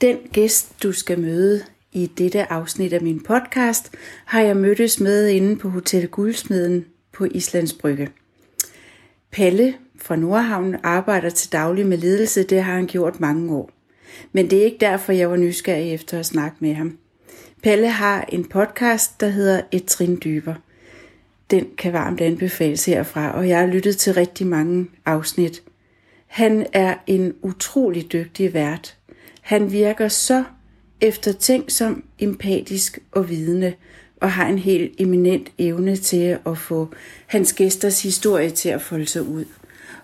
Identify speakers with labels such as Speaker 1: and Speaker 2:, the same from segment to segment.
Speaker 1: Den gæst, du skal møde i dette afsnit af min podcast, har jeg mødtes med inde på Hotel Guldsmeden på Islands Brygge. Pelle fra Nordhavn arbejder til daglig med ledelse, det har han gjort mange år. Men det er ikke derfor, jeg var nysgerrig efter at snakke med ham. Pelle har en podcast, der hedder Et trin dybere. Den kan varmt anbefales herfra, og jeg har lyttet til rigtig mange afsnit. Han er en utrolig dygtig vært. Han virker så eftertænksom, empatisk og vidende, og har en helt eminent evne til at få hans gæsters historie til at folde sig ud.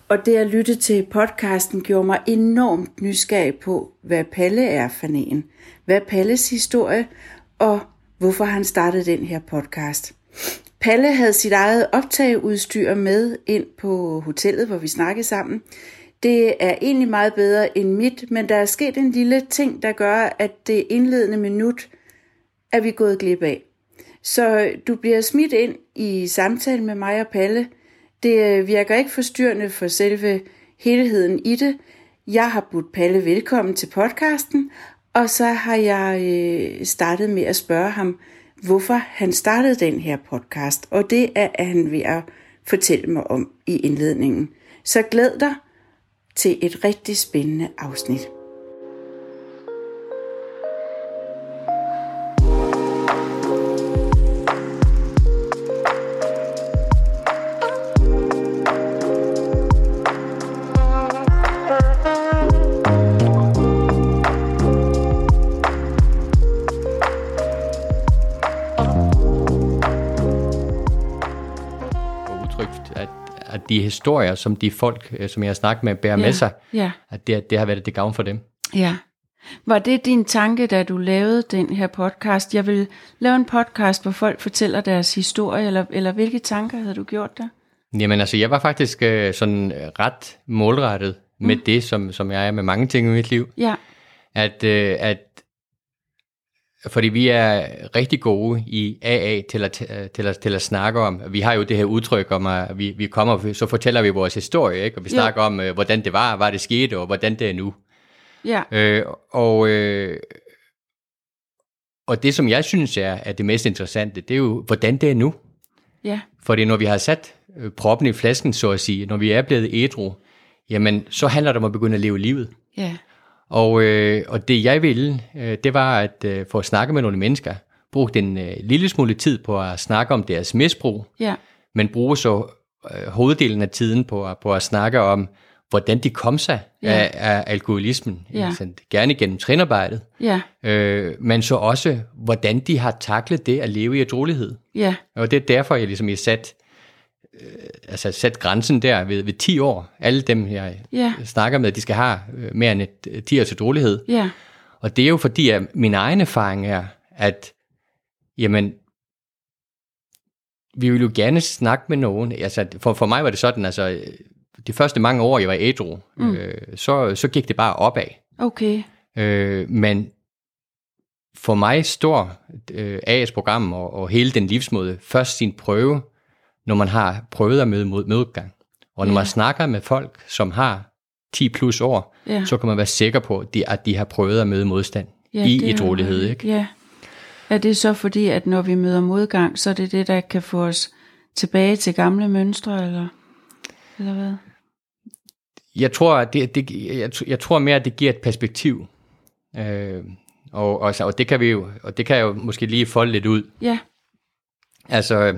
Speaker 1: Og det at lytte til podcasten gjorde mig enormt nysgerrig på, hvad Palle er for en. Hvad er Palles historie, og hvorfor han startede den her podcast. Palle havde sit eget optageudstyr med ind på hotellet, hvor vi snakkede sammen. Det er egentlig meget bedre end mit, men der er sket en lille ting, der gør, at det indledende minut er vi gået glip af. Så du bliver smidt ind i samtalen med mig og Palle. Det øh, virker ikke forstyrrende for selve helheden i det. Jeg har budt Palle velkommen til podcasten, og så har jeg øh, startet med at spørge ham, hvorfor han startede den her podcast. Og det er at han ved at fortælle mig om i indledningen. Så glæd dig til et rigtig spændende afsnit.
Speaker 2: og udtrykt, at, at de historier, som de folk, øh, som jeg har snakket med, bærer med sig,
Speaker 1: ja,
Speaker 2: at det, det har været det gavn for dem.
Speaker 1: ja. Var det din tanke, da du lavede den her podcast? Jeg vil lave en podcast, hvor folk fortæller deres historie, eller, eller hvilke tanker havde du gjort der?
Speaker 2: Jamen altså, jeg var faktisk øh, sådan øh, ret målrettet med
Speaker 1: Mm.
Speaker 2: det, som, som jeg er med mange ting i mit liv.
Speaker 1: Ja,
Speaker 2: At, øh, at fordi vi er rigtig gode i AA til at, øh, til at, til at snakke om, vi har jo det her udtryk om, at vi, vi kommer, så fortæller vi vores historie, ikke? og vi
Speaker 1: Jo.
Speaker 2: snakker om, øh, hvordan det var, hvad det skete, og hvordan det er nu.
Speaker 1: ja,
Speaker 2: Øh, og, øh, og det, som jeg synes er, er det mest interessante, det er jo, hvordan det er nu.
Speaker 1: ja,
Speaker 2: Fordi når vi har sat øh, proppen i flasken, så at sige, når vi er blevet ædru, jamen, så handler det om at begynde at leve livet.
Speaker 1: ja,
Speaker 2: Og, øh, og det jeg ville, øh, det var at øh, få at snakke med nogle mennesker, bruge den øh, lille smule tid på at snakke om deres misbrug,
Speaker 1: ja,
Speaker 2: men bruge så øh, hoveddelen af tiden på, at- på at snakke om, hvordan de kom sig
Speaker 1: Ja.
Speaker 2: af, af alkoholismen,
Speaker 1: Ja.
Speaker 2: ikke sandt? gerne gennem trinarbejdet,
Speaker 1: ja,
Speaker 2: øh, men så også, hvordan de har taklet det at leve i ædrolighed.
Speaker 1: ja,
Speaker 2: Og det er derfor, jeg ligesom har sat, øh, altså sat grænsen der ved, ved 10 år. Alle dem, jeg
Speaker 1: Ja.
Speaker 2: snakker med, de skal have øh, mere end et, øh, 10 års ædrolighed.
Speaker 1: ja,
Speaker 2: Og det er jo fordi, at min egen erfaring er, at jamen, vi vil jo gerne snakke med nogen. Altså, for, for mig var det sådan, altså, øh, de første mange år, jeg var ædru, mm. øh, så, så gik det bare opad.
Speaker 1: okay,
Speaker 2: Øh, men for mig står øh, AS program og, og hele den livsmåde først sin prøve, når man har prøvet at møde mod modgang. Og når
Speaker 1: Ja.
Speaker 2: man snakker med folk, som har 10 plus år,
Speaker 1: ja.
Speaker 2: så kan man være sikker på, at de, at de har prøvet at møde modstand
Speaker 1: ja,
Speaker 2: i
Speaker 1: det er-
Speaker 2: idrolighed. Ikke?
Speaker 1: Ja. Er det så fordi, at når vi møder modgang, så er det det, der kan få os tilbage til gamle mønstre, eller, eller hvad?
Speaker 2: Jeg, tror, at det, det, jeg, tr- jeg tror mere, at det giver et perspektiv. Øh, og, og, så- og, det kan vi jo, og det kan jeg jo måske lige folde lidt ud.
Speaker 1: Ja,
Speaker 2: Altså, øh,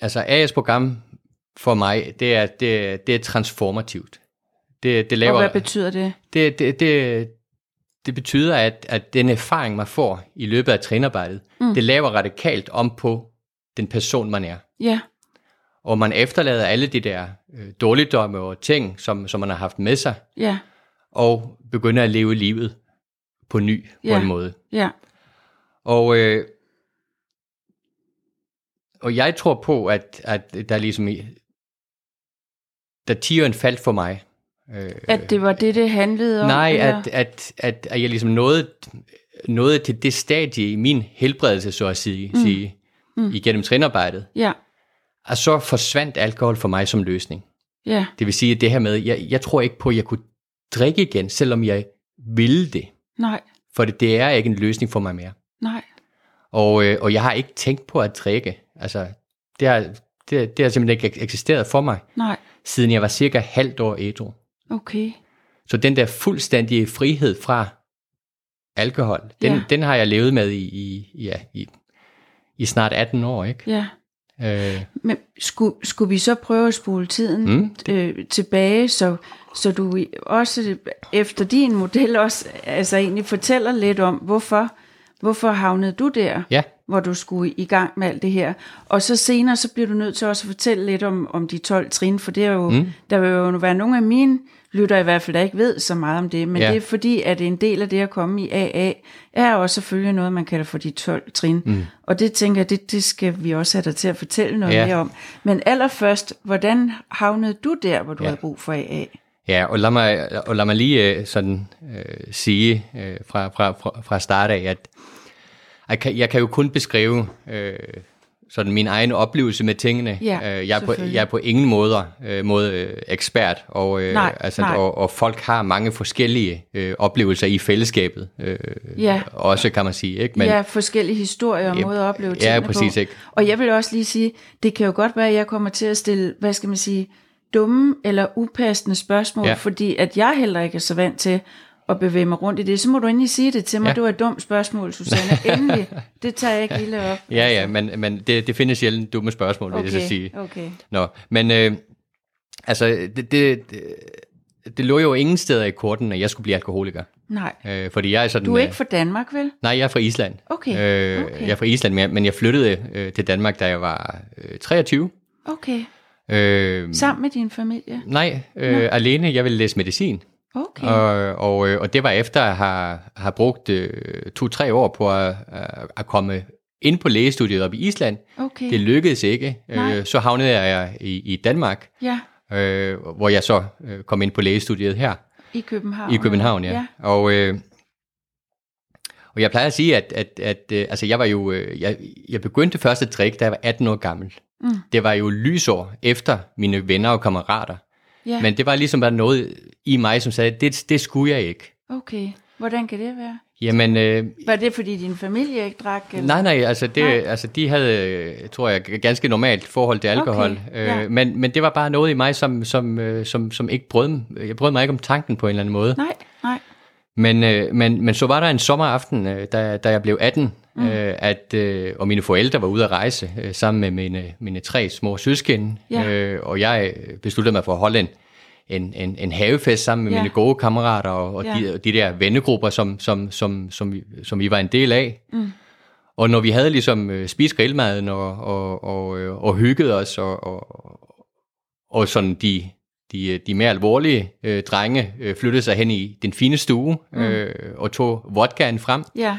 Speaker 2: altså AS program for mig, det er, det, det er transformativt. Det, det,
Speaker 1: og
Speaker 2: laver,
Speaker 1: hvad betyder det?
Speaker 2: det, det, det, det betyder, at, at den erfaring, man får i løbet af trinarbejdet,
Speaker 1: Mm.
Speaker 2: mm. det laver radikalt om på den person, man er.
Speaker 1: Ja,
Speaker 2: Og man efterlader alle de der øh, dårligdomme og ting, som, som man har haft med sig,
Speaker 1: ja,
Speaker 2: og begynder at leve livet på ny på
Speaker 1: Ja.
Speaker 2: en måde.
Speaker 1: ja,
Speaker 2: Og, øh, og jeg tror på, at, at der ligesom i, da tieren faldt for mig, øh,
Speaker 1: at det var det, det handlede om?
Speaker 2: nej,
Speaker 1: eller?
Speaker 2: at, at, at, at jeg ligesom nåede, nåede til det stadie i min helbredelse, så at sige, mm. sige
Speaker 1: Mm.
Speaker 2: mm. igennem trinarbejdet,
Speaker 1: Ja,
Speaker 2: og så forsvandt alkohol for mig som løsning.
Speaker 1: ja,
Speaker 2: Det vil sige, at det her med, jeg, jeg tror ikke på, at jeg kunne drikke igen, selvom jeg ville det.
Speaker 1: Nej,
Speaker 2: For det, det er ikke en løsning for mig mere.
Speaker 1: nej.
Speaker 2: Og, øh, og jeg har ikke tænkt på at drikke. Altså, det har, det, det har simpelthen ikke eksisteret for mig,
Speaker 1: Nej,
Speaker 2: siden jeg var cirka halvt år ædru.
Speaker 1: okay.
Speaker 2: Så den der fuldstændige frihed fra alkohol, den,
Speaker 1: Ja.
Speaker 2: ja. den har jeg levet med i, i, ja, i, i snart 18 år, ikke?
Speaker 1: Ja.
Speaker 2: Ja. Øh,
Speaker 1: Men skulle, skulle vi så prøve at spole tiden mm,
Speaker 2: Mm,
Speaker 1: øh, tilbage, så, så du i- også efter din model også altså egentlig fortæller lidt om, hvorfor, hvorfor havnede du der,
Speaker 2: ja,
Speaker 1: hvor du skulle i gang med alt det her. Og så senere, så bliver du nødt til også at fortælle lidt om, om de 12 trin, for det er jo, mm. der vil jo være nogle af mine lytter i hvert fald, der ikke ved så meget om det, men
Speaker 2: Ja.
Speaker 1: det er fordi, at en del af det at komme i AA, er også selvfølgelig noget, man kalder for de 12 trin. Mm. Og det tænker jeg, det, det skal vi også have dig til at fortælle noget
Speaker 2: Ja.
Speaker 1: mere om. Men allerførst, hvordan havnede du der, hvor du ja. havde brug for AA?
Speaker 2: ja og, lad mig, og lad mig lige øh, sådan øh, sige øh, fra, fra, fra, fra start af, at jeg kan, jeg kan jo kun beskrive øh, sådan min egen oplevelse med tingene.
Speaker 1: Ja,
Speaker 2: øh, jeg, er på,
Speaker 1: selvfølgelig.
Speaker 2: jeg er på ingen måder øh, måde øh, ekspert, og, øh,
Speaker 1: Nej,
Speaker 2: altså,
Speaker 1: nej.
Speaker 2: Og, og folk har mange forskellige øh, oplevelser i fællesskabet. Øh,
Speaker 1: Ja.
Speaker 2: Også kan man sige, ikke?
Speaker 1: Men, ja, forskellige historier og
Speaker 2: Ja,
Speaker 1: måder at opleve
Speaker 2: ja,
Speaker 1: tingene
Speaker 2: præcis,
Speaker 1: på.
Speaker 2: ikke?
Speaker 1: Og jeg vil også lige sige, det kan jo godt være, at jeg kommer til at stille, hvad skal man sige, dumme eller upassende spørgsmål, ja.
Speaker 2: Ja.
Speaker 1: fordi at jeg heller ikke er så vant til at bevæge mig rundt i det. Så må du endelig sige det til mig. Ja.
Speaker 2: Ja.
Speaker 1: Det var et dumt spørgsmål, Susanne. Endelig. Det tager jeg ikke lille op.
Speaker 2: Ja, ja, men, men det, det findes sjældent dumme spørgsmål, okay. vil jeg så sige.
Speaker 1: okay.
Speaker 2: Nå, men øh, altså, det, det, det, det lå jo ingen steder i korten, at jeg skulle blive alkoholiker.
Speaker 1: Nej.
Speaker 2: Øh, fordi jeg er sådan...
Speaker 1: Du er
Speaker 2: øh,
Speaker 1: ikke fra Danmark, vel?
Speaker 2: Nej, jeg er fra Island.
Speaker 1: Okay,
Speaker 2: Øh,
Speaker 1: okay.
Speaker 2: Jeg er fra Island, men jeg- men jeg flyttede øh, til Danmark, da jeg var øh, 23.
Speaker 1: Okay.
Speaker 2: Øh,
Speaker 1: Sammen med din familie?
Speaker 2: nej, øh, alene. Jeg ville læse medicin.
Speaker 1: Okay.
Speaker 2: Og, og, øh, og det var efter at have, have brugt øh, to-tre år på at, øh, at- at komme ind på lægestudiet op i Island.
Speaker 1: Okay.
Speaker 2: Det lykkedes ikke.
Speaker 1: Nej.
Speaker 2: Øh, så havnede jeg i, i Danmark,
Speaker 1: Ja,
Speaker 2: øh, hvor jeg så øh, kom ind på lægestudiet her
Speaker 1: i København.
Speaker 2: i København. Ja.
Speaker 1: ja.
Speaker 2: Og, øh, og jeg plejer at sige, at, at, at øh, altså jeg var jo, øh, jeg, jeg begyndte først at drikke, da jeg var 18 år gammel.
Speaker 1: Mm.
Speaker 2: Det var jo lysår efter mine venner og kammerater.
Speaker 1: Ja,
Speaker 2: Men det var ligesom bare noget i mig, som sagde, det, det skulle jeg ikke.
Speaker 1: okay. Hvordan kan det være?
Speaker 2: Jamen, øh,
Speaker 1: Var det, fordi din familie ikke drak? Eller?
Speaker 2: nej, nej, altså, det,
Speaker 1: Nej.
Speaker 2: altså de havde, øh, tror jeg, g- ganske normalt forhold til alkohol.
Speaker 1: Okay, ja.
Speaker 2: øh, men, men det var bare noget i mig, som, som, øh, som, som ikke brød, dem- jeg brød mig ikke om tanken på en eller anden måde.
Speaker 1: Nej, nej.
Speaker 2: Men, øh, men, men så var der en sommeraften, øh, da, da jeg blev 18, mm. øh, at, øh, og mine forældre var ude at rejse øh, sammen med mine, mine tre små søskende,
Speaker 1: Ja.
Speaker 2: øh, og jeg øh, besluttede mig for at holde en, en, en, en havefest sammen med
Speaker 1: Ja.
Speaker 2: ja. mine gode kammerater og, og
Speaker 1: Ja.
Speaker 2: ja. de, og de der vennegrupper, som, som, som, som, vi, som vi var en del af. Mm. Og når vi havde ligesom øh, spist grillmaden og, og, og, øh, og hygget os, og, og, og sådan de, de, øh, de mere alvorlige øh, drenge øh, flyttede sig hen i den fine stue øh, og tog vodkaen frem,
Speaker 1: Ja,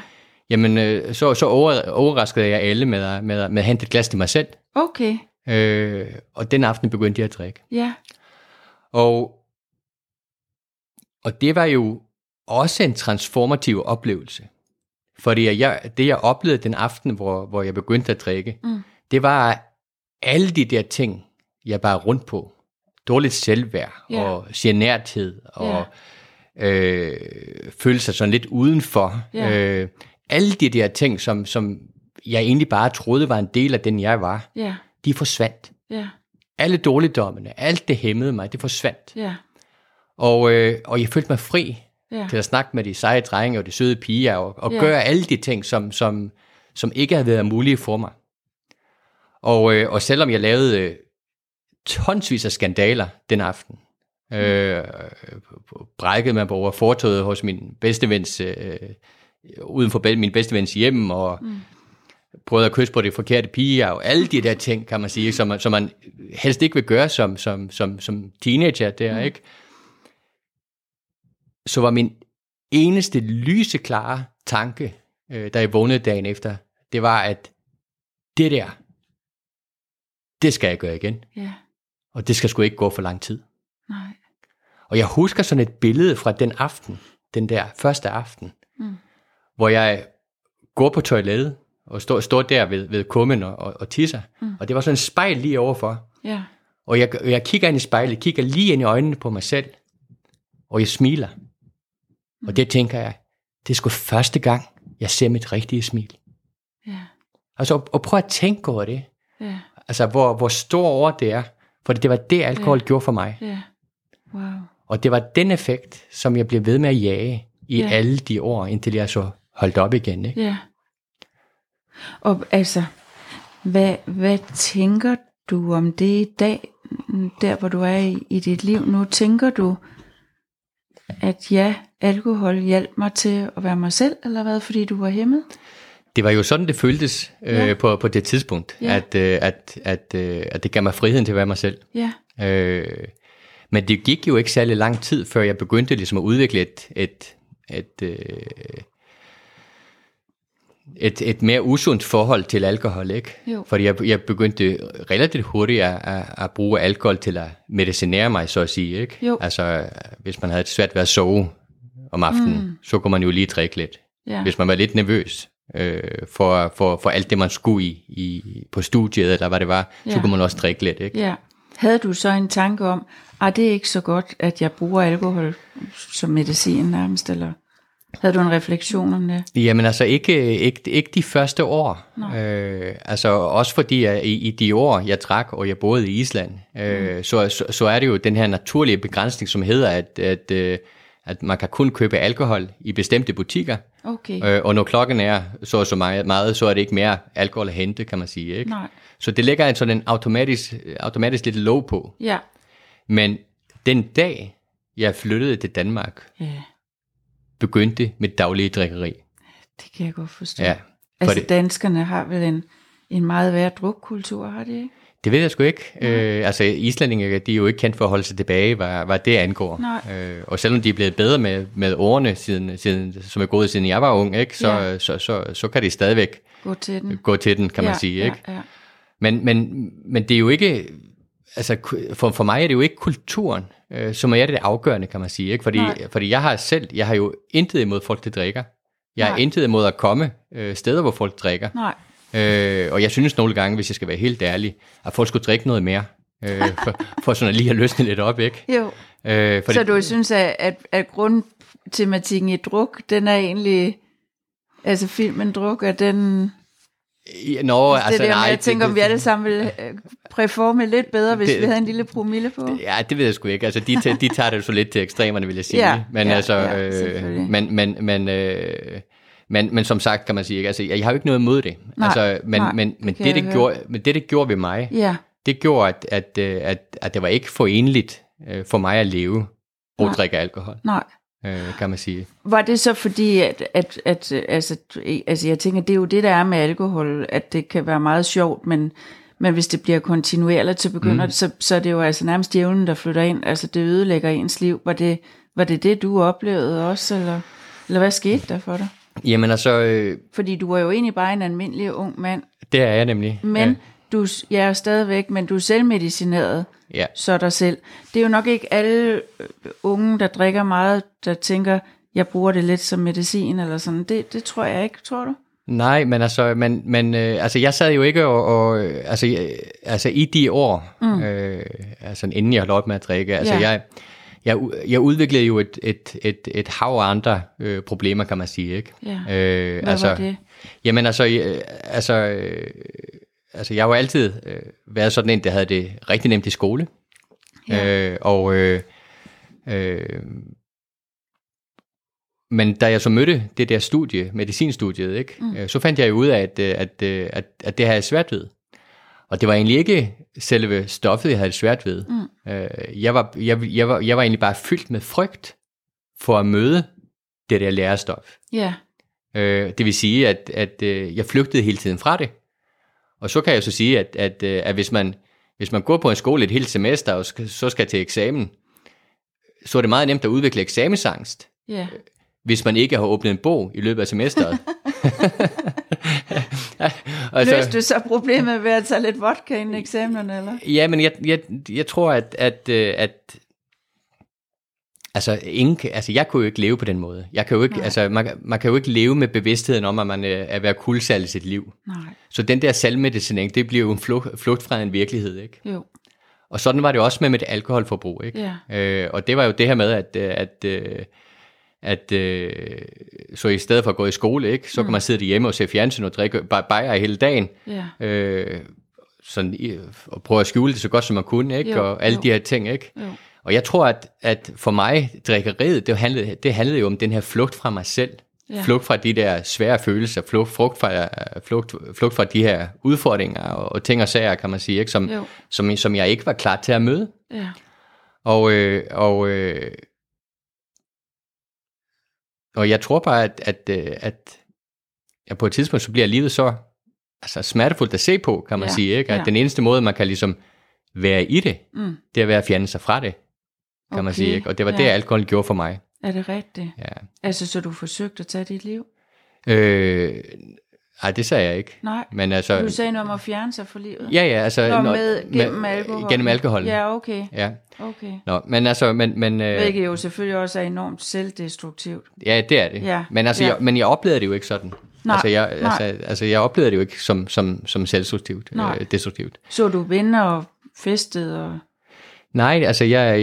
Speaker 2: jamen øh, så, så over, overraskede jeg alle med, at- med, at- med at hente et glas til mig selv.
Speaker 1: okay.
Speaker 2: Øh, og den aften begyndte jeg at drikke.
Speaker 1: Ja,
Speaker 2: Og, og det var jo også en transformativ oplevelse. Fordi at jeg, det, jeg oplevede den aften, hvor, hvor jeg begyndte at drikke,
Speaker 1: Mm.
Speaker 2: det var alle de der ting, jeg var rundt på. Dårligt selvværd
Speaker 1: Ja.
Speaker 2: og generthed og øh, føle sig sådan lidt udenfor.
Speaker 1: Ja.
Speaker 2: Øh, alle de der ting, som, som jeg egentlig bare troede var en del af den, jeg var,
Speaker 1: ja,
Speaker 2: de forsvandt.
Speaker 1: ja,
Speaker 2: Alle dårligdommene, alt det hæmmede mig, det forsvandt.
Speaker 1: ja,
Speaker 2: Og, øh, og jeg følte mig fri
Speaker 1: ja.
Speaker 2: til at snakke med de seje drenge og de søde piger og, og
Speaker 1: Ja.
Speaker 2: yeah. gøre alle de ting, som, som, som ikke havde været mulige for mig. Og, øh, og selvom jeg lavede øh, tonsvis af skandaler den aften, øh, brækkede mig på over fortoget hos min bedstevens, øh, uden for bed- min bedstevens hjem, og mm. prøvede at kysse på det forkerte pige, og alle de der ting, kan man sige, som, man- som man helst ikke vil gøre som, som, som, som teenager der, mm. ikke? så var min eneste lyseklare tanke, øh, da jeg vågnede dagen efter, det var, at det der, det skal jeg gøre igen.
Speaker 1: Ja,
Speaker 2: Og det skal sgu ikke gå for lang tid.
Speaker 1: nej.
Speaker 2: Og jeg husker sådan et billede fra den aften, den der første aften,
Speaker 1: Mm.
Speaker 2: hvor jeg går på toilettet og står, står der ved, ved kummen og, og, og tisser. Mm. Og det var sådan et spejl lige overfor.
Speaker 1: Ja,
Speaker 2: Og jeg, jeg kigger ind i spejlet, kigger lige ind i øjnene på mig selv, og jeg smiler.
Speaker 1: Mm.
Speaker 2: Og det tænker jeg, det er sgu første gang, jeg ser mit rigtige smil.
Speaker 1: Ja.
Speaker 2: Altså, og prøv at tænke over det.
Speaker 1: Ja.
Speaker 2: Altså, hvor, hvor stor over det er. For det var det, alkohol ja. gjorde for mig.
Speaker 1: Ja. Wow.
Speaker 2: Og det var den effekt, som jeg blev ved med at jage i
Speaker 1: Ja.
Speaker 2: ja. alle de år, indtil jeg så holdt op igen. Ikke?
Speaker 1: Ja. Og altså, hvad, hvad tænker du om det i dag, n- der hvor du er i, i dit liv nu? Tænker du, at ja, alkohol hjalp mig til at være mig selv, eller hvad, fordi du var hæmmet?
Speaker 2: Det var jo sådan, det føltes øh,
Speaker 1: Ja.
Speaker 2: på, på det tidspunkt,
Speaker 1: Ja.
Speaker 2: ja. at, øh, at, at, øh, at det gav mig friheden til at være mig selv.
Speaker 1: Ja,
Speaker 2: Øh, men det gik jo ikke særlig lang tid, før jeg begyndte ligesom at udvikle et, et, et, øh, et, et mere usundt forhold til alkohol, ikke?
Speaker 1: Jo.
Speaker 2: Fordi jeg, jeg begyndte relativt hurtigt at, at, at bruge alkohol til at medicinere mig, så at sige, ikke?
Speaker 1: Jo.
Speaker 2: Altså, hvis man havde det svært ved at sove om aftenen, mm. så kunne man jo lige drikke lidt.
Speaker 1: ja,
Speaker 2: Hvis man var lidt nervøs øh, for, for, for alt det, man skulle i, i på studiet, eller hvad det var,
Speaker 1: Ja.
Speaker 2: så kunne man også drikke lidt, ikke?
Speaker 1: ja. Havde du så en tanke om, at det er ikke så godt, at jeg bruger alkohol som medicin nærmest, eller havde du en refleksion om det?
Speaker 2: Jamen altså ikke, ikke, ikke de første år. Øh, altså også fordi jeg, i, i de år, jeg trak, og jeg boede i Island, øh, så, så, så er det jo den her naturlige begrænsning, som hedder, at, at, øh, at man kan kun købe alkohol i bestemte butikker.
Speaker 1: Okay,
Speaker 2: Øh, og når klokken er så og så meget, meget, så er det ikke mere alkohol at hente, kan man sige. Ikke?
Speaker 1: nej,
Speaker 2: Så det lægger en sådan en automatisk, automatisk lidt låg på.
Speaker 1: ja,
Speaker 2: Men den dag, jeg flyttede til Danmark,
Speaker 1: ja,
Speaker 2: begyndte mit daglige drikkeri.
Speaker 1: det kan jeg godt forstå.
Speaker 2: Ja, for
Speaker 1: Altså
Speaker 2: det-
Speaker 1: danskerne har vel en, en meget værre drukkultur, har de ikke?
Speaker 2: Det ved jeg sgu ikke. Øh, altså islændinge, de er jo ikke kendt for at holde sig tilbage, hvad, hvad det angår.
Speaker 1: Nej.
Speaker 2: Øh, og selvom de er blevet bedre med, med årene, siden, siden, som er gået siden jeg var ung, ikke, så,
Speaker 1: Ja.
Speaker 2: så, så, så, så kan de stadigvæk
Speaker 1: Gå til den.
Speaker 2: gå til den, kan
Speaker 1: ja,
Speaker 2: man sige. Ikke?
Speaker 1: Ja, ja.
Speaker 2: Men, men, men det er jo ikke, altså ku- for, for mig er det jo ikke kulturen, øh, som er det afgørende, kan man sige. Ikke? Fordi,
Speaker 1: Nej.
Speaker 2: fordi jeg har selv, jeg har jo intet imod folk, der drikker. Jeg har
Speaker 1: Nej.
Speaker 2: intet imod at komme øh, steder, hvor folk drikker.
Speaker 1: Nej,
Speaker 2: Øh, og jeg synes nogle gange, hvis jeg skal være helt ærlig, at folk skulle drikke noget mere, øh, for, for sådan at lige at løsne lidt op, ikke?
Speaker 1: jo.
Speaker 2: Øh, for
Speaker 1: Så
Speaker 2: det,
Speaker 1: du synes, at, at, at grundtematikken i druk, den er egentlig... Altså filmen Druk, og den...
Speaker 2: Ja, Nå,
Speaker 1: Altså, det
Speaker 2: altså
Speaker 1: er der,
Speaker 2: nej.
Speaker 1: nej, jeg tænker, om vi alle sammen ville øh, performe lidt bedre, hvis det,
Speaker 2: Det-
Speaker 1: vi havde en lille promille på. Det,
Speaker 2: Ja, det ved jeg sgu ikke. Altså, de, ta- de tager det jo så lidt til ekstremerne, vil jeg sige.
Speaker 1: Ja,
Speaker 2: men
Speaker 1: ja,
Speaker 2: altså,
Speaker 1: ja,
Speaker 2: øh,
Speaker 1: selvfølgelig.
Speaker 2: men, men, men, øh, men, men som sagt, kan man sige, ikke? Altså, jeg har jo ikke noget imod det.
Speaker 1: Nej,
Speaker 2: altså, men,
Speaker 1: nej,
Speaker 2: men,
Speaker 1: det
Speaker 2: men,
Speaker 1: kan
Speaker 2: det,
Speaker 1: jeg
Speaker 2: det
Speaker 1: høre.
Speaker 2: gjorde, men det, det gjorde ved mig,
Speaker 1: ja,
Speaker 2: det gjorde, at, at, øh, at, at det var ikke forenligt øh, for mig at leve og
Speaker 1: Nej.
Speaker 2: drikke alkohol,
Speaker 1: nej.
Speaker 2: øh, kan man sige.
Speaker 1: Var det så fordi, at, at, at øh, altså, du- eh, altså, jeg tænker, det er jo det, der er med alkohol, at det kan være meget sjovt, men, men hvis det bliver kontinuerligt, så begynder mm. så, så er det jo altså nærmest djævlen, der flytter ind, altså det ødelægger ens liv. Var det var det, det, du oplevede også, eller, eller hvad skete der for dig?
Speaker 2: Jamen altså, øh,
Speaker 1: Fordi du var jo egentlig bare en almindelig ung mand,
Speaker 2: det er jeg nemlig.
Speaker 1: men ja. du jeg er jo stadigvæk, men du er selvmedicineret,
Speaker 2: Ja,
Speaker 1: så dig selv. Det er jo nok ikke alle øh, unge, der drikker meget, der tænker, jeg bruger det lidt som medicin eller sådan. Det, det tror jeg ikke, tror du?
Speaker 2: nej, men altså, men, men, øh, altså jeg sad jo ikke og, og øh, altså, øh, altså i de år, mm. øh, altså inden jeg holdt op med at drikke, altså
Speaker 1: Ja.
Speaker 2: jeg, jeg, u- jeg udviklede jo et, et, et, et hav af andre øh, problemer, kan man sige, ikke?
Speaker 1: Ja.
Speaker 2: Øh,
Speaker 1: Hvad
Speaker 2: altså,
Speaker 1: var det?
Speaker 2: Jamen altså, øh, altså, øh, altså jeg har jo altid øh, været sådan en, der havde det rigtig nemt i skole.
Speaker 1: Ja.
Speaker 2: Øh, og øh, øh, men da jeg så mødte det der studie, medicinstudiet, ikke, mm. øh, så fandt jeg jo ud af, at, øh, at, øh, at, at det havde jeg svært ved. Og det var egentlig ikke selve stoffet, jeg havde det svært ved. Mm. Øh, jeg, var, jeg, jeg, var, jeg var egentlig bare fyldt med frygt for at møde det der lærestof.
Speaker 1: Ja,
Speaker 2: Øh, det vil sige, at, at øh, jeg flygtede hele tiden fra det. Og så kan jeg så sige, at, at, øh, at hvis, man, hvis man går på en skole et helt semester, og skal, så skal til eksamen, så er det meget nemt at udvikle eksamensangst,
Speaker 1: ja,
Speaker 2: hvis man ikke har åbnet en bog i løbet af semesteret.
Speaker 1: altså, Løste du så problemet ved at tage lidt vodka inden eksamenerne, eller?
Speaker 2: Ja, men jeg, jeg, jeg tror, at, at, øh, at altså, ingen, kan- altså, jeg kunne jo ikke leve på den måde. Jeg kan jo ikke,
Speaker 1: Nej.
Speaker 2: altså, man, kan- man kan jo ikke leve med bevidstheden om, at man øh, er ved at kuldsal i sit liv.
Speaker 1: Nej,
Speaker 2: Så den der salmedicinering, det bliver jo en flugt, flugt fra en virkelighed, ikke?
Speaker 1: jo,
Speaker 2: Og sådan var det også med mit alkoholforbrug. Ikke?
Speaker 1: Ja.
Speaker 2: Øh, og det var jo det her med, at, øh, at, øh, at øh, så i stedet for at gå i skole, ikke, så mm. kan man sidde hjemme og se fjernsyn og drikke ba- bajer hele dagen.
Speaker 1: Ja.
Speaker 2: Øh, sådan, i- og prøve at skjule det så godt, som man kunne, ikke?
Speaker 1: Jo,
Speaker 2: og alle
Speaker 1: jo.
Speaker 2: de her ting. Ikke?
Speaker 1: Jo.
Speaker 2: Og jeg tror, at, at for mig, drikkeriet, det handlede, det handlede jo om den her flugt fra mig selv.
Speaker 1: Ja.
Speaker 2: Ja. Flugt fra de der svære følelser, flugt, flugt, fra, flugt, flugt fra de her udfordringer og, og ting og sager, kan man sige, ikke? Som,
Speaker 1: Jo.
Speaker 2: som, som jeg ikke var klar til at møde.
Speaker 1: Ja.
Speaker 2: Og, øh, og, øh, og jeg tror bare, at, at, øh, at ja, på et tidspunkt, så bliver livet så altså, smertefuldt at se på, kan man
Speaker 1: Ja,
Speaker 2: ja, sige. Ikke? At
Speaker 1: ja.
Speaker 2: ja. den eneste måde, man kan ligesom være i det,
Speaker 1: Mm.
Speaker 2: det er ved at fjerne sig fra det, kan
Speaker 1: Okay.
Speaker 2: man sige. Ikke? Og det var
Speaker 1: ja.
Speaker 2: ja. det, alkohol gjorde for mig.
Speaker 1: Er det rigtigt?
Speaker 2: Ja.
Speaker 1: Altså, så du forsøgte at tage dit liv?
Speaker 2: Øh, ej, det sagde jeg ikke.
Speaker 1: Nej.
Speaker 2: Men altså,
Speaker 1: Du sagde noget om at fjerne sig fra livet?
Speaker 2: ja, ja, altså...
Speaker 1: Nå,
Speaker 2: når-
Speaker 1: med, gennem alkohol?
Speaker 2: Gennem alkohol, ja.
Speaker 1: Ja, okay.
Speaker 2: ja.
Speaker 1: okay.
Speaker 2: Nå, men altså, men, men, øh,
Speaker 1: Hvilket jo selvfølgelig også er enormt selvdestruktivt.
Speaker 2: Ja, det er det.
Speaker 1: Ja,
Speaker 2: Men, altså,
Speaker 1: ja.
Speaker 2: jeg, men jeg oplevede det jo ikke sådan.
Speaker 1: Nej,
Speaker 2: altså, jeg,
Speaker 1: nej.
Speaker 2: altså, altså, jeg oplevede det jo ikke som, som, som selvstruktivt,
Speaker 1: Nej.
Speaker 2: øh, destruktivt.
Speaker 1: Så du venner og festede og...
Speaker 2: Nej, altså, jeg,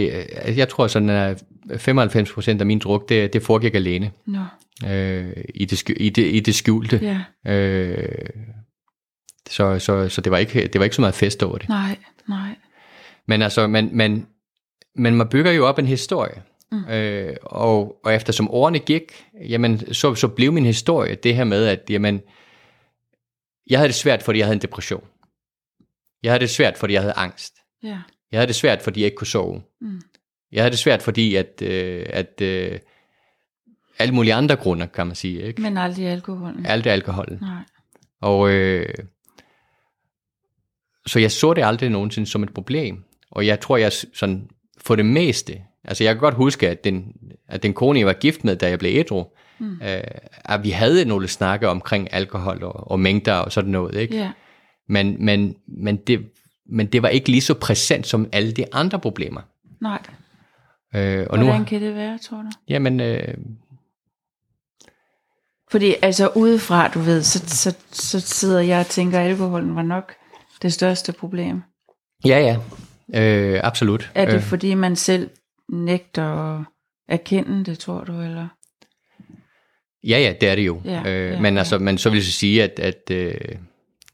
Speaker 2: øh, jeg tror sådan, at 95 procent af min druk, det, det foregik alene.
Speaker 1: Nå,
Speaker 2: Øh, i, det, skj- i, det, I det skjulte.
Speaker 1: ja,
Speaker 2: Øh, så, så, så det var ikke det var ikke så meget fest over det.
Speaker 1: nej, nej.
Speaker 2: Men altså, man, man, men man bygger jo op en historie. Mm. Øh, og, og eftersom årene gik, jamen, så, så blev min historie det her med, at jamen, jeg havde det svært, fordi jeg havde en depression. Jeg havde det svært, fordi jeg havde angst.
Speaker 1: Ja,
Speaker 2: Jeg havde det svært, fordi jeg ikke kunne sove.
Speaker 1: Mm.
Speaker 2: Jeg havde det svært, fordi at, øh, at øh, alle mulige andre grunde, kan man sige. Ikke?
Speaker 1: men aldrig alkoholen.
Speaker 2: Alt er alkoholen.
Speaker 1: Nej,
Speaker 2: Og øh, så jeg så det aldrig nogensinde som et problem. Og jeg tror, jeg s- sådan for det meste, altså jeg kan godt huske, at den, at den kone, jeg var gift med, da jeg blev ædru, mm. øh, at vi havde nogle snakke omkring alkohol og, og mængder og sådan noget. Ikke?
Speaker 1: ja,
Speaker 2: Men, men, men, det, men det var ikke lige så præsent som alle de andre problemer.
Speaker 1: nej.
Speaker 2: Øh, og
Speaker 1: Hvordan
Speaker 2: nu,
Speaker 1: kan det være, tror du?
Speaker 2: jamen, øh,
Speaker 1: Fordi altså udefra, du ved, så, så, så sidder jeg og tænker, at alkoholen var nok det største problem.
Speaker 2: ja, ja, øh, absolut.
Speaker 1: Er det
Speaker 2: Øh,
Speaker 1: fordi, man selv nægter at erkende det, tror du, eller?
Speaker 2: Ja, ja, det er det jo.
Speaker 1: Ja,
Speaker 2: Ja, øh,
Speaker 1: ja,
Speaker 2: men
Speaker 1: ja.
Speaker 2: altså, men så vil jeg så sige, at, at øh,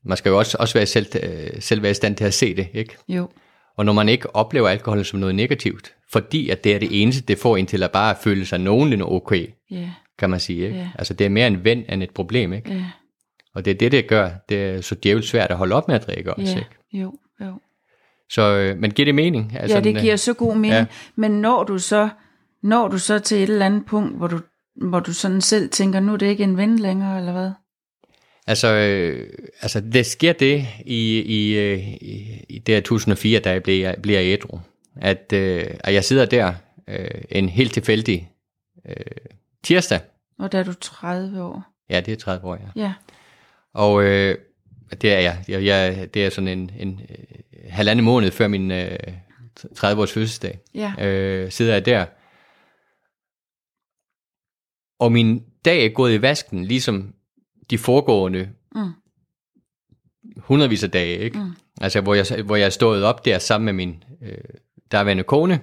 Speaker 2: man skal jo også, også være selv, øh, selv være i stand til at se det, ikke?
Speaker 1: Jo,
Speaker 2: Og når man ikke oplever alkohol som noget negativt, fordi at det er det eneste, det får en til at bare føle sig nogenlunde okay,
Speaker 1: ja,
Speaker 2: kan man sige, ikke?
Speaker 1: Ja.
Speaker 2: Altså, det er mere en ven end et problem, ikke?
Speaker 1: ja,
Speaker 2: Og det er det, det gør. Det er så djævligt svært at holde op med at drikke også,
Speaker 1: ja,
Speaker 2: ikke?
Speaker 1: jo, jo.
Speaker 2: Så, øh, men giver det mening? øh,
Speaker 1: Altså, ja, det giver så god mening. Ja.
Speaker 2: ja.
Speaker 1: Men når du så når du så til et eller andet punkt, hvor du, hvor du sådan selv tænker, nu er det ikke en ven længere, eller hvad?
Speaker 2: Altså, øh, altså det sker det i, i, øh, i, i det her 2004, da jeg bliver, bliver ædru, at, øh, at jeg sidder der øh, en helt tilfældig øh, tirsdag.
Speaker 1: Og da er du 30 år.
Speaker 2: Ja, det er 30 år, ja.
Speaker 1: Ja,
Speaker 2: Og øh, det er jeg. jeg, jeg det er sådan en, en øh, halvanden måned før min øh, 30-års fødselsdag
Speaker 1: ja,
Speaker 2: øh, sidder jeg der. Og min dag er gået i vasken, ligesom de foregående
Speaker 1: Mm.
Speaker 2: hundredvis af dage, ikke?
Speaker 1: Mm.
Speaker 2: Altså, hvor jeg, hvor jeg er stået op der sammen med min øh, derværende kone,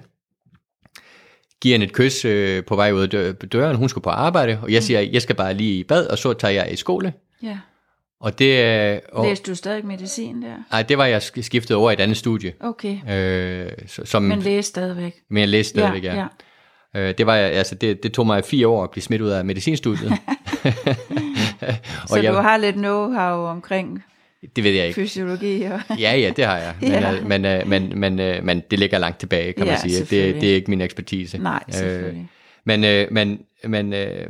Speaker 2: giver hende et kys øh, på vej ud af dø- døren, hun skulle på arbejde, og
Speaker 1: Mm.
Speaker 2: jeg siger, jeg skal bare lige i bad, og så tager jeg i skole.
Speaker 1: ja.
Speaker 2: Og det, øh, og,
Speaker 1: Læste du stadig medicin der?
Speaker 2: nej, det var jeg sk- skiftet over i et andet studie,
Speaker 1: Okay,
Speaker 2: øh, s- som
Speaker 1: men
Speaker 2: men,
Speaker 1: læste stadigvæk.
Speaker 2: jeg læste stadigvæk.
Speaker 1: ja. ja.
Speaker 2: Øh, det, var, altså, det, det tog mig fire år at blive smidt ud af medicinstudiet.
Speaker 1: Så
Speaker 2: jeg,
Speaker 1: du har lidt know-how omkring
Speaker 2: Det ved jeg ikke.
Speaker 1: fysiologi og...
Speaker 2: Ja, ja, det har jeg. Men,
Speaker 1: Ja.
Speaker 2: ja. øh, men, øh, men, men, øh, men det ligger langt tilbage, kan
Speaker 1: Ja,
Speaker 2: man sige. Det,
Speaker 1: selvfølgelig.
Speaker 2: det er ikke min ekspertise.
Speaker 1: Nej,
Speaker 2: Øh,
Speaker 1: selvfølgelig.
Speaker 2: men, øh, men, men, øh,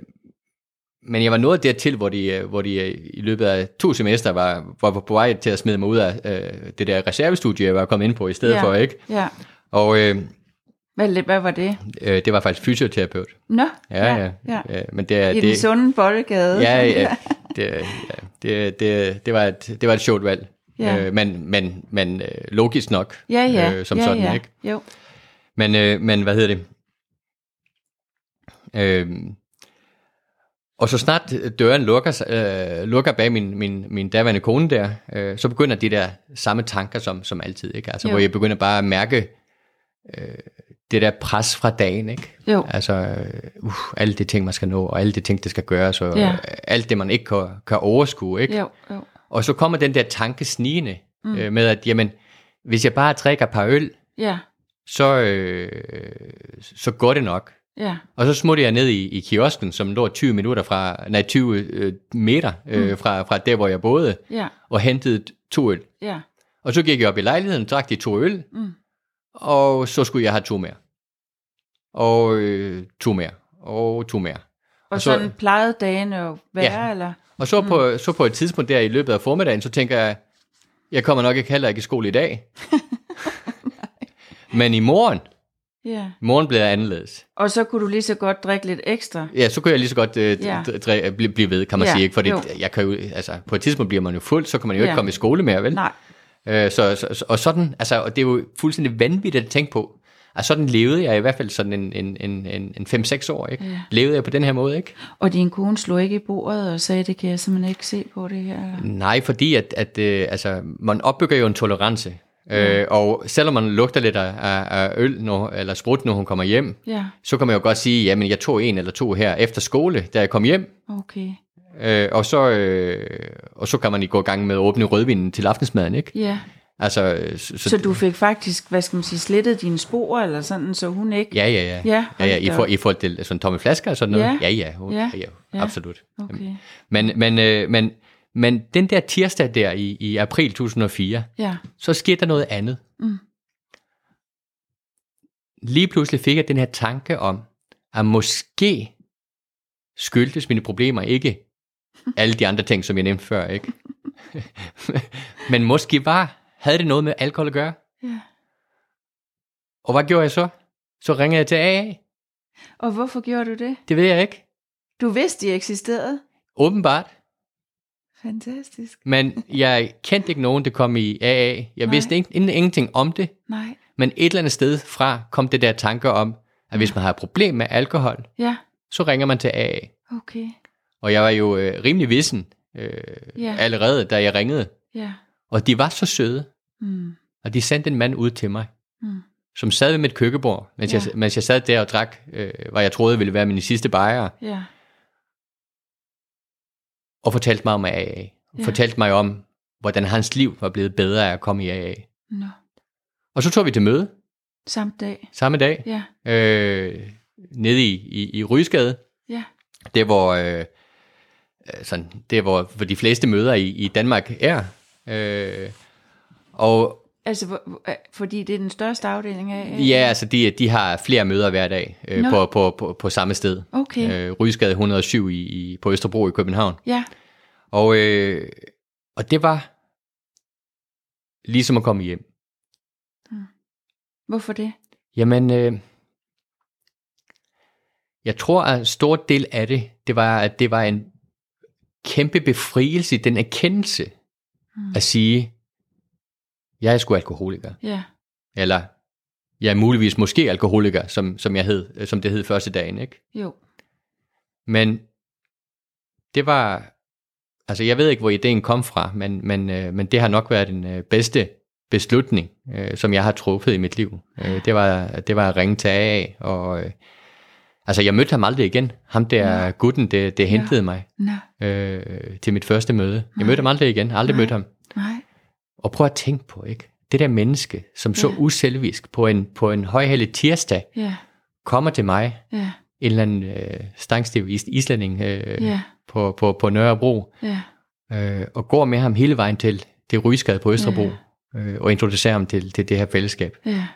Speaker 2: men jeg var nået dertil, hvor de, øh, hvor de øh, i løbet af to semester var, var på vej til at smide mig ud af øh, det der reservestudie, jeg var kommet ind på i stedet
Speaker 1: Ja.
Speaker 2: ja. for, ikke?
Speaker 1: Ja.
Speaker 2: Og øh,
Speaker 1: Hvad, hvad var det?
Speaker 2: øh, det var faktisk fysioterapeut.
Speaker 1: Nå,
Speaker 2: Ja, ja.
Speaker 1: ja.
Speaker 2: ja. Men det, er-
Speaker 1: I
Speaker 2: det,
Speaker 1: den sunde boldgade.
Speaker 2: Ja, ja. Det, ja. Det, det, det, var et, det var et sjovt valg.
Speaker 1: Ja.
Speaker 2: Ja. Øh, men, men, men øh, logisk nok,
Speaker 1: ja, ja.
Speaker 2: øh, som
Speaker 1: ja,
Speaker 2: sådan,
Speaker 1: ja.
Speaker 2: ikke?
Speaker 1: Jo,
Speaker 2: Men, øh, men hvad hedder det? Øh, Og så snart døren lukker, sig- øh, lukker bag min, min, min daværende kone der, øh, så begynder de der samme tanker som, som altid. Ikke? Altså,
Speaker 1: Jo.
Speaker 2: hvor jeg begynder bare at mærke øh, det der pres fra dagen. Ikke?
Speaker 1: Jo.
Speaker 2: Altså, øh, uh, alle de ting, man skal nå, og alle de ting, der skal gøres, og
Speaker 1: Ja.
Speaker 2: ja. alt det, man ikke kan, kan overskue. Ikke?
Speaker 1: Jo, jo.
Speaker 2: Og så kommer den der tanke snigende mm. øh, med, at jamen, hvis jeg bare drikker et par øl,
Speaker 1: Ja,
Speaker 2: så, øh, så går det nok.
Speaker 1: ja,
Speaker 2: Og så smuttede jeg ned i, i kiosken, som lå 20 minutter fra, nej, 20 øh, meter
Speaker 1: Mm.
Speaker 2: øh, fra, fra der, hvor jeg boede,
Speaker 1: ja,
Speaker 2: og hentede to øl.
Speaker 1: ja.
Speaker 2: Og så gik jeg op i lejligheden, drak de to øl,
Speaker 1: Mm.
Speaker 2: og så skulle jeg have to mere. Og øh, to mere. Og to mere.
Speaker 1: Og, og
Speaker 2: så-
Speaker 1: sådan plejede dagene at være, ja. eller?
Speaker 2: Og så, mm. på, så på et tidspunkt der i løbet af formiddagen, så tænker jeg, jeg kommer nok ikke heller ikke i skole i dag. Men i morgen,
Speaker 1: Ja.
Speaker 2: i morgen bliver jeg anderledes.
Speaker 1: Og så kunne du lige så godt drikke lidt ekstra.
Speaker 2: Ja, så kunne jeg lige så godt øh,
Speaker 1: Ja.
Speaker 2: ja. dræ, blive, blive ved, kan man
Speaker 1: Ja,
Speaker 2: ja, sige. Ikke? Fordi
Speaker 1: jo.
Speaker 2: jeg kan jo, altså, på et tidspunkt bliver man jo fuld, så kan man jo ikke
Speaker 1: Ja.
Speaker 2: komme i skole mere, vel?
Speaker 1: Nej,
Speaker 2: Øh, så, så, så- og sådan, altså, og det er jo fuldstændig vanvittigt at tænke på. Altså, sådan levede jeg i hvert fald sådan en, en, en, en, en 5-6 år, ikke?
Speaker 1: Ja.
Speaker 2: Levede jeg på den her måde, ikke?
Speaker 1: og din kone slog ikke i bordet og sagde, det kan jeg simpelthen ikke se på det her. eller?
Speaker 2: Nej, fordi at, at øh, altså, man opbygger jo en tolerance.
Speaker 1: Mm.
Speaker 2: Øh, og selvom man lugter lidt af, af, af øl når, eller sprut, når hun kommer hjem,
Speaker 1: Ja,
Speaker 2: så kan man jo godt sige, jamen jeg tog en eller to her efter skole, da jeg kom hjem,
Speaker 1: okay.
Speaker 2: øh, og, så, øh, og så kan man i gå i gang med at åbne rødvinen til aftensmaden, ikke?
Speaker 1: Ja,
Speaker 2: Altså, øh, så,
Speaker 1: så du fik faktisk, hvad skal man sige, slettet dine spor, eller sådan, så hun ikke...
Speaker 2: Ja, ja, ja.
Speaker 1: Ja,
Speaker 2: ja, ja
Speaker 1: hold
Speaker 2: i,
Speaker 1: da
Speaker 2: for,
Speaker 1: op.
Speaker 2: I forhold til sådan tomme flasker og sådan noget.
Speaker 1: Ja.
Speaker 2: ja, ja, hun,
Speaker 1: Ja.
Speaker 2: ja, ja,
Speaker 1: Ja.
Speaker 2: absolut.
Speaker 1: Okay,
Speaker 2: Men, men, øh, men, men den der tirsdag der i, i april 2004,
Speaker 1: ja,
Speaker 2: så skete der noget andet.
Speaker 1: Mm.
Speaker 2: Lige pludselig fik jeg den her tanke om, at måske skyldtes mine problemer ikke alle de andre ting, som jeg nævnte før, ikke? Men måske var, havde det noget med alkohol at gøre?
Speaker 1: ja.
Speaker 2: Og hvad gjorde jeg så? Så ringede jeg til AA.
Speaker 1: Og hvorfor gjorde du det?
Speaker 2: Det ved jeg ikke.
Speaker 1: Du vidste, de eksisterede.
Speaker 2: Åbenbart.
Speaker 1: Fantastisk.
Speaker 2: Men jeg kendte ikke nogen, der kom i AA. Jeg
Speaker 1: Nej.
Speaker 2: vidste ikke, ingen- ingenting om det.
Speaker 1: Nej,
Speaker 2: Men et eller andet sted fra kom det der tanker om, at hvis man har et problem med alkohol,
Speaker 1: ja,
Speaker 2: så ringer man til AA.
Speaker 1: okay,
Speaker 2: Og jeg var jo øh, rimelig vissen øh,
Speaker 1: Ja.
Speaker 2: allerede, da jeg ringede.
Speaker 1: ja.
Speaker 2: Og de var så søde,
Speaker 1: Mm.
Speaker 2: og de sendte en mand ud til mig,
Speaker 1: Mm.
Speaker 2: som sad ved mit køkkenbord, mens,
Speaker 1: Ja.
Speaker 2: jeg, mens jeg sad der og drak, øh, hvad jeg troede ville være mine sidste bajere,
Speaker 1: Ja,
Speaker 2: og fortalte mig om AA.
Speaker 1: Ja.
Speaker 2: Fortalte mig om, hvordan hans liv var blevet bedre af at komme i AA.
Speaker 1: nå.
Speaker 2: Og så tog vi til møde
Speaker 1: Samt dag.
Speaker 2: samme dag,
Speaker 1: Ja,
Speaker 2: øh, nede i, i, i Rysgade,
Speaker 1: ja,
Speaker 2: det hvor, øh, øh, sådan, det hvor, hvor de fleste møder i, i Danmark er. Øh, og
Speaker 1: altså hvor- hvor- øh, fordi det er den største afdeling af... øh? af-
Speaker 2: ja, altså de, de har flere møder hver dag øh,
Speaker 1: Nå.
Speaker 2: på, på, på, på samme sted.
Speaker 1: Okay,
Speaker 2: Øh, Rysgade 107 i, i, på Østerbro i København.
Speaker 1: ja,
Speaker 2: Og, øh, og det var ligesom at komme hjem.
Speaker 1: hvorfor det?
Speaker 2: Jamen, øh, jeg tror, at en stor del af det, det var, at det var en kæmpe befrielse, i den erkendelse
Speaker 1: Mm.
Speaker 2: at sige, jeg er sgu alkoholiker,
Speaker 1: Ja,
Speaker 2: eller jeg er muligvis måske alkoholiker, som, som, jeg hed, øh, som det hed første dagen, ikke?
Speaker 1: jo,
Speaker 2: Men det var, altså jeg ved ikke, hvor ideen kom fra, men, men, øh, men det har nok været den øh, bedste beslutning, øh, som jeg har truffet i mit liv. Øh, det, var, det var at ringe til AA, og øh, altså jeg mødte ham aldrig igen. Ham der
Speaker 1: Nå.
Speaker 2: gutten, det, det hentede mig
Speaker 1: nå,
Speaker 2: øh, til mit første møde. Jeg
Speaker 1: Nej.
Speaker 2: mødte ham aldrig igen, aldrig
Speaker 1: Nej.
Speaker 2: mødte ham.
Speaker 1: nej,
Speaker 2: Og prøv at tænke på, ikke? Det der menneske, som så
Speaker 1: Ja.
Speaker 2: uselvisk på en, på en højhellig tirsdag,
Speaker 1: ja,
Speaker 2: kommer til mig,
Speaker 1: ja,
Speaker 2: en eller anden øh, stangstiv is- islænding øh,
Speaker 1: ja,
Speaker 2: på, på, på Nørrebro,
Speaker 1: ja,
Speaker 2: øh, og går med ham hele vejen til det rygskade på Østerbro,
Speaker 1: Ja.
Speaker 2: øh, og introducerer ham til, til det her fællesskab.
Speaker 1: ja,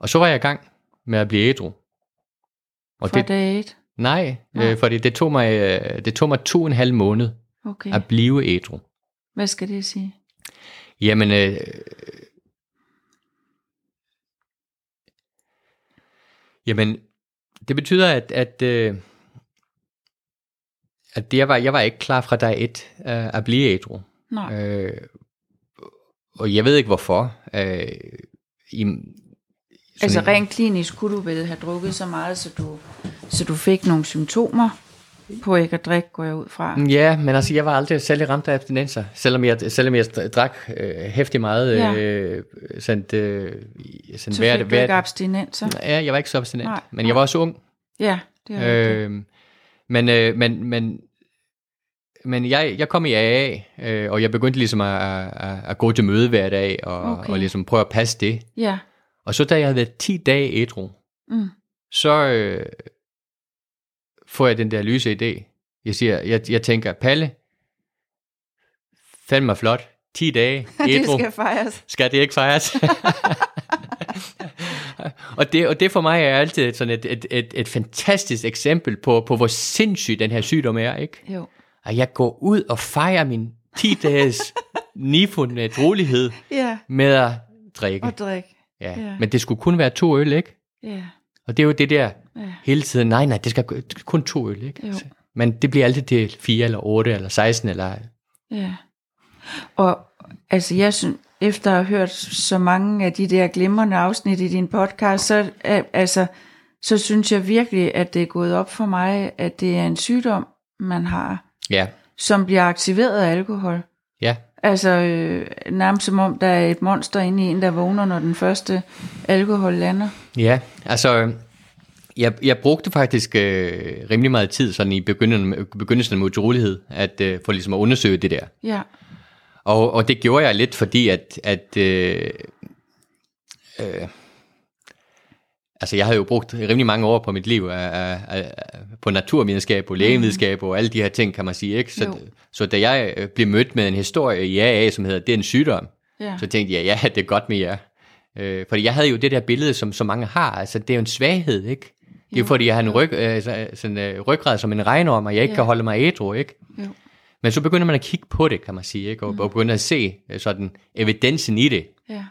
Speaker 2: Og så var jeg i gang med at blive ædru. Og
Speaker 1: fra
Speaker 2: det,
Speaker 1: dag et.
Speaker 2: nej,
Speaker 1: Nej.
Speaker 2: øh, fordi det tog, mig, øh, det tog mig to og en halv måned
Speaker 1: Okay,
Speaker 2: at blive ædru.
Speaker 1: hvad skal det sige?
Speaker 2: Jamen, øh, jamen det betyder, at, at, øh, at det, jeg, var, jeg var ikke klar fra dag et øh, at blive ædru.
Speaker 1: Nej,
Speaker 2: Øh, og jeg ved ikke hvorfor. Øh, i,
Speaker 1: altså
Speaker 2: sådan-
Speaker 1: rent klinisk kunne du vel have drukket så meget, så du, så du fik nogle symptomer? på ikke at drikke, går jeg ud fra.
Speaker 2: Ja, men altså, jeg var aldrig særlig ramt af abstinenser, selvom jeg, selvom jeg drak øh, hæftig meget
Speaker 1: Ja.
Speaker 2: ja. øh, sådan, øh, sådan
Speaker 1: Så
Speaker 2: hver,
Speaker 1: fik du ikke
Speaker 2: hver,
Speaker 1: abstinenser.
Speaker 2: Ja, jeg var ikke så abstinent,
Speaker 1: Nej,
Speaker 2: men jeg var også ung.
Speaker 1: Ja, det er øh,
Speaker 2: Øh, men, øh, men, men, men jeg, jeg kom i AA, øh, og jeg begyndte ligesom at, at, at gå til møde hver dag, og,
Speaker 1: Okay.
Speaker 2: okay. og ligesom prøve at passe det.
Speaker 1: Ja,
Speaker 2: Og så da jeg havde været 10 dage ædru,
Speaker 1: mm,
Speaker 2: så øh, får jeg den der lyse idé. Jeg siger, jeg, jeg tænker, Palle, fandme flot, 10 dage
Speaker 1: det
Speaker 2: ædru,
Speaker 1: skal fejres.
Speaker 2: skal det ikke fejres? og, det, og det for mig er altid sådan et, et, et, et fantastisk eksempel på, på, hvor sindssyg den her sygdom er, ikke?
Speaker 1: Jo.
Speaker 2: At jeg går ud og fejrer min 10-dages nifundne rolighed
Speaker 1: Ja,
Speaker 2: med at drikke.
Speaker 1: og drikke. ja.
Speaker 2: Ja. Men det skulle kun være to øl, ikke?
Speaker 1: Ja,
Speaker 2: Og det er jo det der
Speaker 1: ja.
Speaker 2: hele tiden, nej, nej, det skal kun- kun to øl, ikke?
Speaker 1: Jo.
Speaker 2: Men det bliver altid til 4 eller 8 eller 16 eller...
Speaker 1: Ja. Og altså, jeg synes, efter at have hørt så mange af de der glimrende afsnit i din podcast, så, øh, altså, så synes jeg virkelig, at det er gået op for mig, at det er en sygdom, man har,
Speaker 2: Ja,
Speaker 1: som bliver aktiveret af alkohol.
Speaker 2: ja,
Speaker 1: Altså, øh, nærmest som om, der er et monster inde i en, der vågner, når den første alkohol lander.
Speaker 2: Ja, altså, øh, jeg, jeg brugte faktisk øh, rimelig meget tid sådan i begyndelsen, begyndelsen med utrolighed, at, øh, for ligesom at undersøge det der.
Speaker 1: Ja,
Speaker 2: Og, og det gjorde jeg lidt, fordi at, at øh, øh, altså jeg havde jo brugt rimelig mange år på mit liv af, af, af, på naturvidenskab og lægevidenskab og alle de her ting, kan man sige. Ikke? Så,
Speaker 1: Jo.
Speaker 2: så da jeg øh, blev mødt med en historie i AA, som hedder, det er en sygdom,
Speaker 1: ja,
Speaker 2: så tænkte jeg, ja, det er godt med jer. Øh, fordi jeg havde jo det der billede, som så mange har. Altså, det er jo en svaghed, ikke? Det er jo,
Speaker 1: Jo,
Speaker 2: fordi, jeg har en ryg, øh, så- sådan, øh, ryggrad som en regnorm, og jeg ikke
Speaker 1: Ja.
Speaker 2: kan holde mig ædru, ikke?
Speaker 1: jo,
Speaker 2: Men så begynder man at kigge på det, kan man sige, ikke? Og, og begynder at se øh, sådan evidensen i det.
Speaker 1: ja,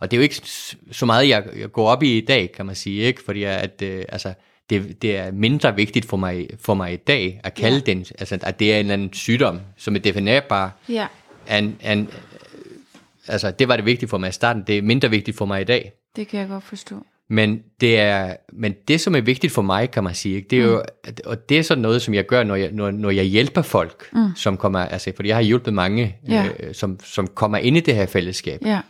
Speaker 2: Og det er jo ikke s- så meget, jeg, jeg går op i i dag, kan man sige, ikke? Fordi jeg- at, øh, altså, det, det er mindre vigtigt for mig, for mig i dag at kalde den, altså, at det er en eller anden sygdom, som er definerbar,
Speaker 1: ja,
Speaker 2: an, an, øh, altså, det var det vigtige for mig i starten, det er mindre vigtigt for mig i dag.
Speaker 1: det kan jeg godt forstå.
Speaker 2: Men det, er, men det, som er vigtigt for mig, kan man sige, ikke? det er jo, at- og det er sådan noget, som jeg gør, når jeg, når, når jeg hjælper folk, mm. som kommer, altså, fordi jeg har hjulpet mange,
Speaker 1: Ja.
Speaker 2: øh, som, som kommer ind i det her fællesskab.
Speaker 1: Ja,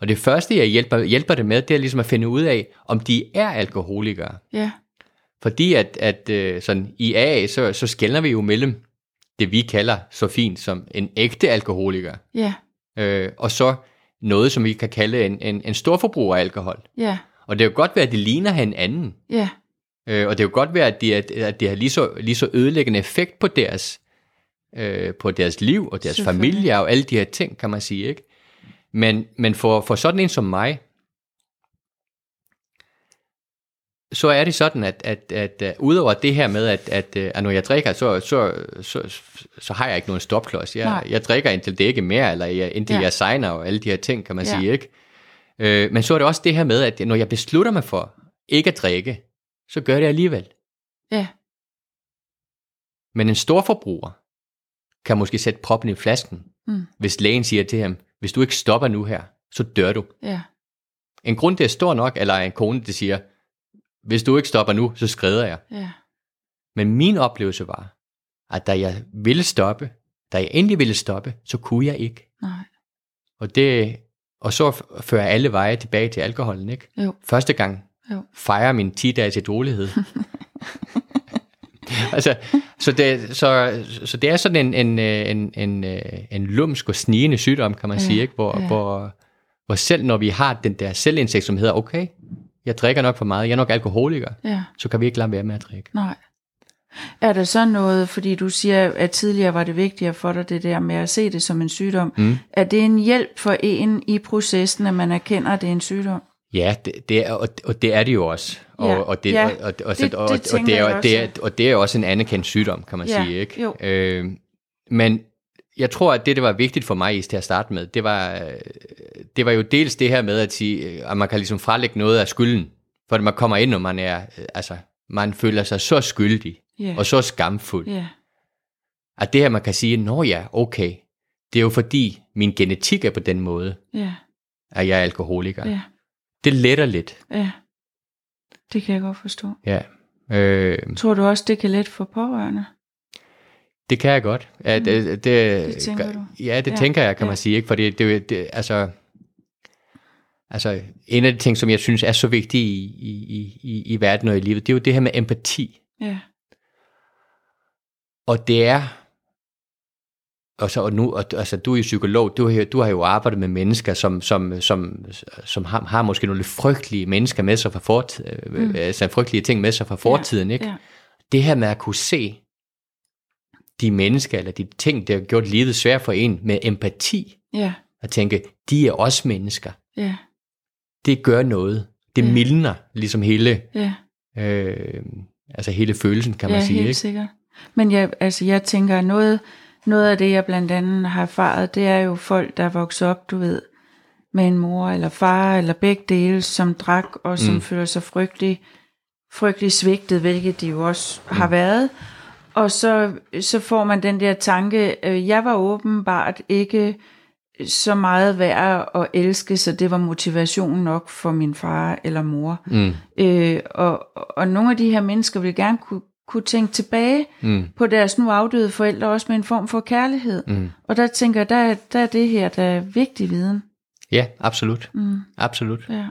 Speaker 2: Og det første, jeg hjælper, hjælper dem med, det er ligesom at finde ud af, om de er alkoholikere.
Speaker 1: ja,
Speaker 2: Fordi at, at øh, sådan, i AA, så, så skældner vi jo mellem det, vi kalder så fint som en ægte alkoholiker,
Speaker 1: ja,
Speaker 2: øh, og så noget, som vi kan kalde en, en, en storforbruger af alkohol.
Speaker 1: ja,
Speaker 2: Og det kan jo godt være, at de ligner hinanden,
Speaker 1: ja,
Speaker 2: øh, og det kan jo godt være, at det at, at de har lige så, lige så ødelæggende effekt på deres, øh, på deres liv og deres
Speaker 1: Selvfølgelig.
Speaker 2: familier og alle de her ting, kan man sige. ikke. Men, men for, for sådan en som mig, så er det sådan, at, at, at, at udover det her med, at, at, øh, at når jeg drikker, så, så, så, så har jeg ikke nogen stopklods. Jeg,
Speaker 1: Nej.
Speaker 2: jeg drikker indtil det ikke er mere, eller jeg, indtil
Speaker 1: Ja.
Speaker 2: ja. jeg signer og alle de her ting, kan man
Speaker 1: Ja.
Speaker 2: ja. sige. ikke. Øh, men så er det også det her med, at når jeg beslutter mig for ikke at drikke, så gør jeg det alligevel.
Speaker 1: ja,
Speaker 2: Men en storforbruger kan måske sætte proppen i flasken,
Speaker 1: Mm.
Speaker 2: hvis lægen siger til ham, hvis du ikke stopper nu her, så dør du.
Speaker 1: ja,
Speaker 2: En grund, det er stor nok, eller en kone, det siger, hvis du ikke stopper nu, så skrider jeg.
Speaker 1: ja,
Speaker 2: Men min oplevelse var, at da jeg ville stoppe, da jeg endelig ville stoppe, så kunne jeg ikke.
Speaker 1: nej,
Speaker 2: Og, det, og så f- fører alle veje tilbage til alkoholen, ikke?
Speaker 1: jo.
Speaker 2: Første gang
Speaker 1: Jo.
Speaker 2: fejrer min 10-dages idrolighed. altså, så, det, så, så det er sådan en, en, øh, en, en, øh, en lumsk og snigende sygdom, kan man
Speaker 1: Ja,
Speaker 2: sige, ikke? Hvor,
Speaker 1: ja.
Speaker 2: hvor, hvor selv når vi har den der selvindsigt, som hedder, okay, jeg drikker nok for meget, jeg er nok alkoholiker,
Speaker 1: Ja,
Speaker 2: så kan vi ikke lade være med at drikke.
Speaker 1: nej. Er der så noget, fordi du siger, at tidligere var det vigtigere for dig, det der med at se det som en sygdom. Mm. Er det en hjælp for en i processen, at man erkender, at det er en sygdom?
Speaker 2: Ja, det, det er, og, og det er det jo også. Og,
Speaker 1: Ja.
Speaker 2: og det,
Speaker 1: Ja,
Speaker 2: og, og, og,
Speaker 1: det-
Speaker 2: og, og,
Speaker 1: det
Speaker 2: og,
Speaker 1: tænker
Speaker 2: det er,
Speaker 1: jeg
Speaker 2: jo- det er,
Speaker 1: også.
Speaker 2: og det er jo også en anerkendt sygdom, kan man
Speaker 1: Ja,
Speaker 2: sige, ikke?
Speaker 1: jo.
Speaker 2: Øh, men jeg tror, at det, der var vigtigt for mig i- til at starte med, det var, øh, det var jo dels det her med at sige, øh, at man kan ligesom fralægge noget af skylden, for at man kommer ind, og man er, øh, altså, man føler sig så skyldig,
Speaker 1: Ja,
Speaker 2: og så skamfuld,
Speaker 1: ja,
Speaker 2: at det her, man kan sige, nå ja, okay, det er jo fordi, min genetik er på den måde,
Speaker 1: ja,
Speaker 2: at jeg er alkoholiker.
Speaker 1: ja,
Speaker 2: Det letter lidt,
Speaker 1: ja. Det kan jeg godt forstå.
Speaker 2: ja. Øh,
Speaker 1: Tror du også, det kan let for pårørende?
Speaker 2: Det kan jeg godt. At, mm. det, det
Speaker 1: tænker du?
Speaker 2: Ja, det
Speaker 1: Ja,
Speaker 2: ja. tænker jeg, kan
Speaker 1: ja.
Speaker 2: man sige. Ikke? Fordi det, det, altså, altså, en af de ting, som jeg synes er så vigtige i, i, i- i, i verden og i livet, det er jo det her med empati.
Speaker 1: Ja.
Speaker 2: Og det er, og, så, og nu, og, altså, du er jo psykolog, du, har jo- du har jo arbejdet med mennesker, som, som, som, som har, har måske nogle lidt frygtelige mennesker med sig fra fort, mm. altså, frygtelige ting med sig fra fortiden. ikke?
Speaker 1: ja.
Speaker 2: det her med at kunne se de mennesker eller de ting, der har gjort livet svært for en med empati,
Speaker 1: Ja.
Speaker 2: at tænke, de er også mennesker.
Speaker 1: Ja.
Speaker 2: Det gør noget. Det
Speaker 1: Ja.
Speaker 2: mildner ligesom hele,
Speaker 1: Ja.
Speaker 2: øh, altså hele følelsen, kan man
Speaker 1: ja,
Speaker 2: sige.
Speaker 1: helt
Speaker 2: Ikke?
Speaker 1: sikkert. Men jeg, altså, jeg tænker, noget, noget af det, jeg blandt andet har erfaret, det er jo folk, der er vokset op, du ved, med en mor eller far, eller begge dele, som drak, og som mm. føler sig frygtelig, frygtelig svigtet, hvilket de jo også mm. har været. Og så, så får man den der tanke, øh, jeg var åbenbart ikke så meget værd at elske, så det var motivation nok for min far eller mor.
Speaker 2: Mm,
Speaker 1: Øh, og, og nogle af de her mennesker vil gerne kunne, kunne tænke tilbage
Speaker 2: mm,
Speaker 1: på deres nu afdøde forældre, også med en form for kærlighed.
Speaker 2: mm.
Speaker 1: Og der tænker jeg, der, er- der er det her, der er vigtig viden.
Speaker 2: Ja, absolut.
Speaker 1: Mm,
Speaker 2: absolut.
Speaker 1: ja.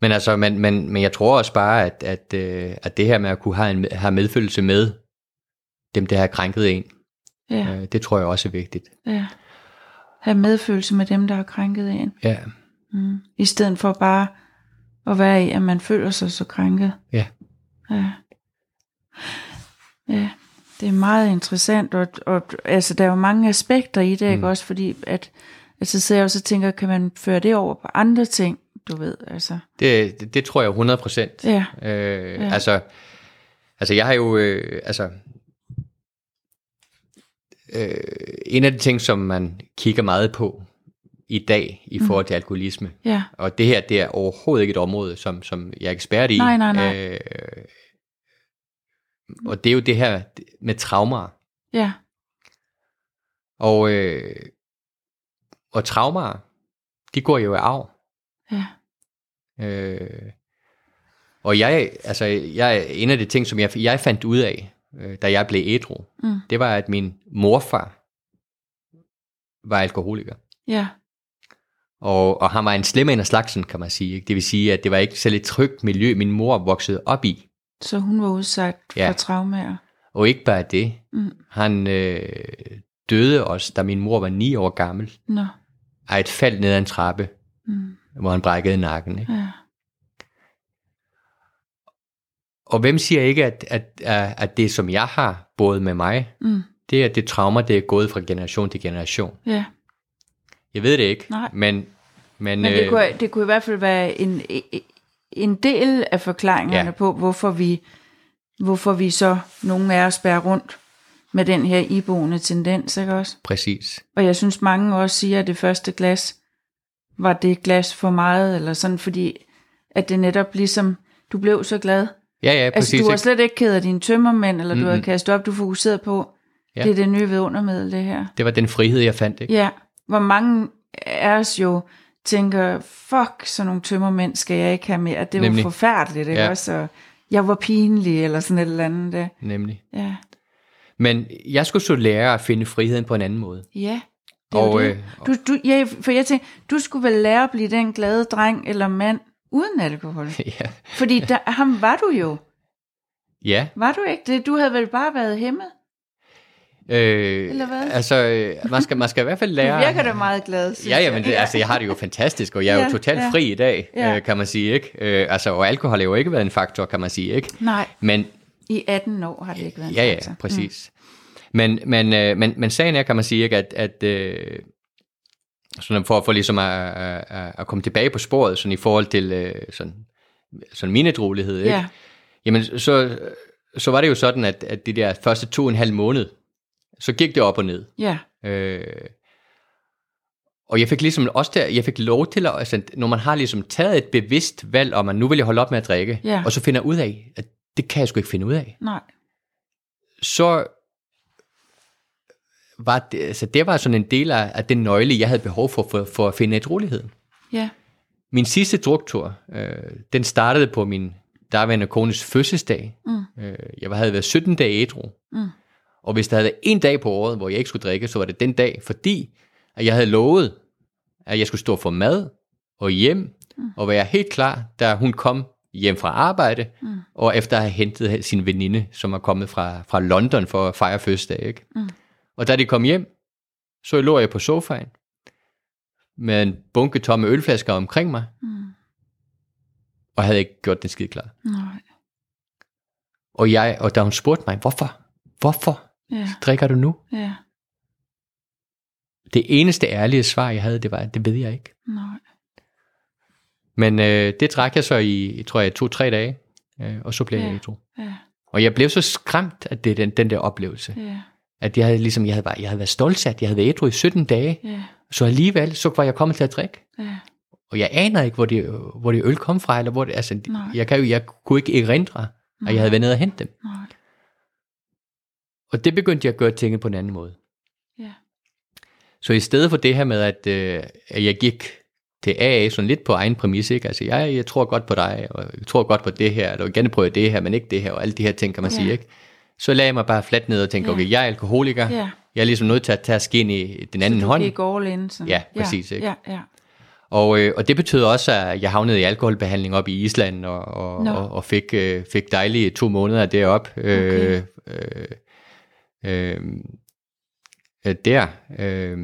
Speaker 2: Men, altså, men, men, men jeg tror også bare, at, at, øh, at det her med at kunne have, en, have medfølelse med dem, der har krænket en,
Speaker 1: Ja,
Speaker 2: øh, det tror jeg også er vigtigt.
Speaker 1: ja. Have medfølelse med dem, der har krænket en.
Speaker 2: Ja,
Speaker 1: Mm. I stedet for bare at være i, at man føler sig så krænket.
Speaker 2: ja.
Speaker 1: Ja. Ja, det er meget interessant, og, og altså, der er jo mange aspekter i det, mm. ikke også? Fordi at, altså, sidder jeg jo så og tænker, kan man føre det over på andre ting, du ved, altså.
Speaker 2: Det, det, det tror jeg 100 procent.
Speaker 1: Ja,
Speaker 2: Øh,
Speaker 1: Ja.
Speaker 2: ja. altså, altså, jeg har jo... Øh, altså, øh, en af de ting, som man kigger meget på i dag
Speaker 1: Mm.
Speaker 2: i forhold til alkoholisme,
Speaker 1: ja,
Speaker 2: og det her, det er overhovedet ikke et område, som, som jeg er ekspert i.
Speaker 1: Nej, nej, nej.
Speaker 2: Øh, og det er jo det her med traumer.
Speaker 1: ja,
Speaker 2: Og, øh, og traumer, de går jo i arv.
Speaker 1: ja,
Speaker 2: Øh, og jeg, altså, jeg, en af de ting, som jeg, jeg fandt ud af, øh, da jeg blev ædru,
Speaker 1: Mm.
Speaker 2: det var, at min morfar var alkoholiker.
Speaker 1: ja,
Speaker 2: Og, og han var en slem en af slagsen, kan man sige. Ikke? Det vil sige, at det var ikke særlig trygt miljø, min mor voksede op i.
Speaker 1: så hun var udsat ja.
Speaker 2: Ja.
Speaker 1: for traumaer.
Speaker 2: Og ikke bare det.
Speaker 1: Mm.
Speaker 2: Han øh, døde også, da min mor var ni år gammel,
Speaker 1: Nå,
Speaker 2: af et fald ned ad en trappe,
Speaker 1: mm.
Speaker 2: hvor han brækkede nakken. Ikke?
Speaker 1: ja,
Speaker 2: Og hvem siger ikke, at, at, at, at det, som jeg har båret med mig,
Speaker 1: mm.
Speaker 2: det er det trauma, det er gået fra generation til generation.
Speaker 1: ja.
Speaker 2: Jeg ved det ikke,
Speaker 1: Nej.
Speaker 2: men... Men,
Speaker 1: Men det
Speaker 2: øh,
Speaker 1: kunne, det kunne i hvert fald være en, en del af forklaringerne ja.
Speaker 2: Ja.
Speaker 1: på, hvorfor vi, hvorfor vi så, nogle af os, bærer rundt med den her iboende tendens, ikke også?
Speaker 2: Præcis.
Speaker 1: Og jeg synes, mange også siger, at det første glas var det glas for meget, eller sådan, fordi at det netop ligesom, du blev så glad.
Speaker 2: Ja, ja,
Speaker 1: Altså,
Speaker 2: præcis.
Speaker 1: du var
Speaker 2: ikke?
Speaker 1: slet ikke ked af dine tømmermænd, eller mm-hmm. du havde
Speaker 2: Mhm.
Speaker 1: kastet op, du fokuserede på, ja.
Speaker 2: Ja.
Speaker 1: det er det nye vidundermiddel, det her.
Speaker 2: Det var den frihed, jeg fandt. Ikke?
Speaker 1: Ja, hvor mange af os jo tænker, fuck, sådan nogle tømmermænd skal jeg ikke have mere. Det var
Speaker 2: Nemlig.
Speaker 1: forfærdeligt, ikke
Speaker 2: Ja.
Speaker 1: også? Og jeg var pinlig, eller sådan et eller andet. øh.
Speaker 2: Nemlig.
Speaker 1: Ja,
Speaker 2: Men jeg skulle så lære at finde friheden på en anden måde.
Speaker 1: ja. Det er jo
Speaker 2: Og,
Speaker 1: det.
Speaker 2: øh,
Speaker 1: Du, du, ja, for jeg tænkte, du skulle vel lære at blive den glade dreng eller mand uden alkohol.
Speaker 2: ja.
Speaker 1: Fordi der, ham var du jo.
Speaker 2: ja.
Speaker 1: Var du ikke det? Du havde vel bare været hæmmet?
Speaker 2: Øh,
Speaker 1: Eller hvad?
Speaker 2: Altså, øh, man skal, man skal i hvert fald
Speaker 1: Du
Speaker 2: lære...
Speaker 1: virker da meget glad, synes
Speaker 2: Ja, ja, men det,
Speaker 1: jeg.
Speaker 2: altså, jeg har det jo fantastisk, og jeg er
Speaker 1: Ja,
Speaker 2: jo totalt
Speaker 1: ja.
Speaker 2: fri i dag,
Speaker 1: Ja.
Speaker 2: øh, kan man sige, ikke? Øh, altså, og alkohol har jo ikke været en faktor, kan man sige, ikke?
Speaker 1: Nej,
Speaker 2: Men,
Speaker 1: i 18 år har det ikke været altså. en
Speaker 2: Ja, ja,
Speaker 1: faktor.
Speaker 2: præcis. Mm. Men, men, øh, men, men sagen er, kan man sige, ikke, at, at øh, sådan for, for ligesom at, at- at, at komme tilbage på sporet, sådan i forhold til øh, sådan, sådan min ædruelighed, ikke?
Speaker 1: Mm. Ja,
Speaker 2: jamen så, så var det jo sådan, at, at de der første to og en halv måned, så gik det op og ned.
Speaker 1: ja,
Speaker 2: Øh, og jeg fik ligesom også der, jeg fik lov til at, altså, når man har ligesom taget et bevidst valg om, at nu vil jeg holde op med at drikke,
Speaker 1: Ja.
Speaker 2: og så finder jeg ud af, at det kan jeg sgu ikke finde ud af
Speaker 1: nej.
Speaker 2: så var det, altså det var sådan en del af, af den nøgle, jeg havde behov for, for, for at finde et rolighed.
Speaker 1: Ja,
Speaker 2: Min sidste druktur, øh, den startede på min daværende kones fødselsdag.
Speaker 1: Mm.
Speaker 2: Øh, jeg havde været 17 dage ædru.
Speaker 1: Mm.
Speaker 2: Og hvis der havde været en dag på året, hvor jeg ikke skulle drikke, så var det den dag, fordi at jeg havde lovet, at jeg skulle stå for mad og hjem, mm. og være helt klar, da hun kom hjem fra arbejde, mm. og efter at have hentet sin veninde, som er kommet fra, fra London for at fejre fødselsdag. Ikke? Mm. Og da de kom hjem, så lå jeg på sofaen med en bunke tomme ølflasker omkring mig, mm. og havde ikke gjort den skide klar.
Speaker 1: Nej.
Speaker 2: Og, jeg, og da hun spurgte mig, hvorfor? Hvorfor
Speaker 1: Ja,
Speaker 2: drikker du nu?
Speaker 1: ja,
Speaker 2: Det eneste ærlige svar, jeg havde, det var, det ved jeg ikke.
Speaker 1: nej.
Speaker 2: Men øh, det drak jeg så i, tror jeg, to-tre dage, øh, og så blev jeg
Speaker 1: Ja.
Speaker 2: utro.
Speaker 1: Ja,
Speaker 2: Og jeg blev så skræmt af det, den, den der oplevelse,
Speaker 1: ja,
Speaker 2: at jeg havde, ligesom, jeg havde, bare, jeg havde været stolsat, jeg havde været ædru i 17 dage,
Speaker 1: ja,
Speaker 2: så alligevel, så var jeg kommet til at drikke.
Speaker 1: ja,
Speaker 2: Og jeg aner ikke, hvor det, hvor det øl kom fra, eller hvor det, altså,
Speaker 1: Nej.
Speaker 2: jeg, kan jo, jeg kunne ikke erindre, at jeg havde været nede og hente dem.
Speaker 1: nej.
Speaker 2: Og det begyndte jeg at gøre tingene på en anden måde.
Speaker 1: Ja,
Speaker 2: Så i stedet for det her med, at, øh, at jeg gik til AA sådan lidt på egen præmis, ikke? altså jeg, jeg tror godt på dig, og jeg tror godt på det her, eller jeg vil gerne prøve det her, men ikke det her, og alle de her ting, kan man
Speaker 1: Ja.
Speaker 2: ja. sige, ikke? Så lagde jeg mig bare fladt ned og tænkte,
Speaker 1: Ja.
Speaker 2: okay, jeg er alkoholiker,
Speaker 1: ja.
Speaker 2: jeg er ligesom nødt til at tage skin i den anden hånd,
Speaker 1: Gik all in, sådan.
Speaker 2: Ja, præcis, ikke?
Speaker 1: Ja, ja,
Speaker 2: og, øh, og det betød også, at jeg havnede i alkoholbehandling op i Island, og, og,
Speaker 1: Nå.
Speaker 2: og, og fik, øh, fik dejlige to måneder derop.
Speaker 1: Okay.
Speaker 2: øh, øh, øh, der. Øh.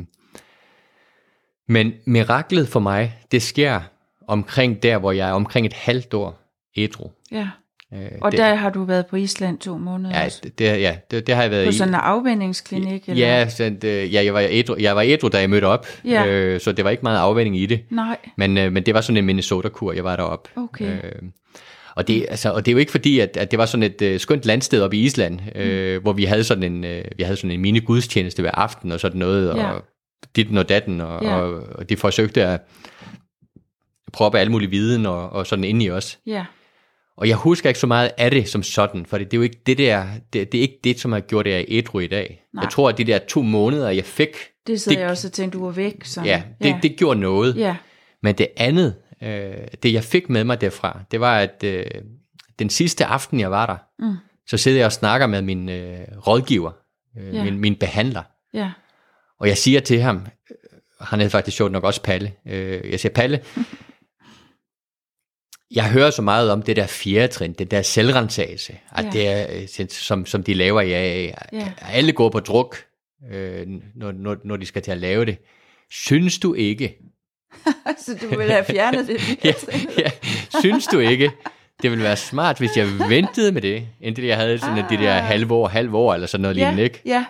Speaker 2: Men miraklet for mig, det sker omkring der, hvor jeg er omkring et halvt år ædru.
Speaker 1: ja.
Speaker 2: Øh,
Speaker 1: Og
Speaker 2: det,
Speaker 1: der har du været på Island to måneder
Speaker 2: ja,
Speaker 1: også.
Speaker 2: det, det, ja, det, det har jeg været
Speaker 1: På
Speaker 2: i.
Speaker 1: sådan en afvændingsklinik? Eller?
Speaker 2: Ja, sådan, øh, ja, jeg var ædru, jeg var ædru, da jeg mødte op,
Speaker 1: Ja.
Speaker 2: øh, så det var ikke meget afvænding i det.
Speaker 1: Nej,
Speaker 2: Men, øh, men det var sådan en Minnesota-kur, jeg var deroppe.
Speaker 1: Okay.
Speaker 2: Øh, og, det, altså, og det er jo ikke fordi, at, at det var sådan et øh, skønt landsted oppe i Island,
Speaker 1: Mm.
Speaker 2: øh, hvor vi havde sådan en, øh, vi havde sådan en mini-gudstjeneste hver aften og sådan noget, og
Speaker 1: Ja.
Speaker 2: dit og datten, og,
Speaker 1: Ja.
Speaker 2: og, og de forsøgte at proppe al mulig viden og, og sådan ind i os.
Speaker 1: ja,
Speaker 2: Og jeg husker ikke så meget af det som sådan, for det, det er jo ikke det der, det, det er ikke det, som har gjort, at jeg er ædru i dag.
Speaker 1: Nej.
Speaker 2: Jeg tror, at de der to måneder, jeg fik,
Speaker 1: det sidder
Speaker 2: Det-
Speaker 1: jeg også og tænkte, du var væk. Sådan.
Speaker 2: ja, det, ja. det gjorde noget.
Speaker 1: ja,
Speaker 2: Men det andet, øh, det jeg fik med mig derfra, det var, at øh, den sidste aften, jeg var der,
Speaker 1: Mm.
Speaker 2: så sidder jeg og snakker med min øh, rådgiver, øh,
Speaker 1: Ja.
Speaker 2: min, min behandler.
Speaker 1: ja,
Speaker 2: Og jeg siger til ham, øh, han hed faktisk sjovt nok også Palle, øh, jeg siger, Palle, jeg hører så meget om det der fjerde trin, den der selvrensagelse, at
Speaker 1: Ja.
Speaker 2: det er, øh, sind- som, som de laver i AA.
Speaker 1: Ja.
Speaker 2: Alle går på druk, øh, når, når, når de skal til at lave det. Synes du ikke,
Speaker 1: så du ville have fjernet det.
Speaker 2: ja, ja. Synes du ikke, det ville være smart, hvis jeg ventede med det, indtil jeg havde sådan ah. det der
Speaker 1: Ah.
Speaker 2: halve år, halve år eller sådan noget
Speaker 1: ja,
Speaker 2: lignende, ikke?
Speaker 1: ja,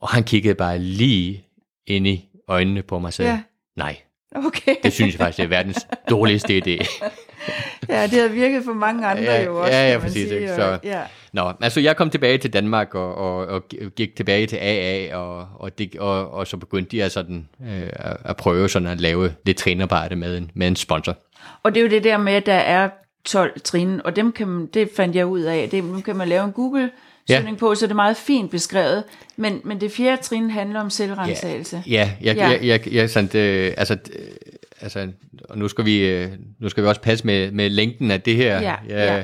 Speaker 2: Og han kiggede bare lige ind i øjnene på mig og sagde,
Speaker 1: Ja.
Speaker 2: ja. nej,
Speaker 1: okay.
Speaker 2: det synes jeg faktisk det er verdens dårligste idé.
Speaker 1: Ja, det havde virket for mange andre
Speaker 2: Ja,
Speaker 1: jo også,
Speaker 2: ja, ja,
Speaker 1: kan man
Speaker 2: præcis,
Speaker 1: sige,
Speaker 2: ikke?
Speaker 1: og-
Speaker 2: Så-
Speaker 1: ja,
Speaker 2: Nå, altså jeg kom tilbage til Danmark og, og, og gik tilbage til AA, og, og, det, og, og så begyndte jeg sådan, øh, at- at prøve sådan at lave lidt trinarbejde med en, med en sponsor.
Speaker 1: Og det er jo det der med, at der er 12 trin, og dem kan man, det fandt jeg ud af, det, dem kan man lave en Google søgning ja. på, så det er meget fint beskrevet. Men, men det fjerde trin handler om selvrensagelse. Ja.
Speaker 2: Ja, jeg,
Speaker 1: Ja.
Speaker 2: ja. jeg, jeg, jeg sådan, øh, altså, øh, altså, og nu skal vi, øh, nu skal vi også passe med, med længden af det her.
Speaker 1: Ja, ja.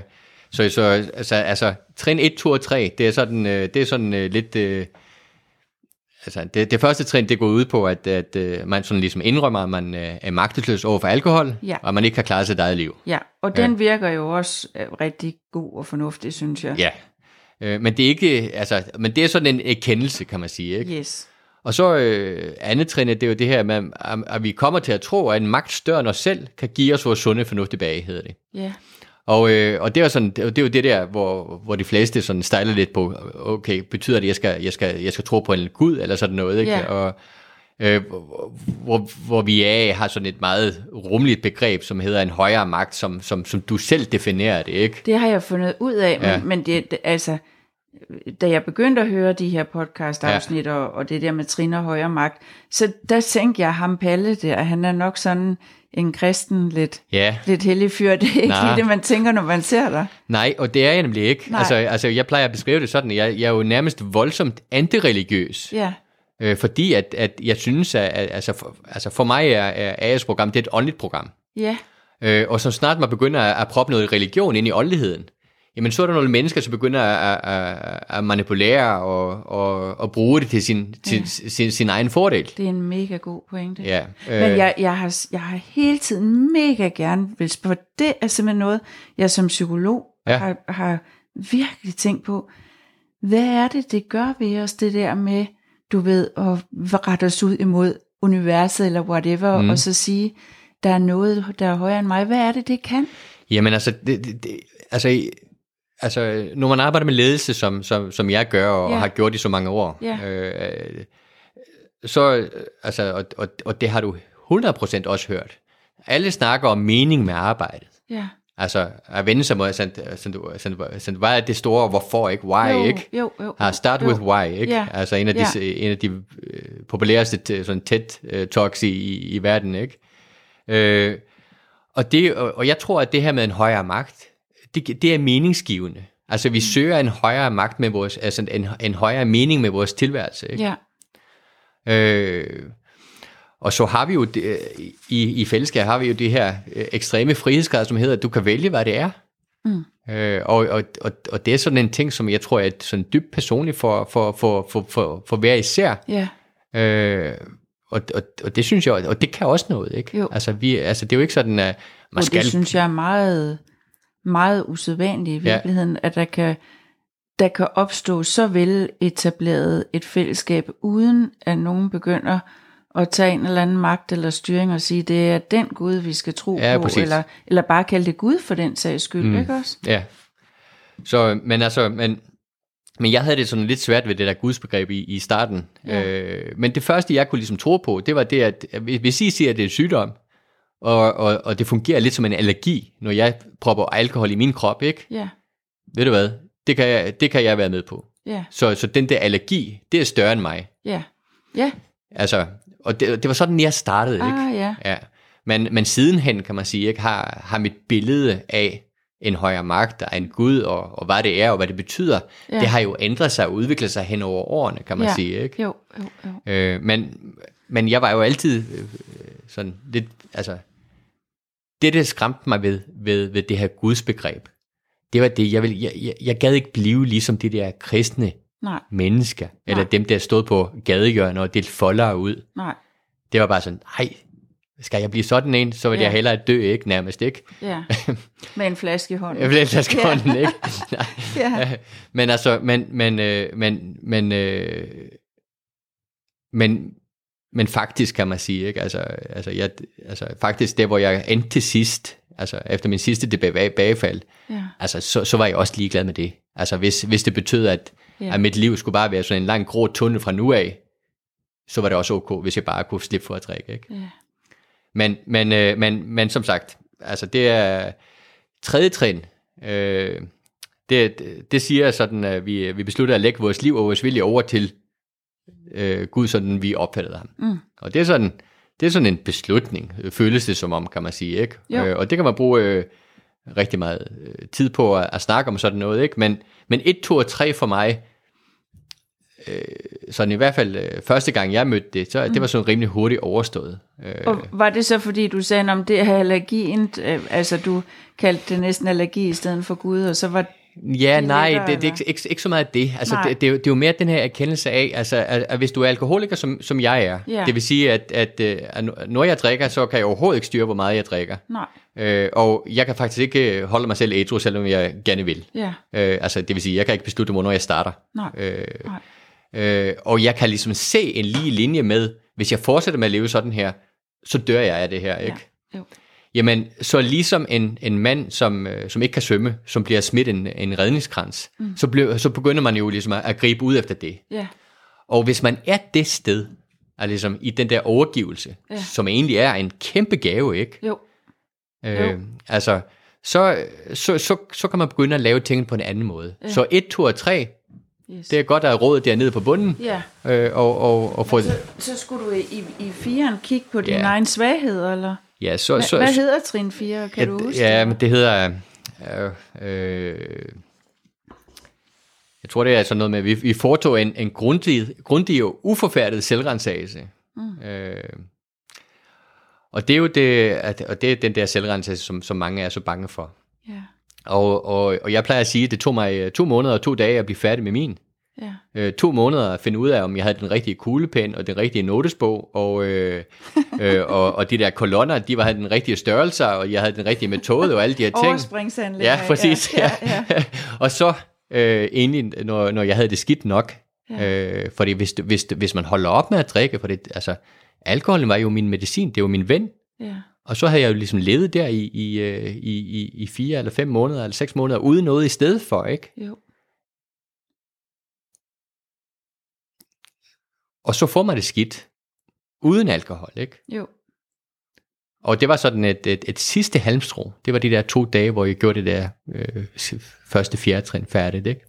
Speaker 2: Så, så altså, altså, trin 1, 2 og 3, det er sådan, øh, det er sådan øh, lidt, øh, altså, det, det første trin, det går ud på, at, at øh, man sådan ligesom indrømmer, at man øh, er magtesløs over for alkohol,
Speaker 1: Ja.
Speaker 2: og at man ikke har klaret sit eget liv.
Speaker 1: ja, og den virker jo også øh, rigtig god og fornuftig, synes jeg.
Speaker 2: Ja. Øh, men det er ikke, altså, men det er sådan en erkendelse, kan man sige, ikke?
Speaker 1: Yes.
Speaker 2: Og så øh, andet trin, det er jo det her med, at- at vi kommer til at tro, at en magt større end os selv kan give os vores sunde fornuft tilbage, hedder det.
Speaker 1: Ja,
Speaker 2: Og, øh, og det, er jo sådan, det er jo- det er jo det der, hvor, hvor de fleste sådan stejler lidt på, okay, betyder det, at jeg skal, jeg skal, jeg skal tro på en gud, eller sådan noget, ikke?
Speaker 1: Ja.
Speaker 2: Og, øh, hvor- hvor, hvor vi af har sådan et meget rumligt begreb, som hedder en højere magt, som, som, som du selv definerer det, ikke?
Speaker 1: det har jeg fundet ud af, men, ja.
Speaker 2: Ja.
Speaker 1: men det, det- altså, da jeg begyndte at høre de her podcast-afsnit ja. og, og det der med trin og højere magt, så der tænkte jeg ham Palle der, han er nok sådan en kristen lidt.
Speaker 2: Ja,
Speaker 1: lidt heldig fyr. Det er ikke
Speaker 2: Nej.
Speaker 1: lige det, man tænker, når man ser dig.
Speaker 2: nej, og det er jeg nemlig ikke.
Speaker 1: Nej.
Speaker 2: Altså, altså, jeg plejer at beskrive det sådan, jeg, jeg er jo nærmest voldsomt antireligiøs.
Speaker 1: Ja,
Speaker 2: Øh, fordi at, at jeg synes, at, at altså, for, altså for mig er, er AS program, det er et åndeligt program.
Speaker 1: ja,
Speaker 2: Øh, og så snart man begynder at, at proppe noget religion ind i åndeligheden, jamen så er der nogle mennesker, som begynder at, at, at manipulere og, og, og bruge det til sin, til ja. sin, sin egen fordel.
Speaker 1: Det er en mega god pointe.
Speaker 2: Ja,
Speaker 1: øh. Men jeg, jeg, har, jeg har hele tiden mega gerne vil spørge. Det er simpelthen noget, jeg som psykolog
Speaker 2: Ja.
Speaker 1: ja. har, har virkelig tænkt på. Hvad er det, det gør ved os, det der med, du ved, at rette os ud imod universet eller whatever,
Speaker 2: Mm.
Speaker 1: mm. og så sige, der er noget, der er højere end mig. Hvad er det, det kan?
Speaker 2: Jamen altså, det, det, det, altså, i- altså, når man arbejder med ledelse, som, som, som jeg gør og,
Speaker 1: Ja.
Speaker 2: og har gjort i så mange år,
Speaker 1: Ja.
Speaker 2: øh, så, øh, altså, og, og, og det har du 100% også hørt. Alle snakker om mening med arbejdet.
Speaker 1: Ja.
Speaker 2: Altså at vende sig mod, sådan, sådan, sådan, sådan, hvad er det store, hvorfor ikke, why
Speaker 1: jo,
Speaker 2: ikke?
Speaker 1: Jo, jo,
Speaker 2: Har Ah, start
Speaker 1: jo.
Speaker 2: with why, ikke?
Speaker 1: Ja.
Speaker 2: Altså en af de, en af de øh, populæreste øh, sådan TED øh, talks i, i, i verden, ikke? Øh, og, det, og, og jeg tror, at det her med en højere magt, det, det er meningsgivende. Altså
Speaker 1: Mm.
Speaker 2: vi søger en højere magt med vores, altså en, en højere mening med vores tilværelse, ikke?
Speaker 1: Ja,
Speaker 2: Øh, og så har vi jo det, øh, i, i fællesskab har vi jo det her øh, ekstreme frihedsgrad, som hedder, at du kan vælge, hvad det er. Mm. Øh, og, og, og, og det er sådan en ting, som jeg tror er sådan dybt personligt for, for, for, for, for, for hver især.
Speaker 1: ja,
Speaker 2: Øh, og, og, og det synes jeg, og det kan også noget, ikke?
Speaker 1: Jo.
Speaker 2: Altså, vi, altså, det er jo ikke sådan, at man
Speaker 1: og
Speaker 2: skal...
Speaker 1: det synes jeg er meget, meget usædvanligt i
Speaker 2: Ja.
Speaker 1: virkeligheden, at der kan, der kan opstå så veletableret et fællesskab, uden at nogen begynder at tage en eller anden magt eller styring og sige, det er den Gud, vi skal tro
Speaker 2: Ja,
Speaker 1: på,
Speaker 2: præcis.
Speaker 1: eller, eller bare kalde det Gud for den sags skyld, mm. ikke også?
Speaker 2: Ja. Så, men altså, men, men jeg havde det sådan lidt svært ved det der gudsbegreb i, i starten.
Speaker 1: Ja.
Speaker 2: Øh, men det første, jeg kunne ligesom tro på, det var det, at at hvis- hvis I siger, at det er en sygdom, og, og, og det fungerer lidt som en allergi, når jeg propper alkohol i min krop, ikke?
Speaker 1: Ja,
Speaker 2: Ved du hvad? Det kan jeg, det kan jeg være med på.
Speaker 1: ja,
Speaker 2: Så, så den der allergi, det er større end mig.
Speaker 1: ja, ja,
Speaker 2: Altså, og det, det var sådan, jeg startede, ikke?
Speaker 1: ah ja,
Speaker 2: Ja. Men, men sidenhen, kan man sige, ikke, har, har mit billede af en højere magt og en Gud, og, og hvad det er og hvad det betyder, ja.
Speaker 1: Ja.
Speaker 2: det har jo ændret sig og udviklet sig hen over årene, kan man
Speaker 1: Ja.
Speaker 2: sige. Ikke?
Speaker 1: jo, jo, jo,
Speaker 2: Øh, men, men jeg var jo altid øh, sådan lidt, altså, det der skræmte mig ved, ved, ved det her Guds begreb, det var det, jeg, ville, jeg, jeg, jeg gad ikke blive ligesom de der kristne
Speaker 1: nej,
Speaker 2: mennesker, eller
Speaker 1: Nej.
Speaker 2: dem, der stod på gadehjørner og delte foldere ud
Speaker 1: nej,
Speaker 2: det var bare sådan, nej, skal jeg blive sådan en, så vil ja.
Speaker 1: Ja.
Speaker 2: jeg hellere dø, ikke? Nærmest, ikke?
Speaker 1: ja, med en flaske i hånden.
Speaker 2: Jeg vil ellers
Speaker 1: Ja.
Speaker 2: ja. ikke? Nej.
Speaker 1: Ja.
Speaker 2: Men altså, men, men, øh, men, men, øh, men, men faktisk kan man sige, ikke? Altså, altså, jeg, altså faktisk det, hvor jeg endte til sidst, altså efter min sidste tilbagefald,
Speaker 1: Ja,
Speaker 2: altså så, så var jeg også ligeglad med det. Altså hvis, hvis det betød, at,
Speaker 1: ja.
Speaker 2: ja. at mit liv skulle bare være sådan en lang grå tunnel fra nu af, så var det også ok, hvis jeg bare kunne slippe for at drikke, ikke?
Speaker 1: ja.
Speaker 2: Men, men, øh, men, men som sagt, altså det er tredje trin. Øh, det, det siger sådan, at vi, vi beslutter at lægge vores liv og vores vilje over til øh, Gud, sådan vi opfattede ham.
Speaker 1: Mm.
Speaker 2: Og det er sådan, det er sådan en beslutning, øh, føles det som om, kan man sige. ikke?
Speaker 1: Jo.
Speaker 2: Øh, og det kan man bruge øh, rigtig meget øh, tid på at, at snakke om sådan noget. ikke? Men, men et, to og tre for mig, øh, sådan i hvert fald øh, første gang jeg mødte det, så mm. det var sådan rimelig hurtigt overstået. Øh,
Speaker 1: Og var det så fordi du sagde om det her allergien, øh, altså du kaldte det næsten allergi i stedet for Gud, og så var
Speaker 2: Ja,
Speaker 1: Det er
Speaker 2: nej,
Speaker 1: lettere,
Speaker 2: det, det er
Speaker 1: eller?
Speaker 2: ikke, ikke, ikke så meget det. Altså,
Speaker 1: Nej.
Speaker 2: det, det, er jo, det er jo mere den her erkendelse af, altså, at, at hvis du er alkoholiker, som, som jeg er,
Speaker 1: Ja.
Speaker 2: det vil sige, at, at, øh, at nu- når jeg drikker, så kan jeg overhovedet ikke styre, hvor meget jeg drikker.
Speaker 1: nej,
Speaker 2: Øh, og jeg kan faktisk ikke øh, holde mig selv ædru, selvom jeg gerne vil.
Speaker 1: ja,
Speaker 2: Øh, altså, det vil sige, jeg kan ikke beslutte, hvornår jeg starter.
Speaker 1: nej,
Speaker 2: Øh,
Speaker 1: nej,
Speaker 2: øh, og jeg kan ligesom se en lige linje med, hvis jeg fortsætter med at leve sådan her, så dør jeg af det her, ikke?
Speaker 1: jo,
Speaker 2: Jamen, så ligesom en, en mand, som, øh, som ikke kan svømme, som bliver smidt en, en redningskrans, mm. så, blev, så begynder man jo ligesom at, at gribe ud efter det.
Speaker 1: ja,
Speaker 2: Og hvis man er det sted, er ligesom i den der overgivelse, ja.
Speaker 1: Ja.
Speaker 2: som egentlig er en kæmpe gave, ikke?
Speaker 1: jo,
Speaker 2: Øh,
Speaker 1: Jo.
Speaker 2: altså, så, så, så, så kan man begynde at lave tingene på en anden måde. Ja. Så 1, 2 og 3,
Speaker 1: yes.
Speaker 2: det er godt at have råd dernede på bunden,
Speaker 1: Ja, Altså,
Speaker 2: øh, og, og, og få...
Speaker 1: så, så skulle du i, i firen kigge på dine
Speaker 2: Ja.
Speaker 1: yeah. egne svagheder, eller?
Speaker 2: Ja, så,
Speaker 1: Hva,
Speaker 2: så,
Speaker 1: hvad hedder trin 4, kan du huske
Speaker 2: ja,
Speaker 1: det?
Speaker 2: men det hedder... Øh, øh, jeg tror, det er sådan noget med, at vi, vi foretog en, en grundig, grundig og uforfærdet selvrensagelse. Mm. Øh, og det er jo det, at, og det er den der selvrensagelse, som, som mange er så bange for.
Speaker 1: Ja,
Speaker 2: Og, og, og jeg plejer at sige, at det tog mig øh, to måneder og to dage at blive færdig med min.
Speaker 1: Ja.
Speaker 2: Øh, to måneder at finde ud af, om jeg havde den rigtige kuglepen og den rigtige notesbog, og, øh, øh, og, og de der kolonner, de var havde den rigtige størrelse, og jeg havde den rigtige metode og alle de her ting.
Speaker 1: Overspringsanlæg.
Speaker 2: Ja, præcis.
Speaker 1: Ja, ja, ja.
Speaker 2: og så øh, egentlig, når, når jeg havde det skidt nok,
Speaker 1: Ja.
Speaker 2: ja. øh, fordi hvis, hvis, hvis man holder op med at drikke, for det, altså, alkoholen var jo min medicin, det var min ven,
Speaker 1: ja.
Speaker 2: og så havde jeg jo ligesom levet der i, i, øh, i, i, i fire eller fem måneder, eller seks måneder, uden noget i stedet for, ikke?
Speaker 1: Jo.
Speaker 2: Og så får man det skidt, uden alkohol, ikke?
Speaker 1: Jo.
Speaker 2: Og det var sådan et, et, et sidste halmstrå. Det var de der to dage, hvor jeg gjorde det der øh, første fjerde trin færdigt, ikke?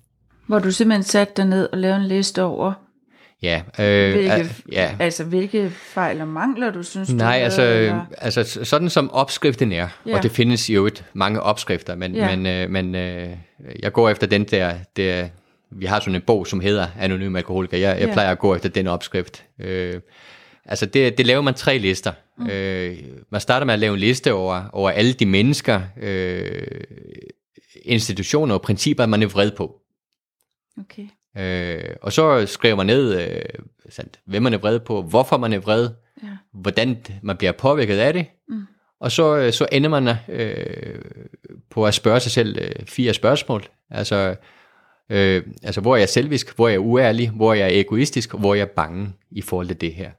Speaker 1: Hvor du simpelthen satte dig ned og lavede en liste over,
Speaker 2: Ja, øh,
Speaker 1: hvilke,
Speaker 2: al- ja.
Speaker 1: altså, hvilke fejl og mangler du synes, du
Speaker 2: Nej,
Speaker 1: havde,
Speaker 2: altså,
Speaker 1: eller-
Speaker 2: altså s- sådan som opskriften er,
Speaker 1: Ja.
Speaker 2: ja. og det findes jo et mange opskrifter, men,
Speaker 1: Ja.
Speaker 2: ja. men, øh, men øh, jeg går efter den der, der, vi har sådan en bog, som hedder Anonym Alkoholiker, jeg, jeg
Speaker 1: Ja.
Speaker 2: plejer at gå efter den opskrift. Øh, altså det, det laver man tre lister. Mm. Øh, man starter med at lave en liste over, over alle de mennesker, øh, institutioner og principper, man er vred på.
Speaker 1: Okay.
Speaker 2: Øh, og så skriver man ned, øh, sådan, hvem man er vred på, hvorfor man er vred,
Speaker 1: Ja.
Speaker 2: hvordan man bliver påvirket af det,
Speaker 1: Mm.
Speaker 2: og så, øh, så ender man øh, på at spørge sig selv øh, fire spørgsmål. Altså, øh, altså, hvor er jeg selvisk, hvor er jeg uærlig, hvor er jeg egoistisk, hvor er jeg bange i forhold til det her.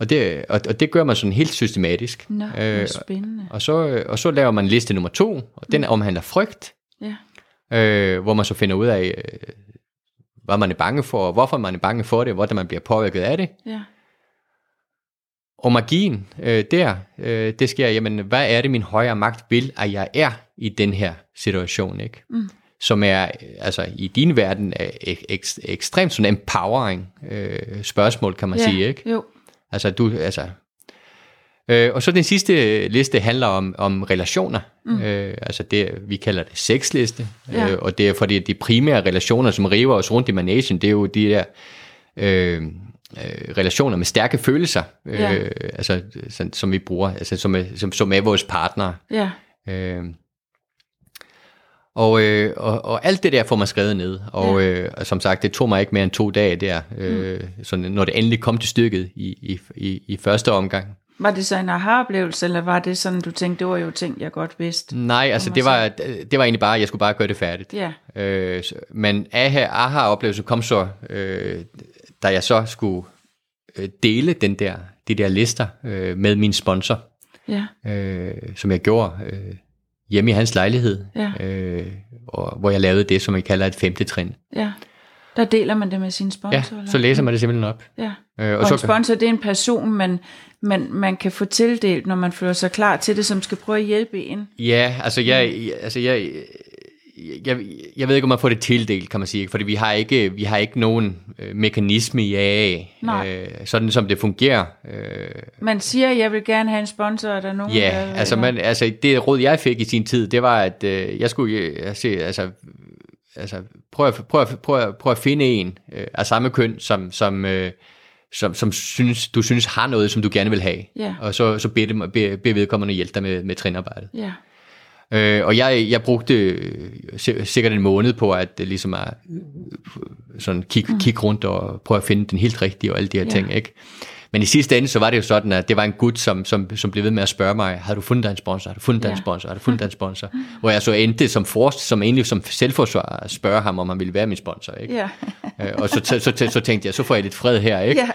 Speaker 2: Og det, og, og det gør man sådan helt systematisk.
Speaker 1: Nå, øh, spændende.
Speaker 2: og, så, øh, og så laver man liste nummer to, og den omhandler frygt,
Speaker 1: Mm. Ja.
Speaker 2: øh, hvor man så finder ud af, øh, hvad man er bange for, og hvorfor man er bange for det, og hvordan man bliver påvirket af det.
Speaker 1: Ja.
Speaker 2: Og magien øh, der, øh, det sker, jamen, hvad er det, min højere magt vil, at jeg er i den her situation, ikke?
Speaker 1: Mm.
Speaker 2: Som er, øh, altså i din verden, er ek- ek- ekstremt sådan empowering øh, spørgsmål, kan man
Speaker 1: ja.
Speaker 2: sige, ikke?
Speaker 1: Jo.
Speaker 2: Altså, du, altså... Øh, og så den sidste liste handler om, om relationer. Mm. Øh, altså det, vi kalder det sexliste.
Speaker 1: Ja.
Speaker 2: Øh, og det er fordi, de primære relationer, som river os rundt i managen, det er jo de der øh, øh, relationer med stærke følelser, øh,
Speaker 1: Ja.
Speaker 2: altså, som, som vi bruger, altså, som, er, som, som er vores partnere.
Speaker 1: Ja.
Speaker 2: Øh, og, øh, og, og alt det der får man skrevet ned. Og, øh, og som sagt, det tog mig ikke mere end to dage der, øh, så når det endelig kom til stykket i, i, i, i første omgang.
Speaker 1: Var det så en aha-oplevelse, eller var det sådan, du tænkte, det var jo ting, jeg godt vidste?
Speaker 2: Nej, altså
Speaker 1: man
Speaker 2: det var, det var egentlig bare, jeg skulle bare gøre det færdigt.
Speaker 1: Ja.
Speaker 2: Øh, så- men aha, aha-oplevelsen kom så, øh, da jeg så skulle øh, dele den der, de der lister øh, med min sponsor.
Speaker 1: Ja.
Speaker 2: øh, som jeg gjorde øh, hjemme i hans lejlighed,
Speaker 1: Ja.
Speaker 2: øh, og, hvor jeg lavede det, som man kalder et femte trin.
Speaker 1: Ja. Der deler man det med sin
Speaker 2: Ja,
Speaker 1: sponsor? eller?
Speaker 2: så læser man det simpelthen op.
Speaker 1: Ja. Og,
Speaker 2: Øh,
Speaker 1: og en sponsor, det er en person, man, man, man kan få tildelt, når man føler sig klar til det, som skal prøve at hjælpe en.
Speaker 2: Ja, altså jeg, jeg- altså jeg, jeg, jeg ved ikke, om man får det tildelt, kan man sige, fordi vi har ikke, vi har ikke nogen øh, mekanisme i AA,
Speaker 1: Nej.
Speaker 2: øh, sådan som det fungerer. Øh,
Speaker 1: Man siger, jeg vil gerne have en sponsor, er der nogen, øh,
Speaker 2: Ja,
Speaker 1: der...
Speaker 2: altså, man, altså det råd, jeg fik i sin tid, det var, at øh, jeg skulle øh, altså, altså, altså, prøv, at, prøv, at, prøv, at, prøv at finde en øh, af samme køn, som, som, øh, som, som synes, du synes har noget, som du gerne vil have.
Speaker 1: Ja.
Speaker 2: Og så, så bed, dem, bed, bed vedkommende hjælpe dig med, med trinarbejdet.
Speaker 1: Ja,
Speaker 2: Øh, og jeg, jeg brugte øh, si- sikkert en måned på at øh, ligesom at, øh, sådan kigge mm. kig rundt og prøve at finde den helt rigtige og alle de her
Speaker 1: Ja.
Speaker 2: ja. ting, ikke? Men i sidste ende, så var det jo sådan, at det var en gut, som, som, som blev ved med at spørge mig, har du fundet dig en sponsor, har du fundet dig
Speaker 1: Ja.
Speaker 2: en sponsor, har du fundet dig en sponsor? Hvor jeg så endte som, for, som egentlig som selvforsvar at spørge ham, om han ville være min sponsor, ikke?
Speaker 1: ja,
Speaker 2: Øh, og så, så, så, så tænkte jeg, så får jeg lidt fred her, ikke?
Speaker 1: ja,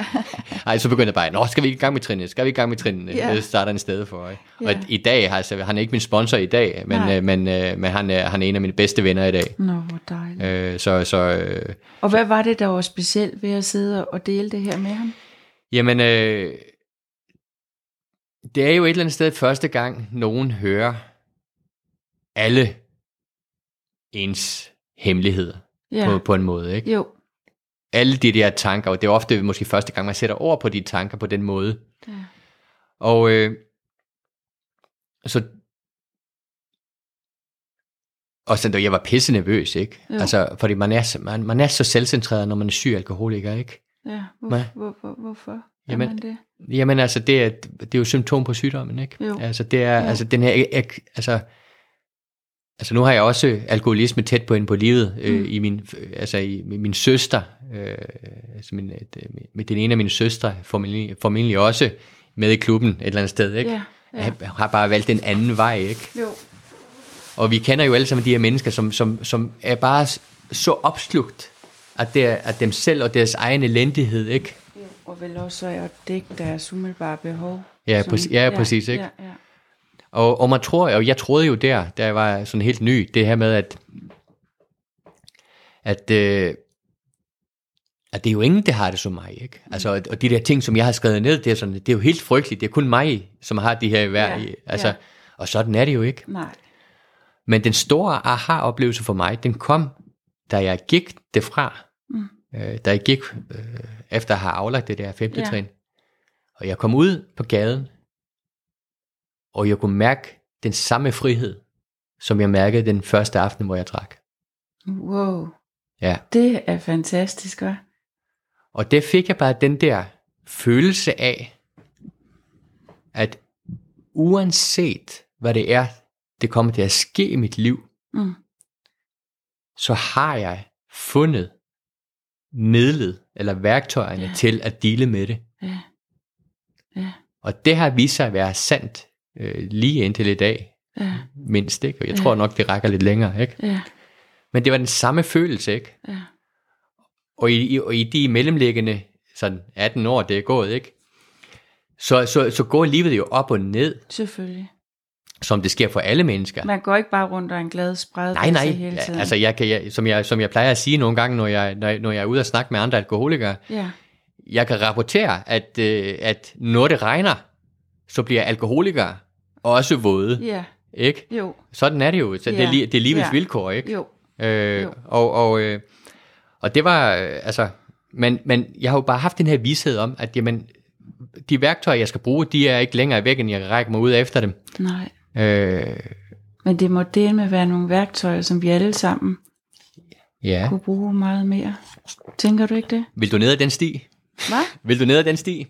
Speaker 2: Ej, så begyndte jeg bare, nå, skal vi ikke i gang med trinene? Skal vi ikke i gang med trinene?
Speaker 1: Ja.
Speaker 2: Yeah. Det starter en sted for. Ikke? Og
Speaker 1: Ja.
Speaker 2: i dag, altså, han er ikke min sponsor i dag, men,
Speaker 1: Nej.
Speaker 2: øh, men, øh, men han, er, han er en af mine bedste venner i dag.
Speaker 1: Nå, hvor dejligt.
Speaker 2: Øh, så så øh,
Speaker 1: Og hvad var det, der var specielt ved at sidde og dele det her med ham?
Speaker 2: jamen, øh, det er jo et eller andet sted første gang, nogen hører alle ens hemmeligheder
Speaker 1: Ja,
Speaker 2: på, på en måde. Ikke?
Speaker 1: jo,
Speaker 2: Alle de der tanker, og det er ofte måske første gang, man sætter over på de tanker på den måde.
Speaker 1: ja,
Speaker 2: Og øh, så og sådan, jeg var pisse nervøs, ikke?
Speaker 1: Jo.
Speaker 2: Altså, fordi man er, så- man, man er så selvcentreret, når man er syg alkoholiker, ikke?
Speaker 1: ja. Hvor,
Speaker 2: Hvad?
Speaker 1: hvor, hvor, hvorfor er
Speaker 2: Jamen-
Speaker 1: man det?
Speaker 2: Jamen altså, det er, det er jo symptom på sygdommen, ikke?
Speaker 1: Jo.
Speaker 2: Altså, det er,
Speaker 1: Jo.
Speaker 2: altså, den her, ek- ek- altså, Altså nu har jeg også alkoholisme tæt på inde på livet øh, mm. i min altså i min søster øh, altså min, et, med den ene af mine søstre formentlig, formentlig også med i klubben et eller andet sted, ikke?
Speaker 1: Ja, ja.
Speaker 2: Jeg har bare valgt den anden vej, ikke?
Speaker 1: Jo.
Speaker 2: Og vi kender jo alle sammen de her mennesker som som som er bare så opslugt at det er, at dem selv og deres egen elendighed, ikke?
Speaker 1: Og vel også at dække deres umiddelbare behov.
Speaker 2: Ja, præcis, ja, præcis, ikke?
Speaker 1: Ja, ja.
Speaker 2: Og, og man tror, og jeg troede jo der, da jeg var sådan helt ny, det her med, at, at, øh, at det er jo ingen, der har det som mig. Ikke? Altså, og- og de der ting, som jeg har skrevet ned, det er, sådan, det er jo helt frygteligt. Det er kun mig, som har de her hver.
Speaker 1: Ja,
Speaker 2: Ja, altså,
Speaker 1: ja.
Speaker 2: ja. Og sådan er det jo ikke.
Speaker 1: Nej.
Speaker 2: Men den store aha-oplevelse for mig, den kom, da jeg gik det fra.
Speaker 1: Mm.
Speaker 2: Øh, da jeg gik, øh, efter at have aflagt det der femte
Speaker 1: Ja.
Speaker 2: ja. trin. Og jeg kom ud på gaden, og jeg kunne mærke den samme frihed, som jeg mærkede den første aften, hvor jeg drak.
Speaker 1: Wow.
Speaker 2: Ja.
Speaker 1: Det er fantastisk, hva'?
Speaker 2: Og der fik jeg bare den der følelse af, at uanset hvad det er, det kommer til at ske i mit liv,
Speaker 1: Mm.
Speaker 2: så har jeg fundet midlet eller værktøjerne
Speaker 1: Ja.
Speaker 2: ja. til at dele med det.
Speaker 1: Ja. Ja.
Speaker 2: Og det har vist sig at være sandt øh, lige indtil i dag,
Speaker 1: Ja,
Speaker 2: mindst ikke. Og jeg
Speaker 1: Ja.
Speaker 2: tror nok, det rækker lidt længere, ikke?
Speaker 1: ja,
Speaker 2: Men det var den samme følelse, ikke?
Speaker 1: ja.
Speaker 2: Og i, i, og i de mellemliggende sådan 18 år, det er gået, ikke? Så, så, så går livet jo op og ned,
Speaker 1: Selvfølgelig.
Speaker 2: som det sker for alle mennesker.
Speaker 1: Man går ikke bare rundt og er en glad spred
Speaker 2: Nej, nej.
Speaker 1: hele tiden.
Speaker 2: Ja, altså, jeg kan, jeg, som, jeg, som jeg plejer at sige nogle gange, når jeg, når, jeg- når jeg er ude og snakke med andre alkoholikere,
Speaker 1: ja.
Speaker 2: jeg kan rapportere, at, øh, at når det regner, så bliver alkoholikere også våde,
Speaker 1: ja,
Speaker 2: ikke?
Speaker 1: jo,
Speaker 2: Sådan er det jo. Så det,
Speaker 1: Ja.
Speaker 2: er, li- det er livets
Speaker 1: Ja.
Speaker 2: vilkår, ikke?
Speaker 1: jo.
Speaker 2: Øh,
Speaker 1: Jo.
Speaker 2: og, og, øh, og det var, øh, altså, men, men jeg har jo bare haft den her vished om, at jamen, de værktøjer, jeg skal bruge, de er ikke længere væk, end jeg kan række mig ud efter dem.
Speaker 1: Nej.
Speaker 2: Øh,
Speaker 1: Men det må dele med være nogle værktøjer, som vi alle sammen
Speaker 2: ja.
Speaker 1: kunne bruge meget mere. Tænker du ikke det?
Speaker 2: Vil du ned ad den sti?
Speaker 1: Hvad?
Speaker 2: Vil du ned ad den sti?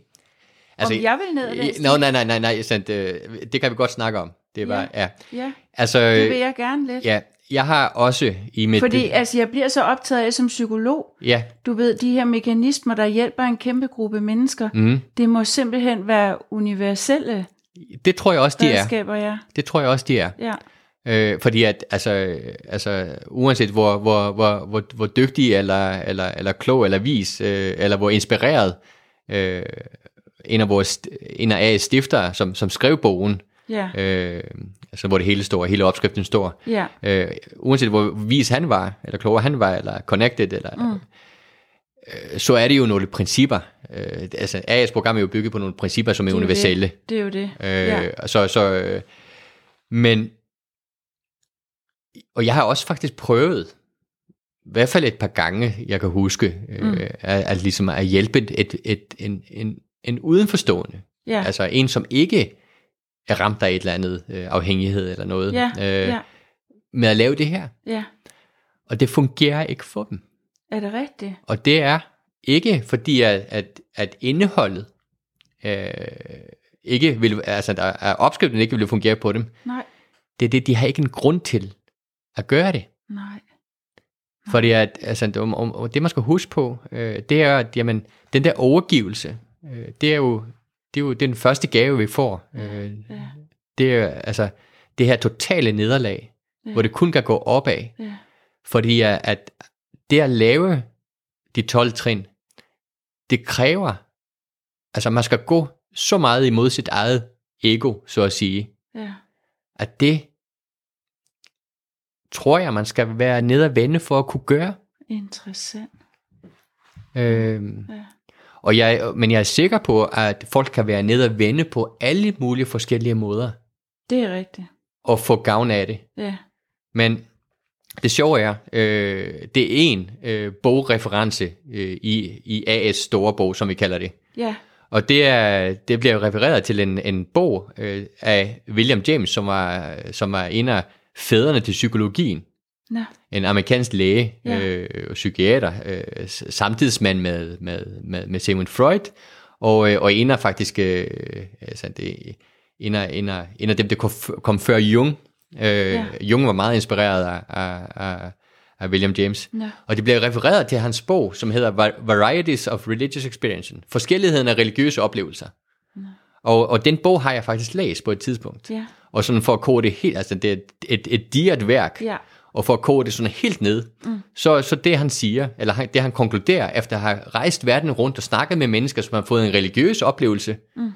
Speaker 1: Altså, Om jeg vil ned ad den
Speaker 2: øh,
Speaker 1: sti?
Speaker 2: Nå, nej, nej, nej, nej, sandt, øh, det kan vi godt snakke om. Det var, ja. ja.
Speaker 1: Ja,
Speaker 2: Altså,
Speaker 1: det vil jeg gerne lidt.
Speaker 2: Ja, jeg har også i mit...
Speaker 1: Fordi altså, jeg bliver så optaget af som psykolog,
Speaker 2: Ja,
Speaker 1: du ved, de her mekanismer, der hjælper en kæmpe gruppe mennesker,
Speaker 2: mm,
Speaker 1: det må simpelthen være universelle
Speaker 2: det tror jeg også, de er.
Speaker 1: redskaber, ja.
Speaker 2: Det tror jeg også, de er.
Speaker 1: ja.
Speaker 2: Øh, fordi at, altså, øh, altså uanset hvor, hvor, hvor, hvor, hvor dygtig, eller, eller, eller klog, eller vis, øh, eller hvor inspireret øh, en af vores en af A's stifter, som, som skrev bogen,
Speaker 1: Ja,
Speaker 2: øh, altså hvor det hele står, hele opskriften står,
Speaker 1: ja,
Speaker 2: øh, uanset hvor vis han var, eller klogere han var, eller connected, eller, mm. øh, så er det jo nogle principper. Øh, altså, AS program er jo bygget på nogle principper, som er
Speaker 1: Det er jo det.
Speaker 2: universelle.
Speaker 1: det er jo det.
Speaker 2: Øh,
Speaker 1: ja.
Speaker 2: så, så, øh, men, og jeg har også faktisk prøvet, i hvert fald et par gange, jeg kan huske, øh,
Speaker 1: Mm.
Speaker 2: mm. at, at, ligesom at hjælpe et, et, et, en, en, en udenforstående.
Speaker 1: Ja,
Speaker 2: Altså en, som ikke er ramt af et eller andet øh, afhængighed eller noget,
Speaker 1: ja,
Speaker 2: øh,
Speaker 1: ja,
Speaker 2: med at lave det her.
Speaker 1: ja.
Speaker 2: Og det fungerer ikke for dem.
Speaker 1: Er det rigtigt?
Speaker 2: Og det er ikke fordi, at, at, at indholdet øh, ikke vil, altså der er opskriften ikke vil fungere på dem.
Speaker 1: Nej,
Speaker 2: Det er det, de har ikke en grund til at gøre det.
Speaker 1: nej.
Speaker 2: Fordi at, altså, det, om, om, om det man skal huske på, øh, det er, at jamen, den der overgivelse, øh, det er jo, det er jo den første gave, vi får. Øh,
Speaker 1: Ja,
Speaker 2: det er altså det her totale nederlag,
Speaker 1: Ja.
Speaker 2: hvor det kun kan gå opad.
Speaker 1: ja,
Speaker 2: Fordi at at det at lave de 12 trin, det kræver, altså man skal gå så meget imod sit eget ego, så at sige,
Speaker 1: ja,
Speaker 2: at det tror jeg, man skal være nede og vende for at kunne gøre.
Speaker 1: interessant.
Speaker 2: Øhm,
Speaker 1: Ja.
Speaker 2: og jeg, men jeg er sikker på, at folk kan være nede og vende på alle mulige forskellige måder
Speaker 1: Det er rigtigt.
Speaker 2: og få gavn af det.
Speaker 1: Ja,
Speaker 2: Men det sjove er, øh, det er en øh, bogreference øh, i, i AS store bog, som vi kalder det.
Speaker 1: ja,
Speaker 2: Og det, er, det bliver jo refereret til en, en bog øh, af William James, som var, som var en af fædrene til psykologien.
Speaker 1: nå,
Speaker 2: En amerikansk læge
Speaker 1: Ja.
Speaker 2: øh, og psykiater, øh, s- samtidsmand med, med, med, med Sigmund Freud, og, øh, og en af faktisk, øh, altså det, en, af, en, af, en af dem, der kom f- kom før Jung, Øh, ja. Jung var meget inspireret af, af, af, af William James.
Speaker 1: Ja.
Speaker 2: Og det bliver refereret til hans bog, som hedder Var- Varieties of Religious Experience. Forskelligheden af religiøse oplevelser. Og, og den bog har jeg faktisk læst på et tidspunkt.
Speaker 1: Ja.
Speaker 2: Og sådan for at kode det helt, altså det er et, et, et digert værk,
Speaker 1: Ja.
Speaker 2: og for at kode det sådan helt ned, mm. så, så det han siger, eller han, det han konkluderer, efter at have rejst verden rundt og snakket med mennesker, som har fået en religiøs oplevelse, mm.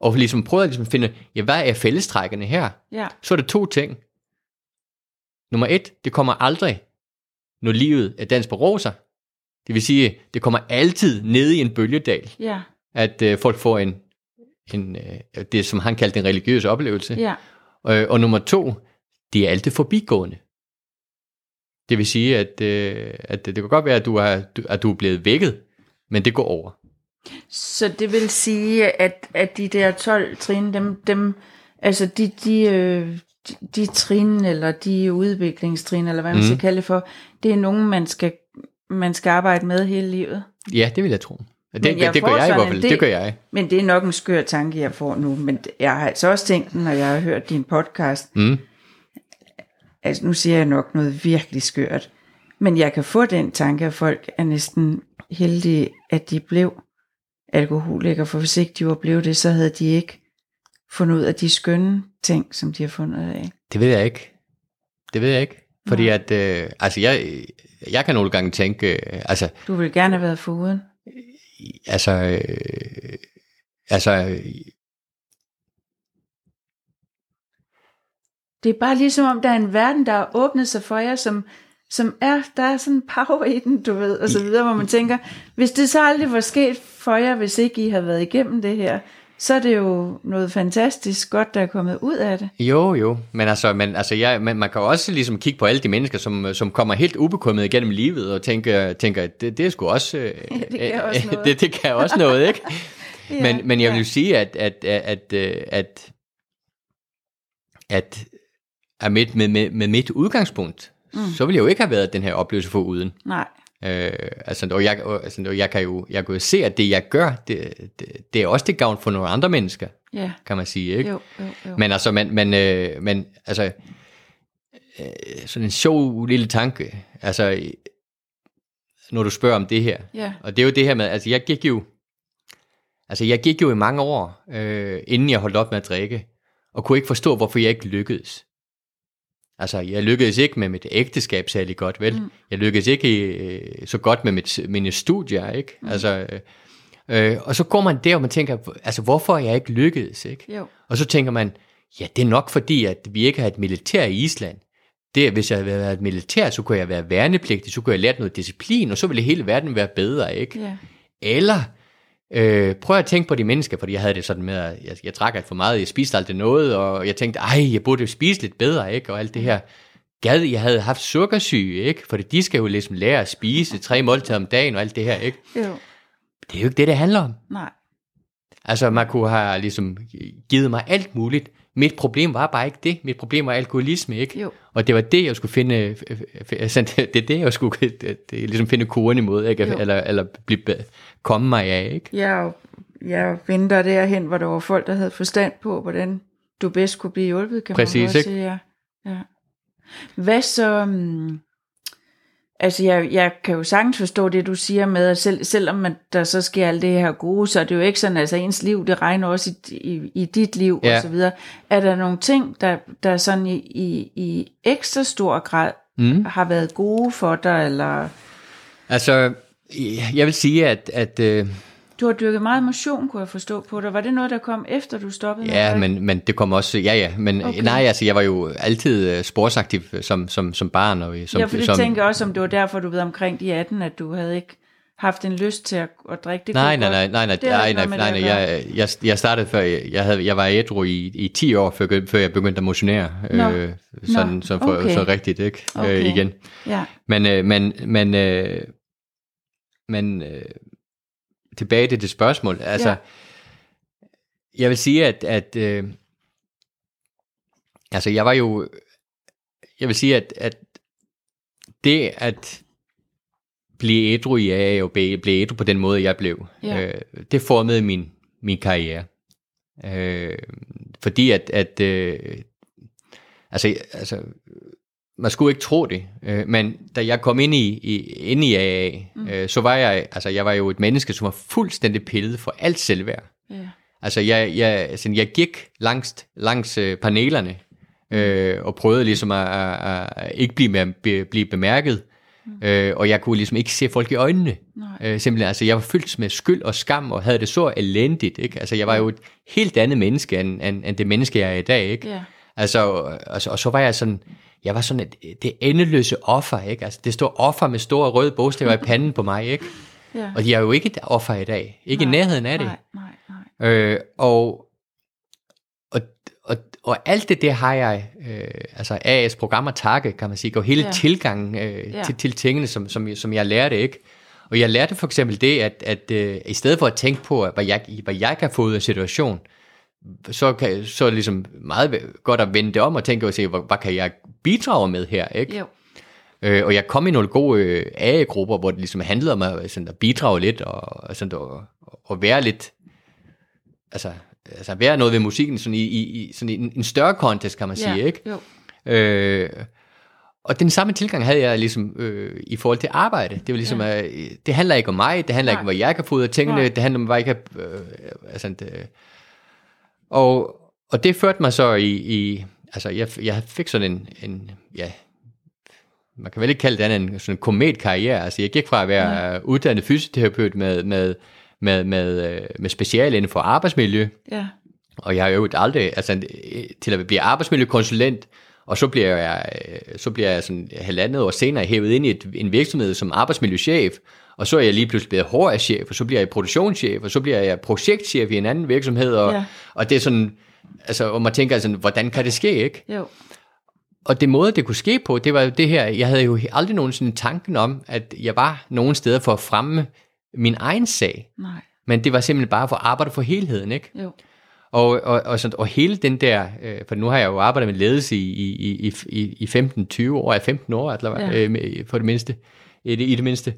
Speaker 2: og ligesom prøvet at ligesom finde, ja, hvad er fællestrækkerne her?
Speaker 1: Ja.
Speaker 2: Så er der to ting. Nummer et, det kommer aldrig, når livet er dans på roser. Det vil sige, det kommer altid ned i en bølgedal
Speaker 1: Ja.
Speaker 2: at øh, folk får en, en øh, det, som han kaldte en religiøs oplevelse.
Speaker 1: Ja.
Speaker 2: Øh, og nummer to, det er altid forbigående. Det vil sige, at, øh, at det kan godt være, at du, har, du, at du er blevet vækket, men det går over.
Speaker 1: Så det vil sige, at, at de der 12 trin, dem, dem altså de, de, øh, de, de trin, eller de udviklingstrin, eller hvad man
Speaker 2: Mhm.
Speaker 1: mm. skal kalde det for, det er nogen, man skal, man skal arbejde med hele livet.
Speaker 2: Ja, det vil jeg tro. Det,
Speaker 1: Men jeg
Speaker 2: det, det
Speaker 1: får
Speaker 2: gør jeg i
Speaker 1: sådan
Speaker 2: hvert
Speaker 1: en
Speaker 2: fald.
Speaker 1: del-
Speaker 2: Det gør jeg.
Speaker 1: Men det er nok en skør tanke, jeg får nu, men jeg har altså også tænkt den, når jeg har hørt din podcast.
Speaker 2: Mm.
Speaker 1: Altså nu siger jeg nok noget virkelig skørt, men jeg kan få den tanke, at folk er næsten heldige, at de blev alkoholikere, for hvis ikke de var blevet det, så havde de ikke fundet ud af de skønne ting, som de har fundet ud af.
Speaker 2: Det ved jeg ikke. Det ved jeg ikke. Fordi at, øh, altså jeg, jeg kan nogle gange tænke, øh, altså
Speaker 1: Du ville gerne have været foruden.
Speaker 2: altså, øh, altså, øh,
Speaker 1: Det er bare ligesom om, der er en verden, der har åbnet sig for jer, som, som er, der er sådan en power i den, du ved, og så videre, hvor man tænker, hvis det så aldrig var sket for jer, hvis ikke I har været igennem det her, så er det jo noget fantastisk godt, der er kommet ud af det.
Speaker 2: Jo, jo, men altså, men, altså jeg, men man kan jo også ligesom kigge på alle de mennesker, som, som kommer helt ubekommet igennem livet, og tænker, tænker det, det er sgu også... Øh,
Speaker 1: det kan også noget.
Speaker 2: det, det kan også noget, ikke?
Speaker 1: Ja,
Speaker 2: men, men jeg vil
Speaker 1: ja.
Speaker 2: jo sige, at, at, at, at, at, at, at mit, med, med, med mit udgangspunkt, mm. så ville jeg jo ikke have været den her oplevelse for uden.
Speaker 1: Nej,
Speaker 2: Øh, altså, og jeg, og, altså, og jeg, kan jo, jeg kan jo se, at det, jeg gør, det, det, det er også til gavn for nogle andre mennesker,
Speaker 1: ja,
Speaker 2: kan man sige, ikke?
Speaker 1: jo, jo, jo.
Speaker 2: Men altså, men, men, øh, men altså, øh, sådan en sjov lille tanke, altså, øh, når du spørger om det her.
Speaker 1: ja,
Speaker 2: Og det er jo det her med, altså jeg gik jo, altså jeg gik jo i mange år, øh, inden jeg holdt op med at drikke, og kunne ikke forstå, hvorfor jeg ikke lykkedes. Altså, jeg lykkedes ikke med mit ægteskab særlig godt, vel? Mm. Jeg lykkedes ikke øh, så godt med mit, mine studier, ikke? Mm. Altså, øh, øh, og så går man der, og man tænker, altså, hvorfor er jeg ikke lykkedes, ikke?
Speaker 1: jo,
Speaker 2: Og så tænker man, ja, det er nok fordi, at vi ikke har et militær i Island. Det, er, hvis jeg havde været militær, så kunne jeg være værnepligtig, så kunne jeg lære noget disciplin, og så ville hele verden være bedre, ikke?
Speaker 1: ja,
Speaker 2: Eller, øh, prøv at tænke på de mennesker, fordi jeg havde det sådan med, at jeg, jeg trak alt for meget, jeg spiste aldrig noget, og jeg tænkte, ej, jeg burde jo spise lidt bedre, ikke? Og alt det her. Gad, jeg havde haft sukkersyge, ikke? Fordi de skal jo ligesom lære at spise tre måltider om dagen og alt det her, ikke?
Speaker 1: jo,
Speaker 2: Det er jo ikke det, det handler om.
Speaker 1: nej,
Speaker 2: Altså, man kunne have ligesom givet mig alt muligt. Mit problem var bare ikke det. Mit problem var alkoholisme, ikke?
Speaker 1: Jo.
Speaker 2: Og det var det, jeg skulle finde... øh, f- f- sådan, altså, Det det er det, jeg skulle det, det, ligesom finde kuren imod, ikke?
Speaker 1: Jo.
Speaker 2: Eller, eller blive, be- komme mig af, ikke?
Speaker 1: jeg, jeg venter derhen, hvor der var folk, der havde forstand på, hvordan du bedst kunne blive hjulpet, kan man
Speaker 2: Præcis,
Speaker 1: godt
Speaker 2: ikke?
Speaker 1: sige. Ja. ja. Hvad så... Um, altså, jeg, jeg kan jo sagtens forstå det, du siger med, at selv, selvom man, der så sker alt det her gode, så er det jo ikke sådan, altså ens liv, det regner også i, i, i dit liv,
Speaker 2: Ja.
Speaker 1: og så videre. Er der nogle ting, der, der sådan i, i, i ekstra stor grad mm. har været gode for dig, eller...
Speaker 2: Altså, jeg vil sige, at... at øh,
Speaker 1: Du har dyrket meget motion, kunne jeg forstå på dig. Var det noget, der kom efter, du stoppede? med at
Speaker 2: Ja,
Speaker 1: drikke?
Speaker 2: men, men det kom også, ja ja, men okay. nej, altså jeg var jo altid øh, sportsaktiv øh, som, som, som barn. Og, i- som,
Speaker 1: ja, for det
Speaker 2: som,
Speaker 1: tænker jeg også, om det var derfor, du ved omkring de 18, at du havde ikke haft en lyst til at, at drikke. Det
Speaker 2: Nej,
Speaker 1: kunne
Speaker 2: nej, nej,
Speaker 1: godt-
Speaker 2: nej, nej,
Speaker 1: det har
Speaker 2: nej,
Speaker 1: ikke
Speaker 2: nej,
Speaker 1: noget med
Speaker 2: nej,
Speaker 1: det
Speaker 2: nej.
Speaker 1: at gøre.
Speaker 2: Jeg, jeg, jeg startede før, jeg, jeg, havde, jeg var ædru i, i 10 år, før, før jeg begyndte at motionere,
Speaker 1: Nå.
Speaker 2: øh, sådan,
Speaker 1: Nå,
Speaker 2: så, for,
Speaker 1: okay.
Speaker 2: så rigtigt, ikke?
Speaker 1: Okay.
Speaker 2: Øh, igen.
Speaker 1: Ja,
Speaker 2: Men, øh, men, men, øh, men øh, tilbage til det spørgsmål, altså,
Speaker 1: Ja.
Speaker 2: ja. jeg vil sige, at, at øh, altså, jeg var jo, jeg vil sige, at, at det at blive ædru i AA og blive blive ædru på den måde, jeg blev,
Speaker 1: Ja.
Speaker 2: øh, det formede min, min karriere. Øh, fordi at, at øh, Altså, altså man skulle ikke tro det, øh, men da jeg kom ind i, i, ind i AA, mm. øh, så var jeg, altså jeg var jo et menneske, som var fuldstændig pillet for alt selvværd.
Speaker 1: Ja.
Speaker 2: Altså jeg, jeg, sådan, jeg gik langs, langs øh, panelerne øh, og prøvede ligesom at, at, at ikke blive, med, be, blive bemærket, øh, og jeg kunne ligesom ikke se folk i øjnene.
Speaker 1: Mm. Nej.
Speaker 2: Øh, simpelthen, altså jeg var fyldt med skyld og skam og havde det så elendigt. Ikke? Altså jeg var jo et helt andet menneske, end, end, end det menneske, jeg er i dag. Ikke?
Speaker 1: Ja.
Speaker 2: Altså, altså, og så var jeg sådan, jeg var sådan et, det endeløse offer, ikke? Altså, det står offer med store røde bogstaver i panden på mig, ikke?
Speaker 1: Ja.
Speaker 2: Og jeg er jo ikke et offer i dag. Ikke
Speaker 1: Nej,
Speaker 2: i nærheden af det.
Speaker 1: Nej, nej, nej.
Speaker 2: Øh, og, og, og, og alt det der har jeg, øh, altså AS programmer takke, kan man sige, og hele
Speaker 1: Ja.
Speaker 2: ja. tilgangen øh,
Speaker 1: Ja.
Speaker 2: ja. til, til tingene, som, som, jeg- som jeg lærte, ikke? Og jeg lærte for eksempel det, at, at øh, i stedet for at tænke på, hvad jeg, hvad jeg kan få ud af situationen, så, kan, så er det ligesom meget godt at vende det om og tænke og se, hvad, hvad kan jeg bidrage med her, ikke?
Speaker 1: Jo.
Speaker 2: Øh, og jeg kom i nogle gode øh, AA-grupper, hvor det ligesom handlede om at, sådan, at bidrage lidt og, og sådan, og, og være lidt, altså, altså være noget ved musikken sådan i, i, i sådan i en, en større kontekst, kan man
Speaker 1: ja.
Speaker 2: ja. sige, ikke?
Speaker 1: Jo.
Speaker 2: Øh, og den samme tilgang havde jeg ligesom øh, i forhold til arbejde. Det var ligesom, ja. øh, det handler ikke om mig, det handler
Speaker 1: Nej.
Speaker 2: ikke om, hvad jeg kan få ud af tingene,
Speaker 1: Nej.
Speaker 2: det handler om, hvad jeg kan... Øh, altså, det, og, og det førte mig så i... i altså, jeg, jeg fik sådan en, en... Ja, man kan vel ikke kalde det andet end sådan en kometkarriere. Altså, jeg gik fra at være ja. uddannet fysioterapeut med, med, med, med, øh, med speciale inden for arbejdsmiljø,
Speaker 1: Ja.
Speaker 2: og jeg har jo aldrig, altså øh, til at blive arbejdsmiljøkonsulent, og så bliver jeg, øh, så bliver jeg sådan halvandet år senere hævet ind i et, en virksomhed som arbejdsmiljøchef, og så er jeg lige pludselig blevet HR-chef, og så bliver jeg produktionschef, og så bliver jeg projektchef i en anden virksomhed, og,
Speaker 1: Ja.
Speaker 2: ja. og det er sådan, altså, og man tænker sådan, hvordan kan det ske, ikke?
Speaker 1: Jo.
Speaker 2: Og det måde, det kunne ske på, det var jo det her, jeg havde jo aldrig nogensinde tanken om, at jeg var nogen steder for at fremme min egen sag,
Speaker 1: Nej.
Speaker 2: men det var simpelthen bare for at arbejde for helheden, ikke?
Speaker 1: Jo.
Speaker 2: Og, og, og, sådan, og hele den der, øh, for nu har jeg jo arbejdet med ledelse i, i, i, i- i 15-20 år, ja, 15 år eller hvad,
Speaker 1: Ja.
Speaker 2: ja. øh, med- for det mindste, i det, i det mindste.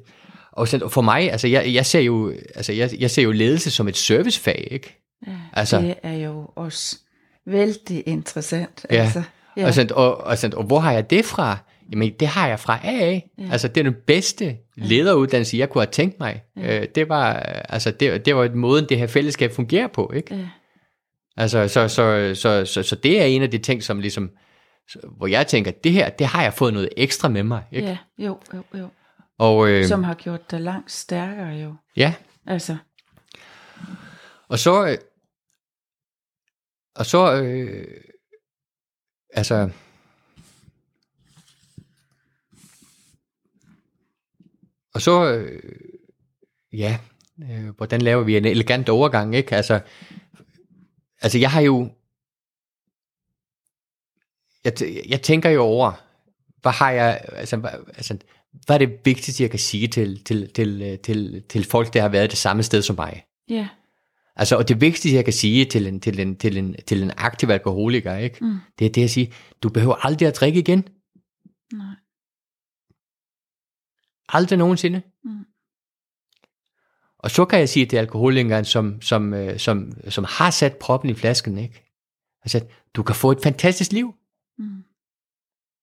Speaker 2: Og sådan, og for mig, altså jeg, jeg ser jo, altså jeg, jeg ser jo ledelse som et servicefag, ikke?
Speaker 1: Ja.
Speaker 2: Altså-
Speaker 1: Det er jo også vældig interessant.
Speaker 2: Ja.
Speaker 1: Altså.
Speaker 2: Ja. Og, sådan, og, og, sådan, og hvor har jeg det fra? Jamen, det har jeg fra AA. Ja. Altså, det er den bedste lederuddannelse, jeg kunne have tænkt mig. Ja. Øh, det var, øh, altså, det, det var måden, det her fællesskab fungerer på, ikke?
Speaker 1: Ja.
Speaker 2: Altså, så, så, så, så, så det er en af de ting, som ligesom, hvor jeg tænker, det her, det har jeg fået noget ekstra med mig. Ikke?
Speaker 1: ja. Jo, jo, jo.
Speaker 2: Og, øh,
Speaker 1: Som har gjort dig langt stærkere jo.
Speaker 2: ja.
Speaker 1: Altså.
Speaker 2: og så, øh, og så, øh, altså, og så, øh, ja, øh, hvordan laver vi en elegant overgang, ikke? Altså, altså jeg har jo, jeg, tæ- jeg tænker jo over, hvad har jeg, altså, hvad, altså, hvad er det vigtigste, jeg kan sige til, til, til, øh, til, til folk, der har været det samme sted som mig?
Speaker 1: Ja.
Speaker 2: Altså, og det vigtigste, jeg kan sige til en, til en, til en, til en aktiv alkoholiker, ikke?
Speaker 1: Mm.
Speaker 2: det er det at sige, du behøver aldrig at drikke igen.
Speaker 1: Nej.
Speaker 2: Aldrig nogensinde.
Speaker 1: Mm.
Speaker 2: Og så kan jeg sige til alkoholikeren, som, som, øh, som, som har sat proppen i flasken, ikke? Altså, du kan få et fantastisk liv.
Speaker 1: Mm.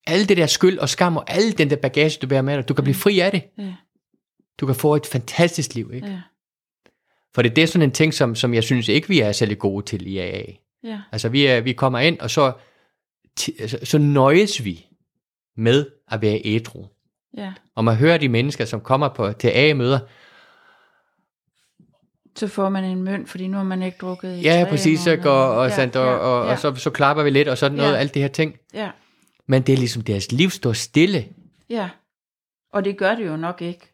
Speaker 2: Alle det der skyld og skam og alle den der bagage, du bærer med dig, du kan blive fri af det.
Speaker 1: Ja.
Speaker 2: Du kan få et fantastisk liv, ikke?
Speaker 1: Ja.
Speaker 2: For det, det er sådan en ting, som, som jeg synes ikke, vi er særlig gode til i AA.
Speaker 1: Ja.
Speaker 2: Altså vi, er, vi kommer ind, og så, ti- altså, så nøjes vi med at være ædru.
Speaker 1: Ja.
Speaker 2: Og man hører de mennesker, som kommer på, til A-møder,
Speaker 1: Så får man en mønt, fordi nu har man ikke drukket i
Speaker 2: ja
Speaker 1: tre
Speaker 2: præcis,
Speaker 1: måneder.
Speaker 2: ikke? og, og, sandt, og,
Speaker 1: ja,
Speaker 2: og,
Speaker 1: ja,
Speaker 2: og så, så klapper vi lidt, og sådan noget,
Speaker 1: Ja.
Speaker 2: alt det her ting.
Speaker 1: Ja,
Speaker 2: Men det er ligesom, deres liv står stille.
Speaker 1: ja. Og det gør det jo nok ikke.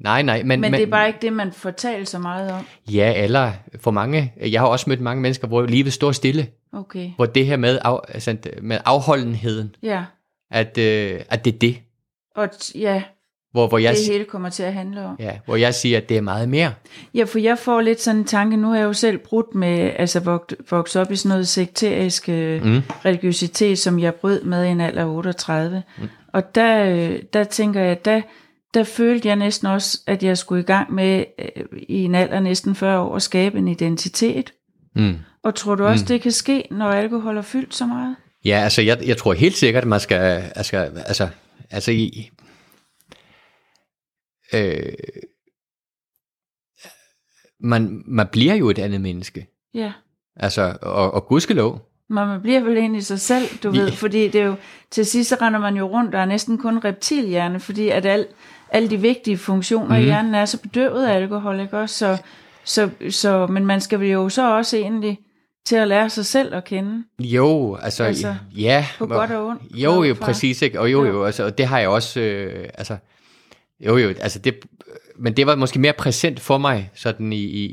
Speaker 2: Nej, nej, men,
Speaker 1: Men, men det er bare ikke det, man fortæller så meget om.
Speaker 2: Ja, eller for mange. Jeg har også mødt mange mennesker, hvor livet står stille.
Speaker 1: Okay.
Speaker 2: Hvor det her med, af, altså, med afholdenheden,
Speaker 1: Ja.
Speaker 2: at, øh, at det er det.
Speaker 1: Og t- ja,
Speaker 2: Hvor, hvor, jeg,
Speaker 1: det
Speaker 2: si-
Speaker 1: hele kommer til at handle om.
Speaker 2: ja, hvor jeg siger, at det er meget mere.
Speaker 1: Ja, for jeg får lidt sådan en tanke, nu er jeg jo selv brudt med, altså vok- vokset op i sådan noget sekterisk mm. religiøsitet, som jeg brød med i en alder af 38. Mm. Og der, øh, der tænker jeg, der, der følte jeg næsten også, at jeg skulle i gang med øh, i en alder næsten 40 år at skabe en identitet.
Speaker 2: Mm.
Speaker 1: Og tror du også, mm. det kan ske, når alkohol er fyldt så meget?
Speaker 2: Ja, altså jeg, jeg tror helt sikkert, at man skal, altså, altså, altså i, øh, man, man bliver jo et andet menneske.
Speaker 1: Ja.
Speaker 2: Altså, og, og gudskelov.
Speaker 1: Men man bliver vel egentlig sig selv, du ved,
Speaker 2: Ja.
Speaker 1: fordi det er jo, til sidst så render man jo rundt, der er næsten kun reptilhjerne, fordi at al, alle de vigtige
Speaker 2: Mhm.
Speaker 1: funktioner mm. i hjernen er så bedøvet af alkohol, ikke også? Så, så, så, men man skal vel jo så også egentlig til at lære sig selv at kende.
Speaker 2: Jo, altså,
Speaker 1: Altså,
Speaker 2: altså ja.
Speaker 1: på godt og ondt,
Speaker 2: Jo, jo,
Speaker 1: fra-
Speaker 2: præcis, ikke? Og jo, jo, altså, og det har jeg også, øh, altså, jo, jo, altså det, men det var måske mere præsent for mig, sådan i, i,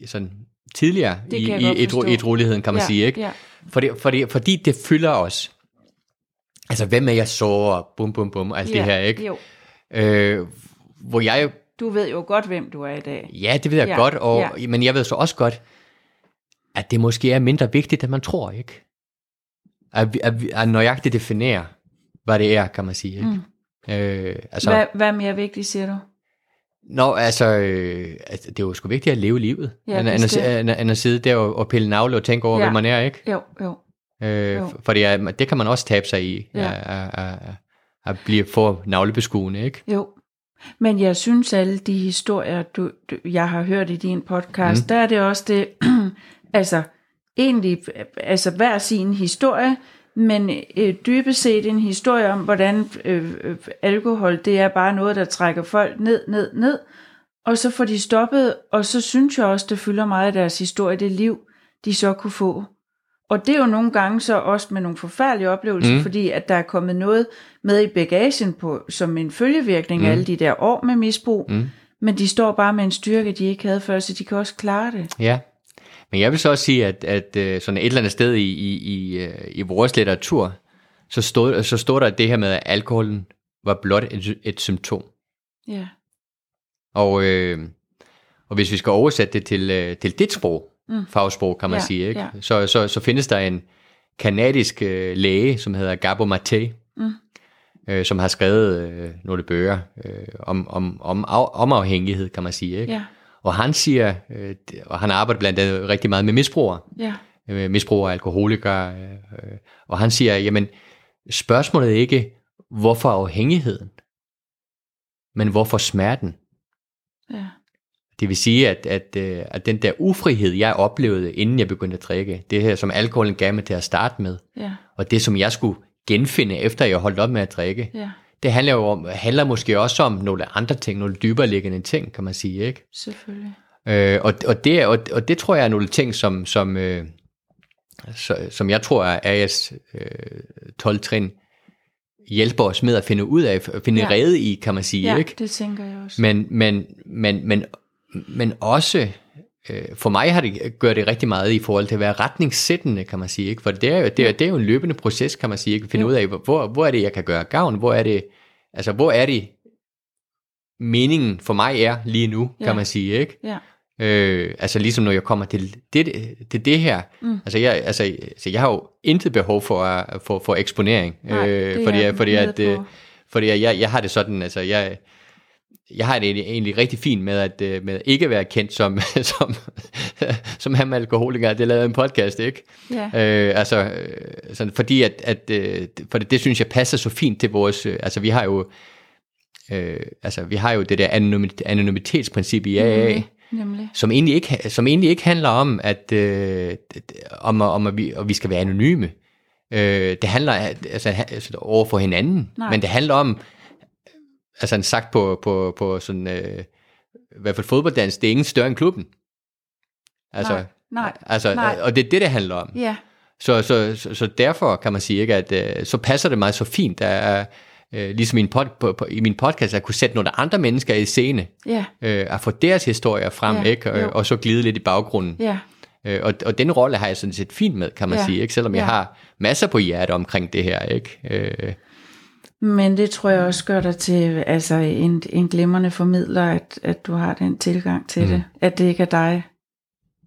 Speaker 2: i sådan tidligere
Speaker 1: Det
Speaker 2: i,
Speaker 1: kan jeg
Speaker 2: i
Speaker 1: godt
Speaker 2: etro,
Speaker 1: forstå.
Speaker 2: etroligheden, kan man
Speaker 1: Ja,
Speaker 2: sige, ikke?
Speaker 1: ja.
Speaker 2: Fordi, fordi, fordi det fylder os. Altså, hvem er jeg så, og bum, bum, bum, og alt Altså, det her, ikke?
Speaker 1: Jo,
Speaker 2: Øh, hvor jeg
Speaker 1: du ved jo godt, hvem du er i dag.
Speaker 2: Ja, det ved jeg
Speaker 1: Ja,
Speaker 2: ja, godt, og,
Speaker 1: ja.
Speaker 2: ja. men jeg ved så også godt, at det måske er mindre vigtigt, end man tror, ikke? At, vi- at, vi- at nøjagtigt definere, hvad det er, kan man sige, ikke? Mm. Øh, altså,
Speaker 1: Hvad, hvad er mere vigtigt, siger du?
Speaker 2: nå, altså, øh, altså, det er jo sgu vigtigt at leve livet,
Speaker 1: Ja,
Speaker 2: ja, end, end,
Speaker 1: bestemt.
Speaker 2: at, end, end at sidde der og, og pille navle og tænke over,
Speaker 1: Ja.
Speaker 2: ja. hvem man er, ikke?
Speaker 1: Jo, jo.
Speaker 2: Øh,
Speaker 1: Jo.
Speaker 2: f- for det, er, det kan man også tabe sig i,
Speaker 1: Ja.
Speaker 2: ja. at, at, at, at blive for navlebeskuende, ikke?
Speaker 1: Jo. Men jeg synes, alle de historier, du, du, jeg har hørt i din podcast, mm. der er det også det, altså egentlig, altså hver sin historie, men øh, dybest set en historie om, hvordan øh, øh, alkohol, det er bare noget, der trækker folk ned, ned, ned, og så får de stoppet, og så synes jeg også, det fylder meget af deres historie, det liv, de så kunne få. Og det er jo nogle gange så også med nogle forfærdelige oplevelser, mm. fordi at der er kommet noget med i bagagen på, som en følgevirkning mm. af alle de der år med misbrug. Mm. Men de står bare med en styrke, de ikke havde før, så de kan også klare det.
Speaker 2: Ja, men jeg vil så også sige, at, at øh, sådan et eller andet sted i, i, i, øh, i vores litteratur, så stod, så stod der det her med, at alkoholen var blot et, et symptom.
Speaker 1: Ja,
Speaker 2: Og, øh, og hvis vi skal oversætte det til, øh, til dit sprog, mm. fagsprog kan man
Speaker 1: Ja,
Speaker 2: ja, sige, ikke?
Speaker 1: ja.
Speaker 2: Ja. Så, så, så findes der en kanadisk øh, læge, som hedder Gabo Maté,
Speaker 1: Mm.
Speaker 2: øh, som har skrevet øh, nogle bøger øh, om, om, om, af, om afhængighed, kan man sige. Ikke?
Speaker 1: ja,
Speaker 2: Og han siger, øh, det- og han arbejder blandt andet rigtig meget med misbrugere,
Speaker 1: ja,
Speaker 2: øh, misbrugere, alkoholikere. øh, øh, Og han siger, jamen spørgsmålet er ikke, hvorfor afhængigheden, men hvorfor smerten?
Speaker 1: ja,
Speaker 2: Det vil sige, at, at, øh, at den der ufrihed, jeg oplevede, inden jeg begyndte at drikke, det her, som alkoholen gav mig til at starte med,
Speaker 1: ja,
Speaker 2: og det, som jeg skulle genfinde, efter jeg holdt op med at drikke,
Speaker 1: ja,
Speaker 2: det handler jo om, handler måske også om nogle andre ting, nogle dybere liggende ting, kan man sige, ikke?
Speaker 1: selvfølgelig.
Speaker 2: Øh, og, og, det, er- og, og det tror jeg er nogle ting, som, som, øh, så, som jeg tror, at AS øh, 12-trin hjælper os med at finde ud af, at finde
Speaker 1: Ja.
Speaker 2: ja. rede i, kan man sige.
Speaker 1: Ja,
Speaker 2: ikke?
Speaker 1: det tænker jeg også.
Speaker 2: Men, men, men, men, men også, øh, for mig har det gør det rigtig meget i forhold til at være retningssættende, kan man sige. Ikke? For det er, jo, det, er, det er jo en løbende proces, kan man sige. Ikke? At finde
Speaker 1: Jo.
Speaker 2: ud af, hvor, hvor er det, jeg kan gøre gavn? Hvor er det, altså, hvor er det, meningen for mig er lige nu,
Speaker 1: Ja.
Speaker 2: kan man sige, ikke?
Speaker 1: Ja,
Speaker 2: Øh, altså ligesom når jeg kommer til det, til det her.
Speaker 1: Mm.
Speaker 2: Mm. Altså, jeg, altså, altså jeg har jo intet behov for, at- for, for eksponering.
Speaker 1: Nej, det er
Speaker 2: fordi,
Speaker 1: jeg
Speaker 2: jeg- fordi,
Speaker 1: med
Speaker 2: at, øh,
Speaker 1: på.
Speaker 2: fordi at jeg, jeg har det sådan, altså jeg, jeg har det egentlig- egentlig rigtig fint med at øh, med ikke at være kendt som, som, som ham alkoholiker. Det lavede en podcast, ikke?
Speaker 1: ja,
Speaker 2: Øh, altså, øh, sådan, fordi at, at øh, for det, det synes jeg passer så fint til vores, øh, altså vi har jo, øh, altså vi har jo det der anonymit- anonymitetsprincip i AA,
Speaker 1: Mhm.
Speaker 2: mm
Speaker 1: nemlig.
Speaker 2: som egentlig ikke, som egentlig ikke handler om, at, øh, om, at- om at, vi, at vi skal være anonyme. Øh, det handler altså, altså, over for hinanden,
Speaker 1: Nej.
Speaker 2: men det handler om, altså en sagt på, på, på sådan, øh, i hvert fald fodbolddans, det er ingen større end klubben. Altså,
Speaker 1: nej, nej,
Speaker 2: altså,
Speaker 1: nej.
Speaker 2: Og det er det, det handler om.
Speaker 1: ja,
Speaker 2: Så, så, så, så derfor kan man sige, ikke, at øh, så passer det mig så fint, at, øh, ligesom i, en pod, på, på, i min podcast, at kunne sætte nogle andre mennesker i scene
Speaker 1: ja,
Speaker 2: øh, at få deres historier frem,
Speaker 1: Ja,
Speaker 2: ja, ikke?
Speaker 1: jo.
Speaker 2: Og, og så glide lidt i baggrunden.
Speaker 1: ja,
Speaker 2: Øh, og, og den rolle har jeg sådan set fint med, kan man
Speaker 1: Ja,
Speaker 2: sige, ikke? Selvom
Speaker 1: ja.
Speaker 2: jeg har masser på hjertet omkring det her, ikke? Øh,
Speaker 1: Men det tror jeg også gør dig til altså en, en glimrende formidler, at, at du har den tilgang til mm. det. At det ikke er dig,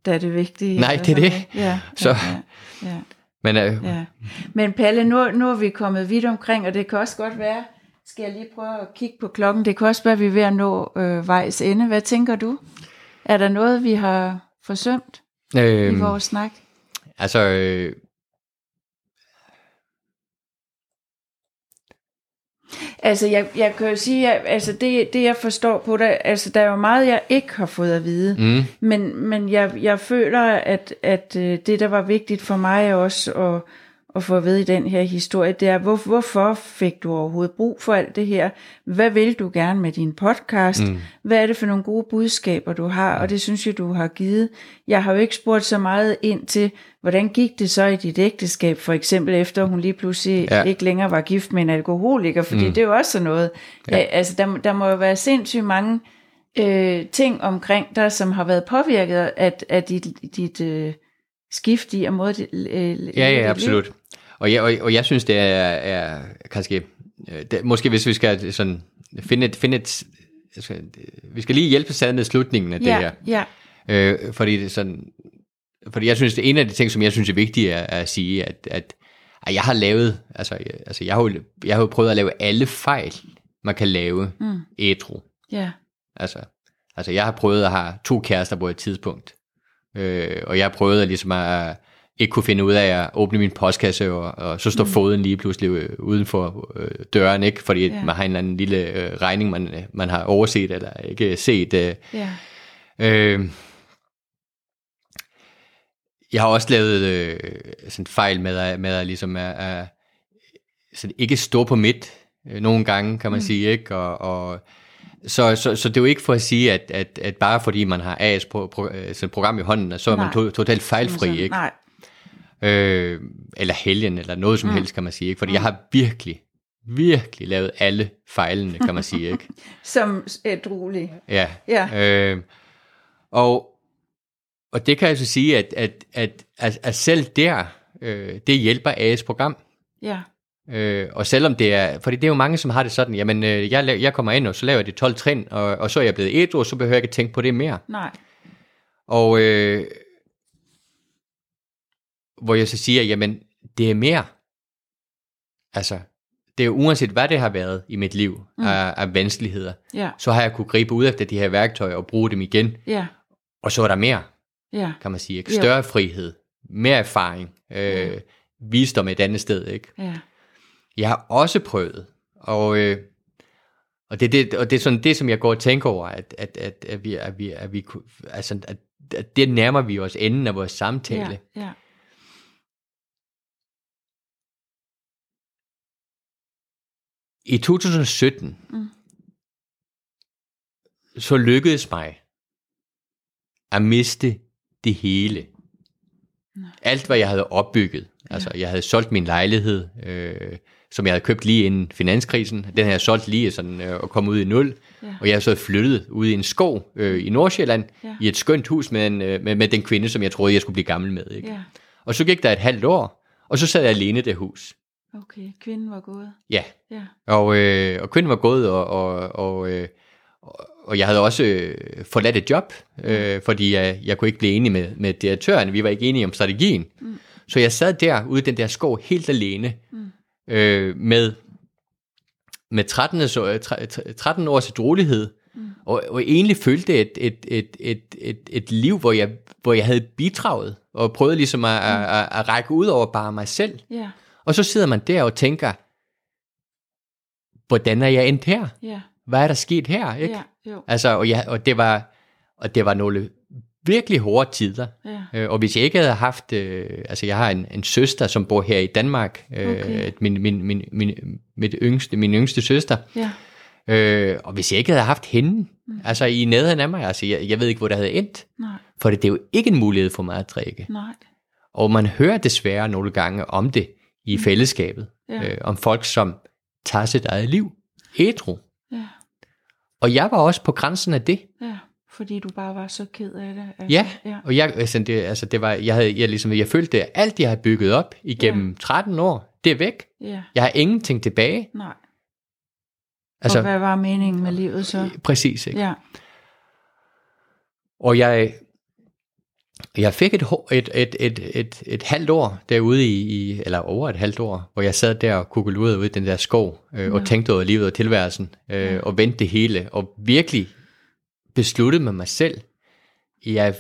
Speaker 1: der er det vigtige.
Speaker 2: Nej,
Speaker 1: eller
Speaker 2: det er
Speaker 1: sådan
Speaker 2: det.
Speaker 1: noget. Ja,
Speaker 2: Så-
Speaker 1: ja, ja, ja.
Speaker 2: men øh, ja.
Speaker 1: Ja. Men Palle, nu, nu er vi kommet vidt omkring, og det kan også godt være, skal jeg lige prøve at kigge på klokken, det kan også være, at vi er ved at nå øh, vejs ende. Hvad tænker du? Er der noget, vi har forsømt øhm. i
Speaker 2: øh,
Speaker 1: vores snak?
Speaker 2: altså, øh,
Speaker 1: Altså, jeg, jeg kan jo sige, at altså, det, det, jeg forstår på det, altså, der er jo meget, jeg ikke har fået at vide.
Speaker 2: Mm.
Speaker 1: Men, men jeg, jeg føler, at, at øh, det, der var vigtigt for mig også at, at få at vide i den her historie, det er, hvor, hvorfor fik du overhovedet brug for alt det her? Hvad vil du gerne med din podcast?
Speaker 2: Mm.
Speaker 1: Hvad er det for nogle gode budskaber, du har? Og det synes jeg, du har givet. Jeg har jo ikke spurgt så meget ind til, hvordan gik det så i dit ægteskab, for eksempel efter hun lige pludselig
Speaker 2: Ja.
Speaker 1: ja. ikke længere var gift med en alkoholiker, fordi
Speaker 2: Mm.
Speaker 1: mm. det er jo også sådan noget.
Speaker 2: Ja.
Speaker 1: Ja. Altså, der, der må jo være sindssygt mange øh, ting omkring dig, som har været påvirket af, af dit, dit øh, skift i og måde... dit, Øh,
Speaker 2: Ja,
Speaker 1: dit liv.
Speaker 2: ja, absolut. Og jeg, og, og jeg synes, det er, er kanskje... øh, Det, måske hvis vi skal sådan finde et... Finde et jeg skal, vi skal lige hjælpe sad med slutningen af det
Speaker 1: ja,
Speaker 2: her.
Speaker 1: Ja,
Speaker 2: Øh, fordi, det er sådan, fordi jeg synes, det er en af de ting, som jeg synes er vigtige er, er at sige, at, at, at jeg har lavet, altså, jeg, altså jeg, har jo, jeg har jo prøvet at lave alle fejl, man kan lave
Speaker 1: Mm.
Speaker 2: etro.
Speaker 1: ja,
Speaker 2: Altså, altså jeg har prøvet at have to kærester på et tidspunkt. Øh, og jeg har prøvet at, ligesom at ikke kunne finde ud af at åbne min postkasse, og, og så står mm. foden lige pludselig øh, uden for øh, døren, ikke? fordi
Speaker 1: Ja.
Speaker 2: man har en eller anden lille øh, regning, man, øh, man har overset eller ikke set. Øh,
Speaker 1: ja.
Speaker 2: Øh, jeg har også lavet øh, sådan fejl med, at- med at, ligesom at, at sådan ikke stå på midt øh, nogle gange, kan man mm. sige. Ikke? Og, og, så, så, så det er jo ikke for at sige, at, at, at bare fordi man har AS pro, pro, øh, sådan et program i hånden, at så er man
Speaker 1: Nej.
Speaker 2: to, totalt fejlfri. Ikke?
Speaker 1: Nej,
Speaker 2: øh, eller helgen, eller noget som mm. helst, kan man sige. Ikke? Fordi mm. jeg har virkelig, virkelig lavet alle fejlene, kan man sige. Ikke?
Speaker 1: som ædruelig.
Speaker 2: Ja.
Speaker 1: Ja.
Speaker 2: Øh, og, og det kan jeg så sige, at, at, at, at, at selv der, øh, det hjælper AS program.
Speaker 1: Ja,
Speaker 2: Øh, og selvom det er, fordi det er jo mange, som har det sådan, jamen øh, jeg, laver, jeg kommer ind, og så laver jeg det 12 trin, og, og så er jeg blevet et så behøver jeg ikke tænke på det mere.
Speaker 1: nej.
Speaker 2: Og øh, hvor jeg så siger, jamen det er mere. Altså, det er uanset hvad det har været i mit liv mm. af, af vanskeligheder,
Speaker 1: Ja,
Speaker 2: så har jeg kunne gribe ud efter de her værktøjer og bruge dem igen.
Speaker 1: ja,
Speaker 2: Og så er der mere,
Speaker 1: ja,
Speaker 2: kan man sige. Ikke?
Speaker 1: Ja.
Speaker 2: Større frihed, mere erfaring, øh, visdom et andet sted. Ikke?
Speaker 1: ja,
Speaker 2: Jeg har også prøvet, og, øh, og, det, er det, og det er sådan det, som jeg går og tænker over, at, at, at, at, vi, at, vi, at, vi, kunne- altså, at, at det nærmer vi os enden af vores samtale.
Speaker 1: ja, ja.
Speaker 2: I 2017,
Speaker 1: Mm.
Speaker 2: så lykkedes mig at miste det hele. Alt, hvad jeg havde opbygget. Altså, jeg havde solgt min lejlighed, øh, som jeg havde købt lige inden finanskrisen. Den havde jeg solgt lige sådan, øh, og kom ud i nul.
Speaker 1: Ja.
Speaker 2: Og jeg havde så flyttet ud i en skov øh, i Nordsjælland,
Speaker 1: Ja.
Speaker 2: i et skønt hus med, en, øh, med, med den kvinde, som jeg troede, jeg skulle blive gammel med. Ikke?
Speaker 1: ja.
Speaker 2: Og så gik der et halvt år, og så sad jeg alene i det hus.
Speaker 1: Okay, kvinden var gået.
Speaker 2: Ja,
Speaker 1: Ja,
Speaker 2: og, øh, og kvinden var gået, og, og, og, øh, og- og jeg havde også øh, forladt et job, øh, fordi jeg, jeg kunne ikke blive enig med, med direktøren. Vi var ikke enige om strategien. Mm. Så jeg sad der ude i den der skov helt alene mm. øh, med, med 13, så, øh, tre- tre- 13 års drolighed, mm. og, og egentlig følte et, et, et, et, et, et liv, hvor jeg, hvor jeg havde bidraget, og prøvede ligesom at, mm. at, at, at række ud over bare mig selv.
Speaker 1: ja,
Speaker 2: Og så sidder man der og tænker, hvordan er jeg endt her?
Speaker 1: ja,
Speaker 2: Hvad er der sket her? Ikke?
Speaker 1: ja, jo,
Speaker 2: Altså, og, jeg, og, det var, og det var nogle virkelig hårde tider.
Speaker 1: ja,
Speaker 2: Øh, Og hvis jeg ikke havde haft, øh, altså jeg har en, en søster, som bor her i Danmark, øh,
Speaker 1: Okay.
Speaker 2: min, min, min, min, mit yngste, min yngste søster,
Speaker 1: ja,
Speaker 2: øh, og hvis jeg ikke havde haft hende, altså i nærheden af mig, altså jeg, jeg ved ikke, hvor det havde endt,
Speaker 1: Mm. nej,
Speaker 2: for det, det er jo ikke en mulighed for mig at drikke.
Speaker 1: nej,
Speaker 2: Og man hører desværre nogle gange om det
Speaker 1: Mm.
Speaker 2: i fællesskabet.
Speaker 1: Ja.
Speaker 2: Øh, om folk, som tager sit eget liv. Hetero.
Speaker 1: ja,
Speaker 2: Og jeg var også på grænsen af det.
Speaker 1: ja, fordi du bare var så ked af det. Altså,
Speaker 2: Ja,
Speaker 1: ja,
Speaker 2: og jeg, altså det, altså det var, jeg, havde, jeg, ligesom, jeg følte, at alt, jeg havde bygget op igennem 13 år, det er væk.
Speaker 1: ja,
Speaker 2: Jeg har ingenting tilbage.
Speaker 1: nej. Altså, og
Speaker 2: Altså, Øh,
Speaker 1: hvad var meningen med livet så?
Speaker 2: præcis, ikke?
Speaker 1: Ja,
Speaker 2: Og jeg, jeg fik et, hår- et, et, et, et, et halvt år derude i, i, eller over et halvt år, hvor jeg sad der og kukulurede ude i den der skov, øh, og tænkte over livet og tilværelsen, øh, og vendte det hele, og virkelig besluttede med mig selv, jeg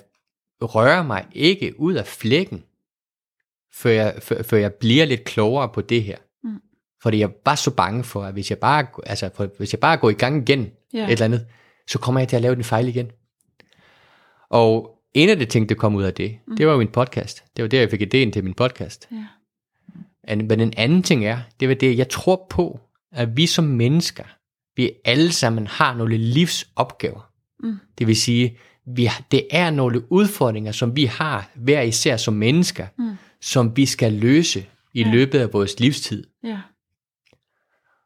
Speaker 2: rører mig ikke ud af flækken, før jeg, før, før jeg bliver lidt klogere på det her.
Speaker 1: Mm.
Speaker 2: For Fordi jeg var så bange for, at hvis jeg bare, altså, for, hvis jeg bare går i gang igen,
Speaker 1: Ja.
Speaker 2: ja. et eller andet, så kommer jeg til at lave den fejl igen. Og en af de ting, der kom ud af det, mm. det var jo min podcast. Det var der, jeg fik idéen til min podcast.
Speaker 1: Ja.
Speaker 2: And, men en anden ting er, det var det, jeg tror på, at vi som mennesker, vi alle sammen har nogle livsopgaver.
Speaker 1: Mm.
Speaker 2: Det vil sige, vi, har- det er nogle udfordringer, som vi har hver især som mennesker,
Speaker 1: Mm.
Speaker 2: som vi skal løse i
Speaker 1: Ja.
Speaker 2: løbet af vores livstid.
Speaker 1: Ja.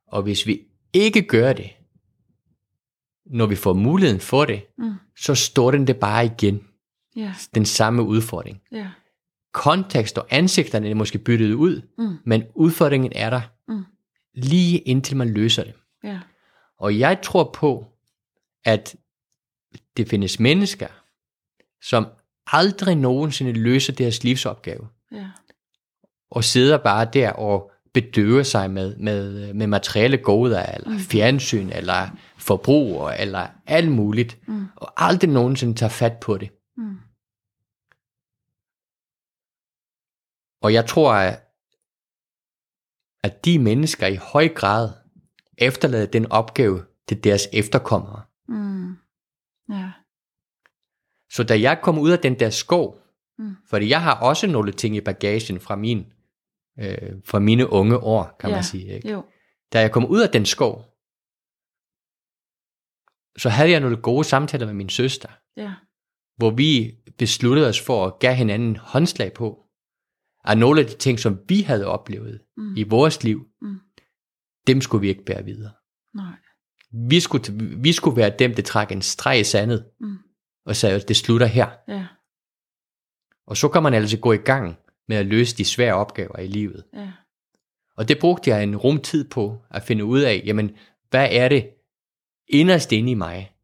Speaker 2: Og hvis vi ikke gør det, når vi får muligheden for det,
Speaker 1: Mm.
Speaker 2: så står den det bare igen.
Speaker 1: Ja.
Speaker 2: Den samme udfordring.
Speaker 1: Ja.
Speaker 2: Kontekst og ansigterne er måske byttet ud,
Speaker 1: Mm.
Speaker 2: men udfordringen er der
Speaker 1: Mm.
Speaker 2: lige indtil man løser det.
Speaker 1: Ja.
Speaker 2: Og jeg tror på, at det findes mennesker, som aldrig nogensinde løser deres livsopgave,
Speaker 1: Ja.
Speaker 2: og sidder bare der og bedøver sig med, med, med materielle goder, eller fjernsyn, eller forbrug, eller alt muligt,
Speaker 1: Mm.
Speaker 2: og aldrig nogensinde tager fat på det.
Speaker 1: Mm.
Speaker 2: Og jeg tror, at, at de mennesker i høj grad efterlader den opgave til deres efterkommere.
Speaker 1: Mm. Ja.
Speaker 2: Så da jeg kom ud af den der skov,
Speaker 1: Mm.
Speaker 2: mm. fordi jeg har også nogle ting i bagagen fra min øh, fra mine unge år, kan
Speaker 1: Ja,
Speaker 2: man sige. Ikke?
Speaker 1: Jo.
Speaker 2: Da jeg kom ud af den skov, så havde jeg nogle gode samtaler med min søster,
Speaker 1: Ja.
Speaker 2: hvor vi besluttede os for at give hinanden håndslag på, at nogle af de ting, som vi havde oplevet
Speaker 1: Mm.
Speaker 2: i vores liv,
Speaker 1: Mm.
Speaker 2: dem skulle vi ikke bære videre.
Speaker 1: Nej.
Speaker 2: Vi skulle, vi skulle være dem, der trak en streg i sandet,
Speaker 1: Mm.
Speaker 2: og sagde, at det slutter her.
Speaker 1: Ja.
Speaker 2: Og så kan man altså gå i gang med at løse de svære opgaver i livet.
Speaker 1: Ja.
Speaker 2: Og det brugte jeg en rum tid på at finde ud af, jamen, hvad er det inderst inde i mig?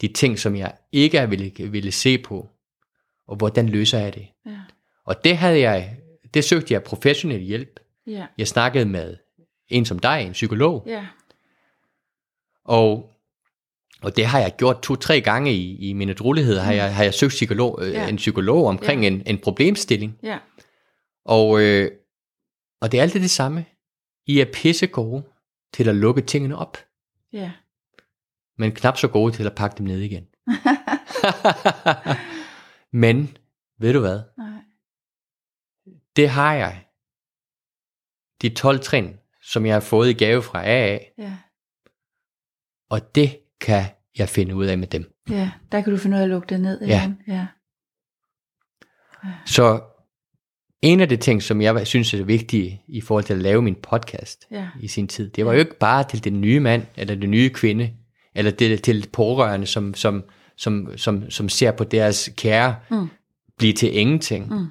Speaker 2: De ting, som jeg ikke er ville, ville se på, og hvordan løser jeg det?
Speaker 1: Ja.
Speaker 2: Og det havde jeg, det søgte jeg professionel hjælp.
Speaker 1: Ja.
Speaker 2: Jeg snakkede med en som dig, en psykolog,
Speaker 1: Ja.
Speaker 2: og, og det har jeg gjort to-tre gange i, i mine druligheder, har jeg, har jeg søgt psykolog,
Speaker 1: Ja.
Speaker 2: ja. en psykolog omkring
Speaker 1: Ja.
Speaker 2: ja. en, en problemstilling.
Speaker 1: Ja.
Speaker 2: Og, øh, og det er altid det samme. I er pisse gode til at lukke tingene op,
Speaker 1: Ja.
Speaker 2: men knap så gode til at pakke dem ned igen. men ved du hvad?
Speaker 1: Nej.
Speaker 2: Det har jeg. De 12 trin, som jeg har fået i gave fra AA,
Speaker 1: Ja.
Speaker 2: og det kan jeg finde ud af med dem.
Speaker 1: Ja. Der kan du finde ud af at lukke det ned
Speaker 2: Ja.
Speaker 1: igen. Ja.
Speaker 2: Så en af de ting, som jeg synes er vigtige i forhold til at lave min podcast,
Speaker 1: Ja.
Speaker 2: i sin tid. Det var jo ikke bare til den nye mand, eller den nye kvinde, eller det, til pårørende, som, som, som, som, som ser på deres kære
Speaker 1: Mm.
Speaker 2: blive til ingenting.
Speaker 1: Mm.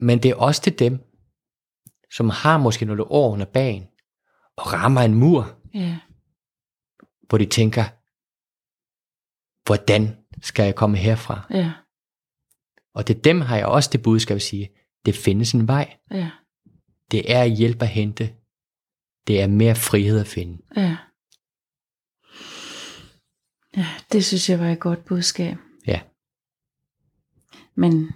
Speaker 2: Men det er også til dem, som har måske nogle år under bagen, og rammer en mur,
Speaker 1: Ja.
Speaker 2: hvor de tænker, hvordan skal jeg komme herfra?
Speaker 1: Ja.
Speaker 2: Og til dem har jeg også det budskab at sige, det findes en vej.
Speaker 1: Ja.
Speaker 2: Det er hjælp at hente. Det er mere frihed at finde.
Speaker 1: Ja. Ja, det synes jeg var et godt budskab.
Speaker 2: Ja.
Speaker 1: Men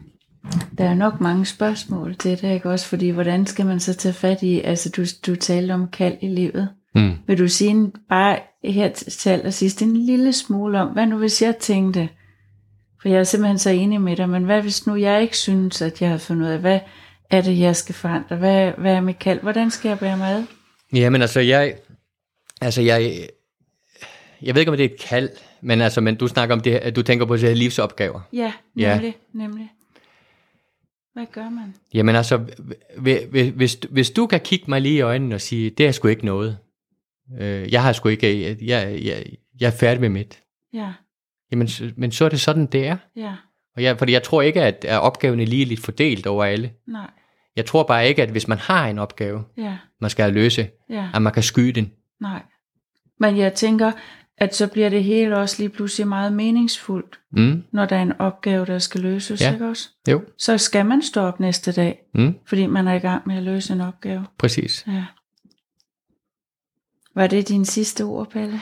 Speaker 1: der er nok mange spørgsmål til det, ikke også? Fordi hvordan skal man så tage fat i, altså du, du talte om kald i livet.
Speaker 2: Mm.
Speaker 1: Vil du sige en, bare her til til allersidst en lille smule om, hvad nu hvis jeg tænkte, for jeg er simpelthen så enig med dig, men hvad hvis nu jeg ikke synes, at jeg har fundet ud af, hvad er det, jeg skal forandre? Hvad, hvad er mit kald? Hvordan skal jeg bære mig ad?
Speaker 2: Jamen altså, jeg, altså jeg, jeg ved ikke, om det er et kald, men altså, men du snakker om det her, at du tænker på det her livsopgaver.
Speaker 1: Ja,
Speaker 2: Ja.
Speaker 1: nemlig, ja. nemlig. Hvad gør man?
Speaker 2: Jamen altså, hvi- hvi- hvis, hvis du kan kigge mig lige i øjnene og sige, det er sgu ikke noget. Øh, Jeg har sgu ikke, jeg, jeg, jeg, jeg er færdig med mit.
Speaker 1: Ja,
Speaker 2: Jamen, så- men så er det sådan, det er.
Speaker 1: ja,
Speaker 2: Og jeg, fordi jeg tror ikke, at at opgaven er lige lidt fordelt over alle.
Speaker 1: nej,
Speaker 2: Jeg tror bare ikke, at hvis man har en opgave,
Speaker 1: ja,
Speaker 2: man skal løse,
Speaker 1: ja,
Speaker 2: at man kan skyde den.
Speaker 1: nej. Men jeg tænker, at så bliver det hele også lige pludselig meget meningsfuldt,
Speaker 2: Mm,
Speaker 1: når der er en opgave, der skal løses,
Speaker 2: Ja.
Speaker 1: ikke også?
Speaker 2: jo,
Speaker 1: Så skal man stå op næste dag,
Speaker 2: mm,
Speaker 1: fordi man er i gang med at løse en opgave.
Speaker 2: præcis.
Speaker 1: Ja. Var det dine sidste ord, Pelle?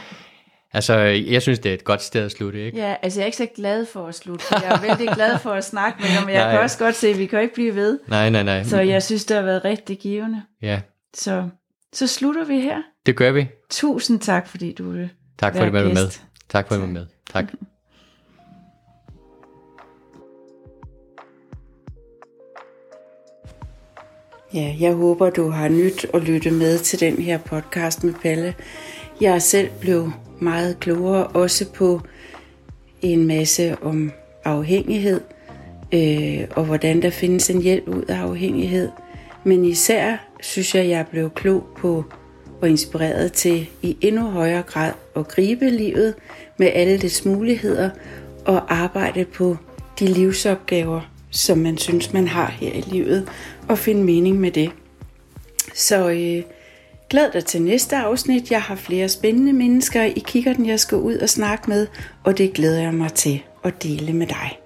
Speaker 2: Altså, jeg synes, det er et godt sted at slutte, ikke?
Speaker 1: Ja, altså jeg er ikke så glad for at slutte, for jeg er vældig glad for at snakke med dig, men jeg
Speaker 2: Nej.
Speaker 1: kan også godt se, at vi kan jo ikke blive ved.
Speaker 2: Nej, nej, nej.
Speaker 1: Så jeg synes, det har været rigtig givende.
Speaker 2: Ja,
Speaker 1: Så
Speaker 3: Så slutter vi her.
Speaker 2: Det gør vi.
Speaker 3: Tusind tak, fordi du ville
Speaker 2: Tak for, at du var
Speaker 3: være
Speaker 2: med.
Speaker 3: gæst.
Speaker 2: Tak for, at du var med. Tak.
Speaker 1: Ja, jeg håber, du har nyt at lytte med til den her podcast med Palle. Jeg er selv blev meget klogere, også på en masse om afhængighed, øh, og hvordan der findes en hjælp ud af afhængighed. Men især synes jeg, jeg blev klog på og inspireret til i endnu højere grad at gribe livet med alle dets muligheder og arbejde på de livsopgaver, som man synes, man har her i livet, og finde mening med det. Så øh, glæd dig til næste afsnit. Jeg har flere spændende mennesker i kikkerten, jeg skal ud og snakke med, og det glæder jeg mig til at dele med dig.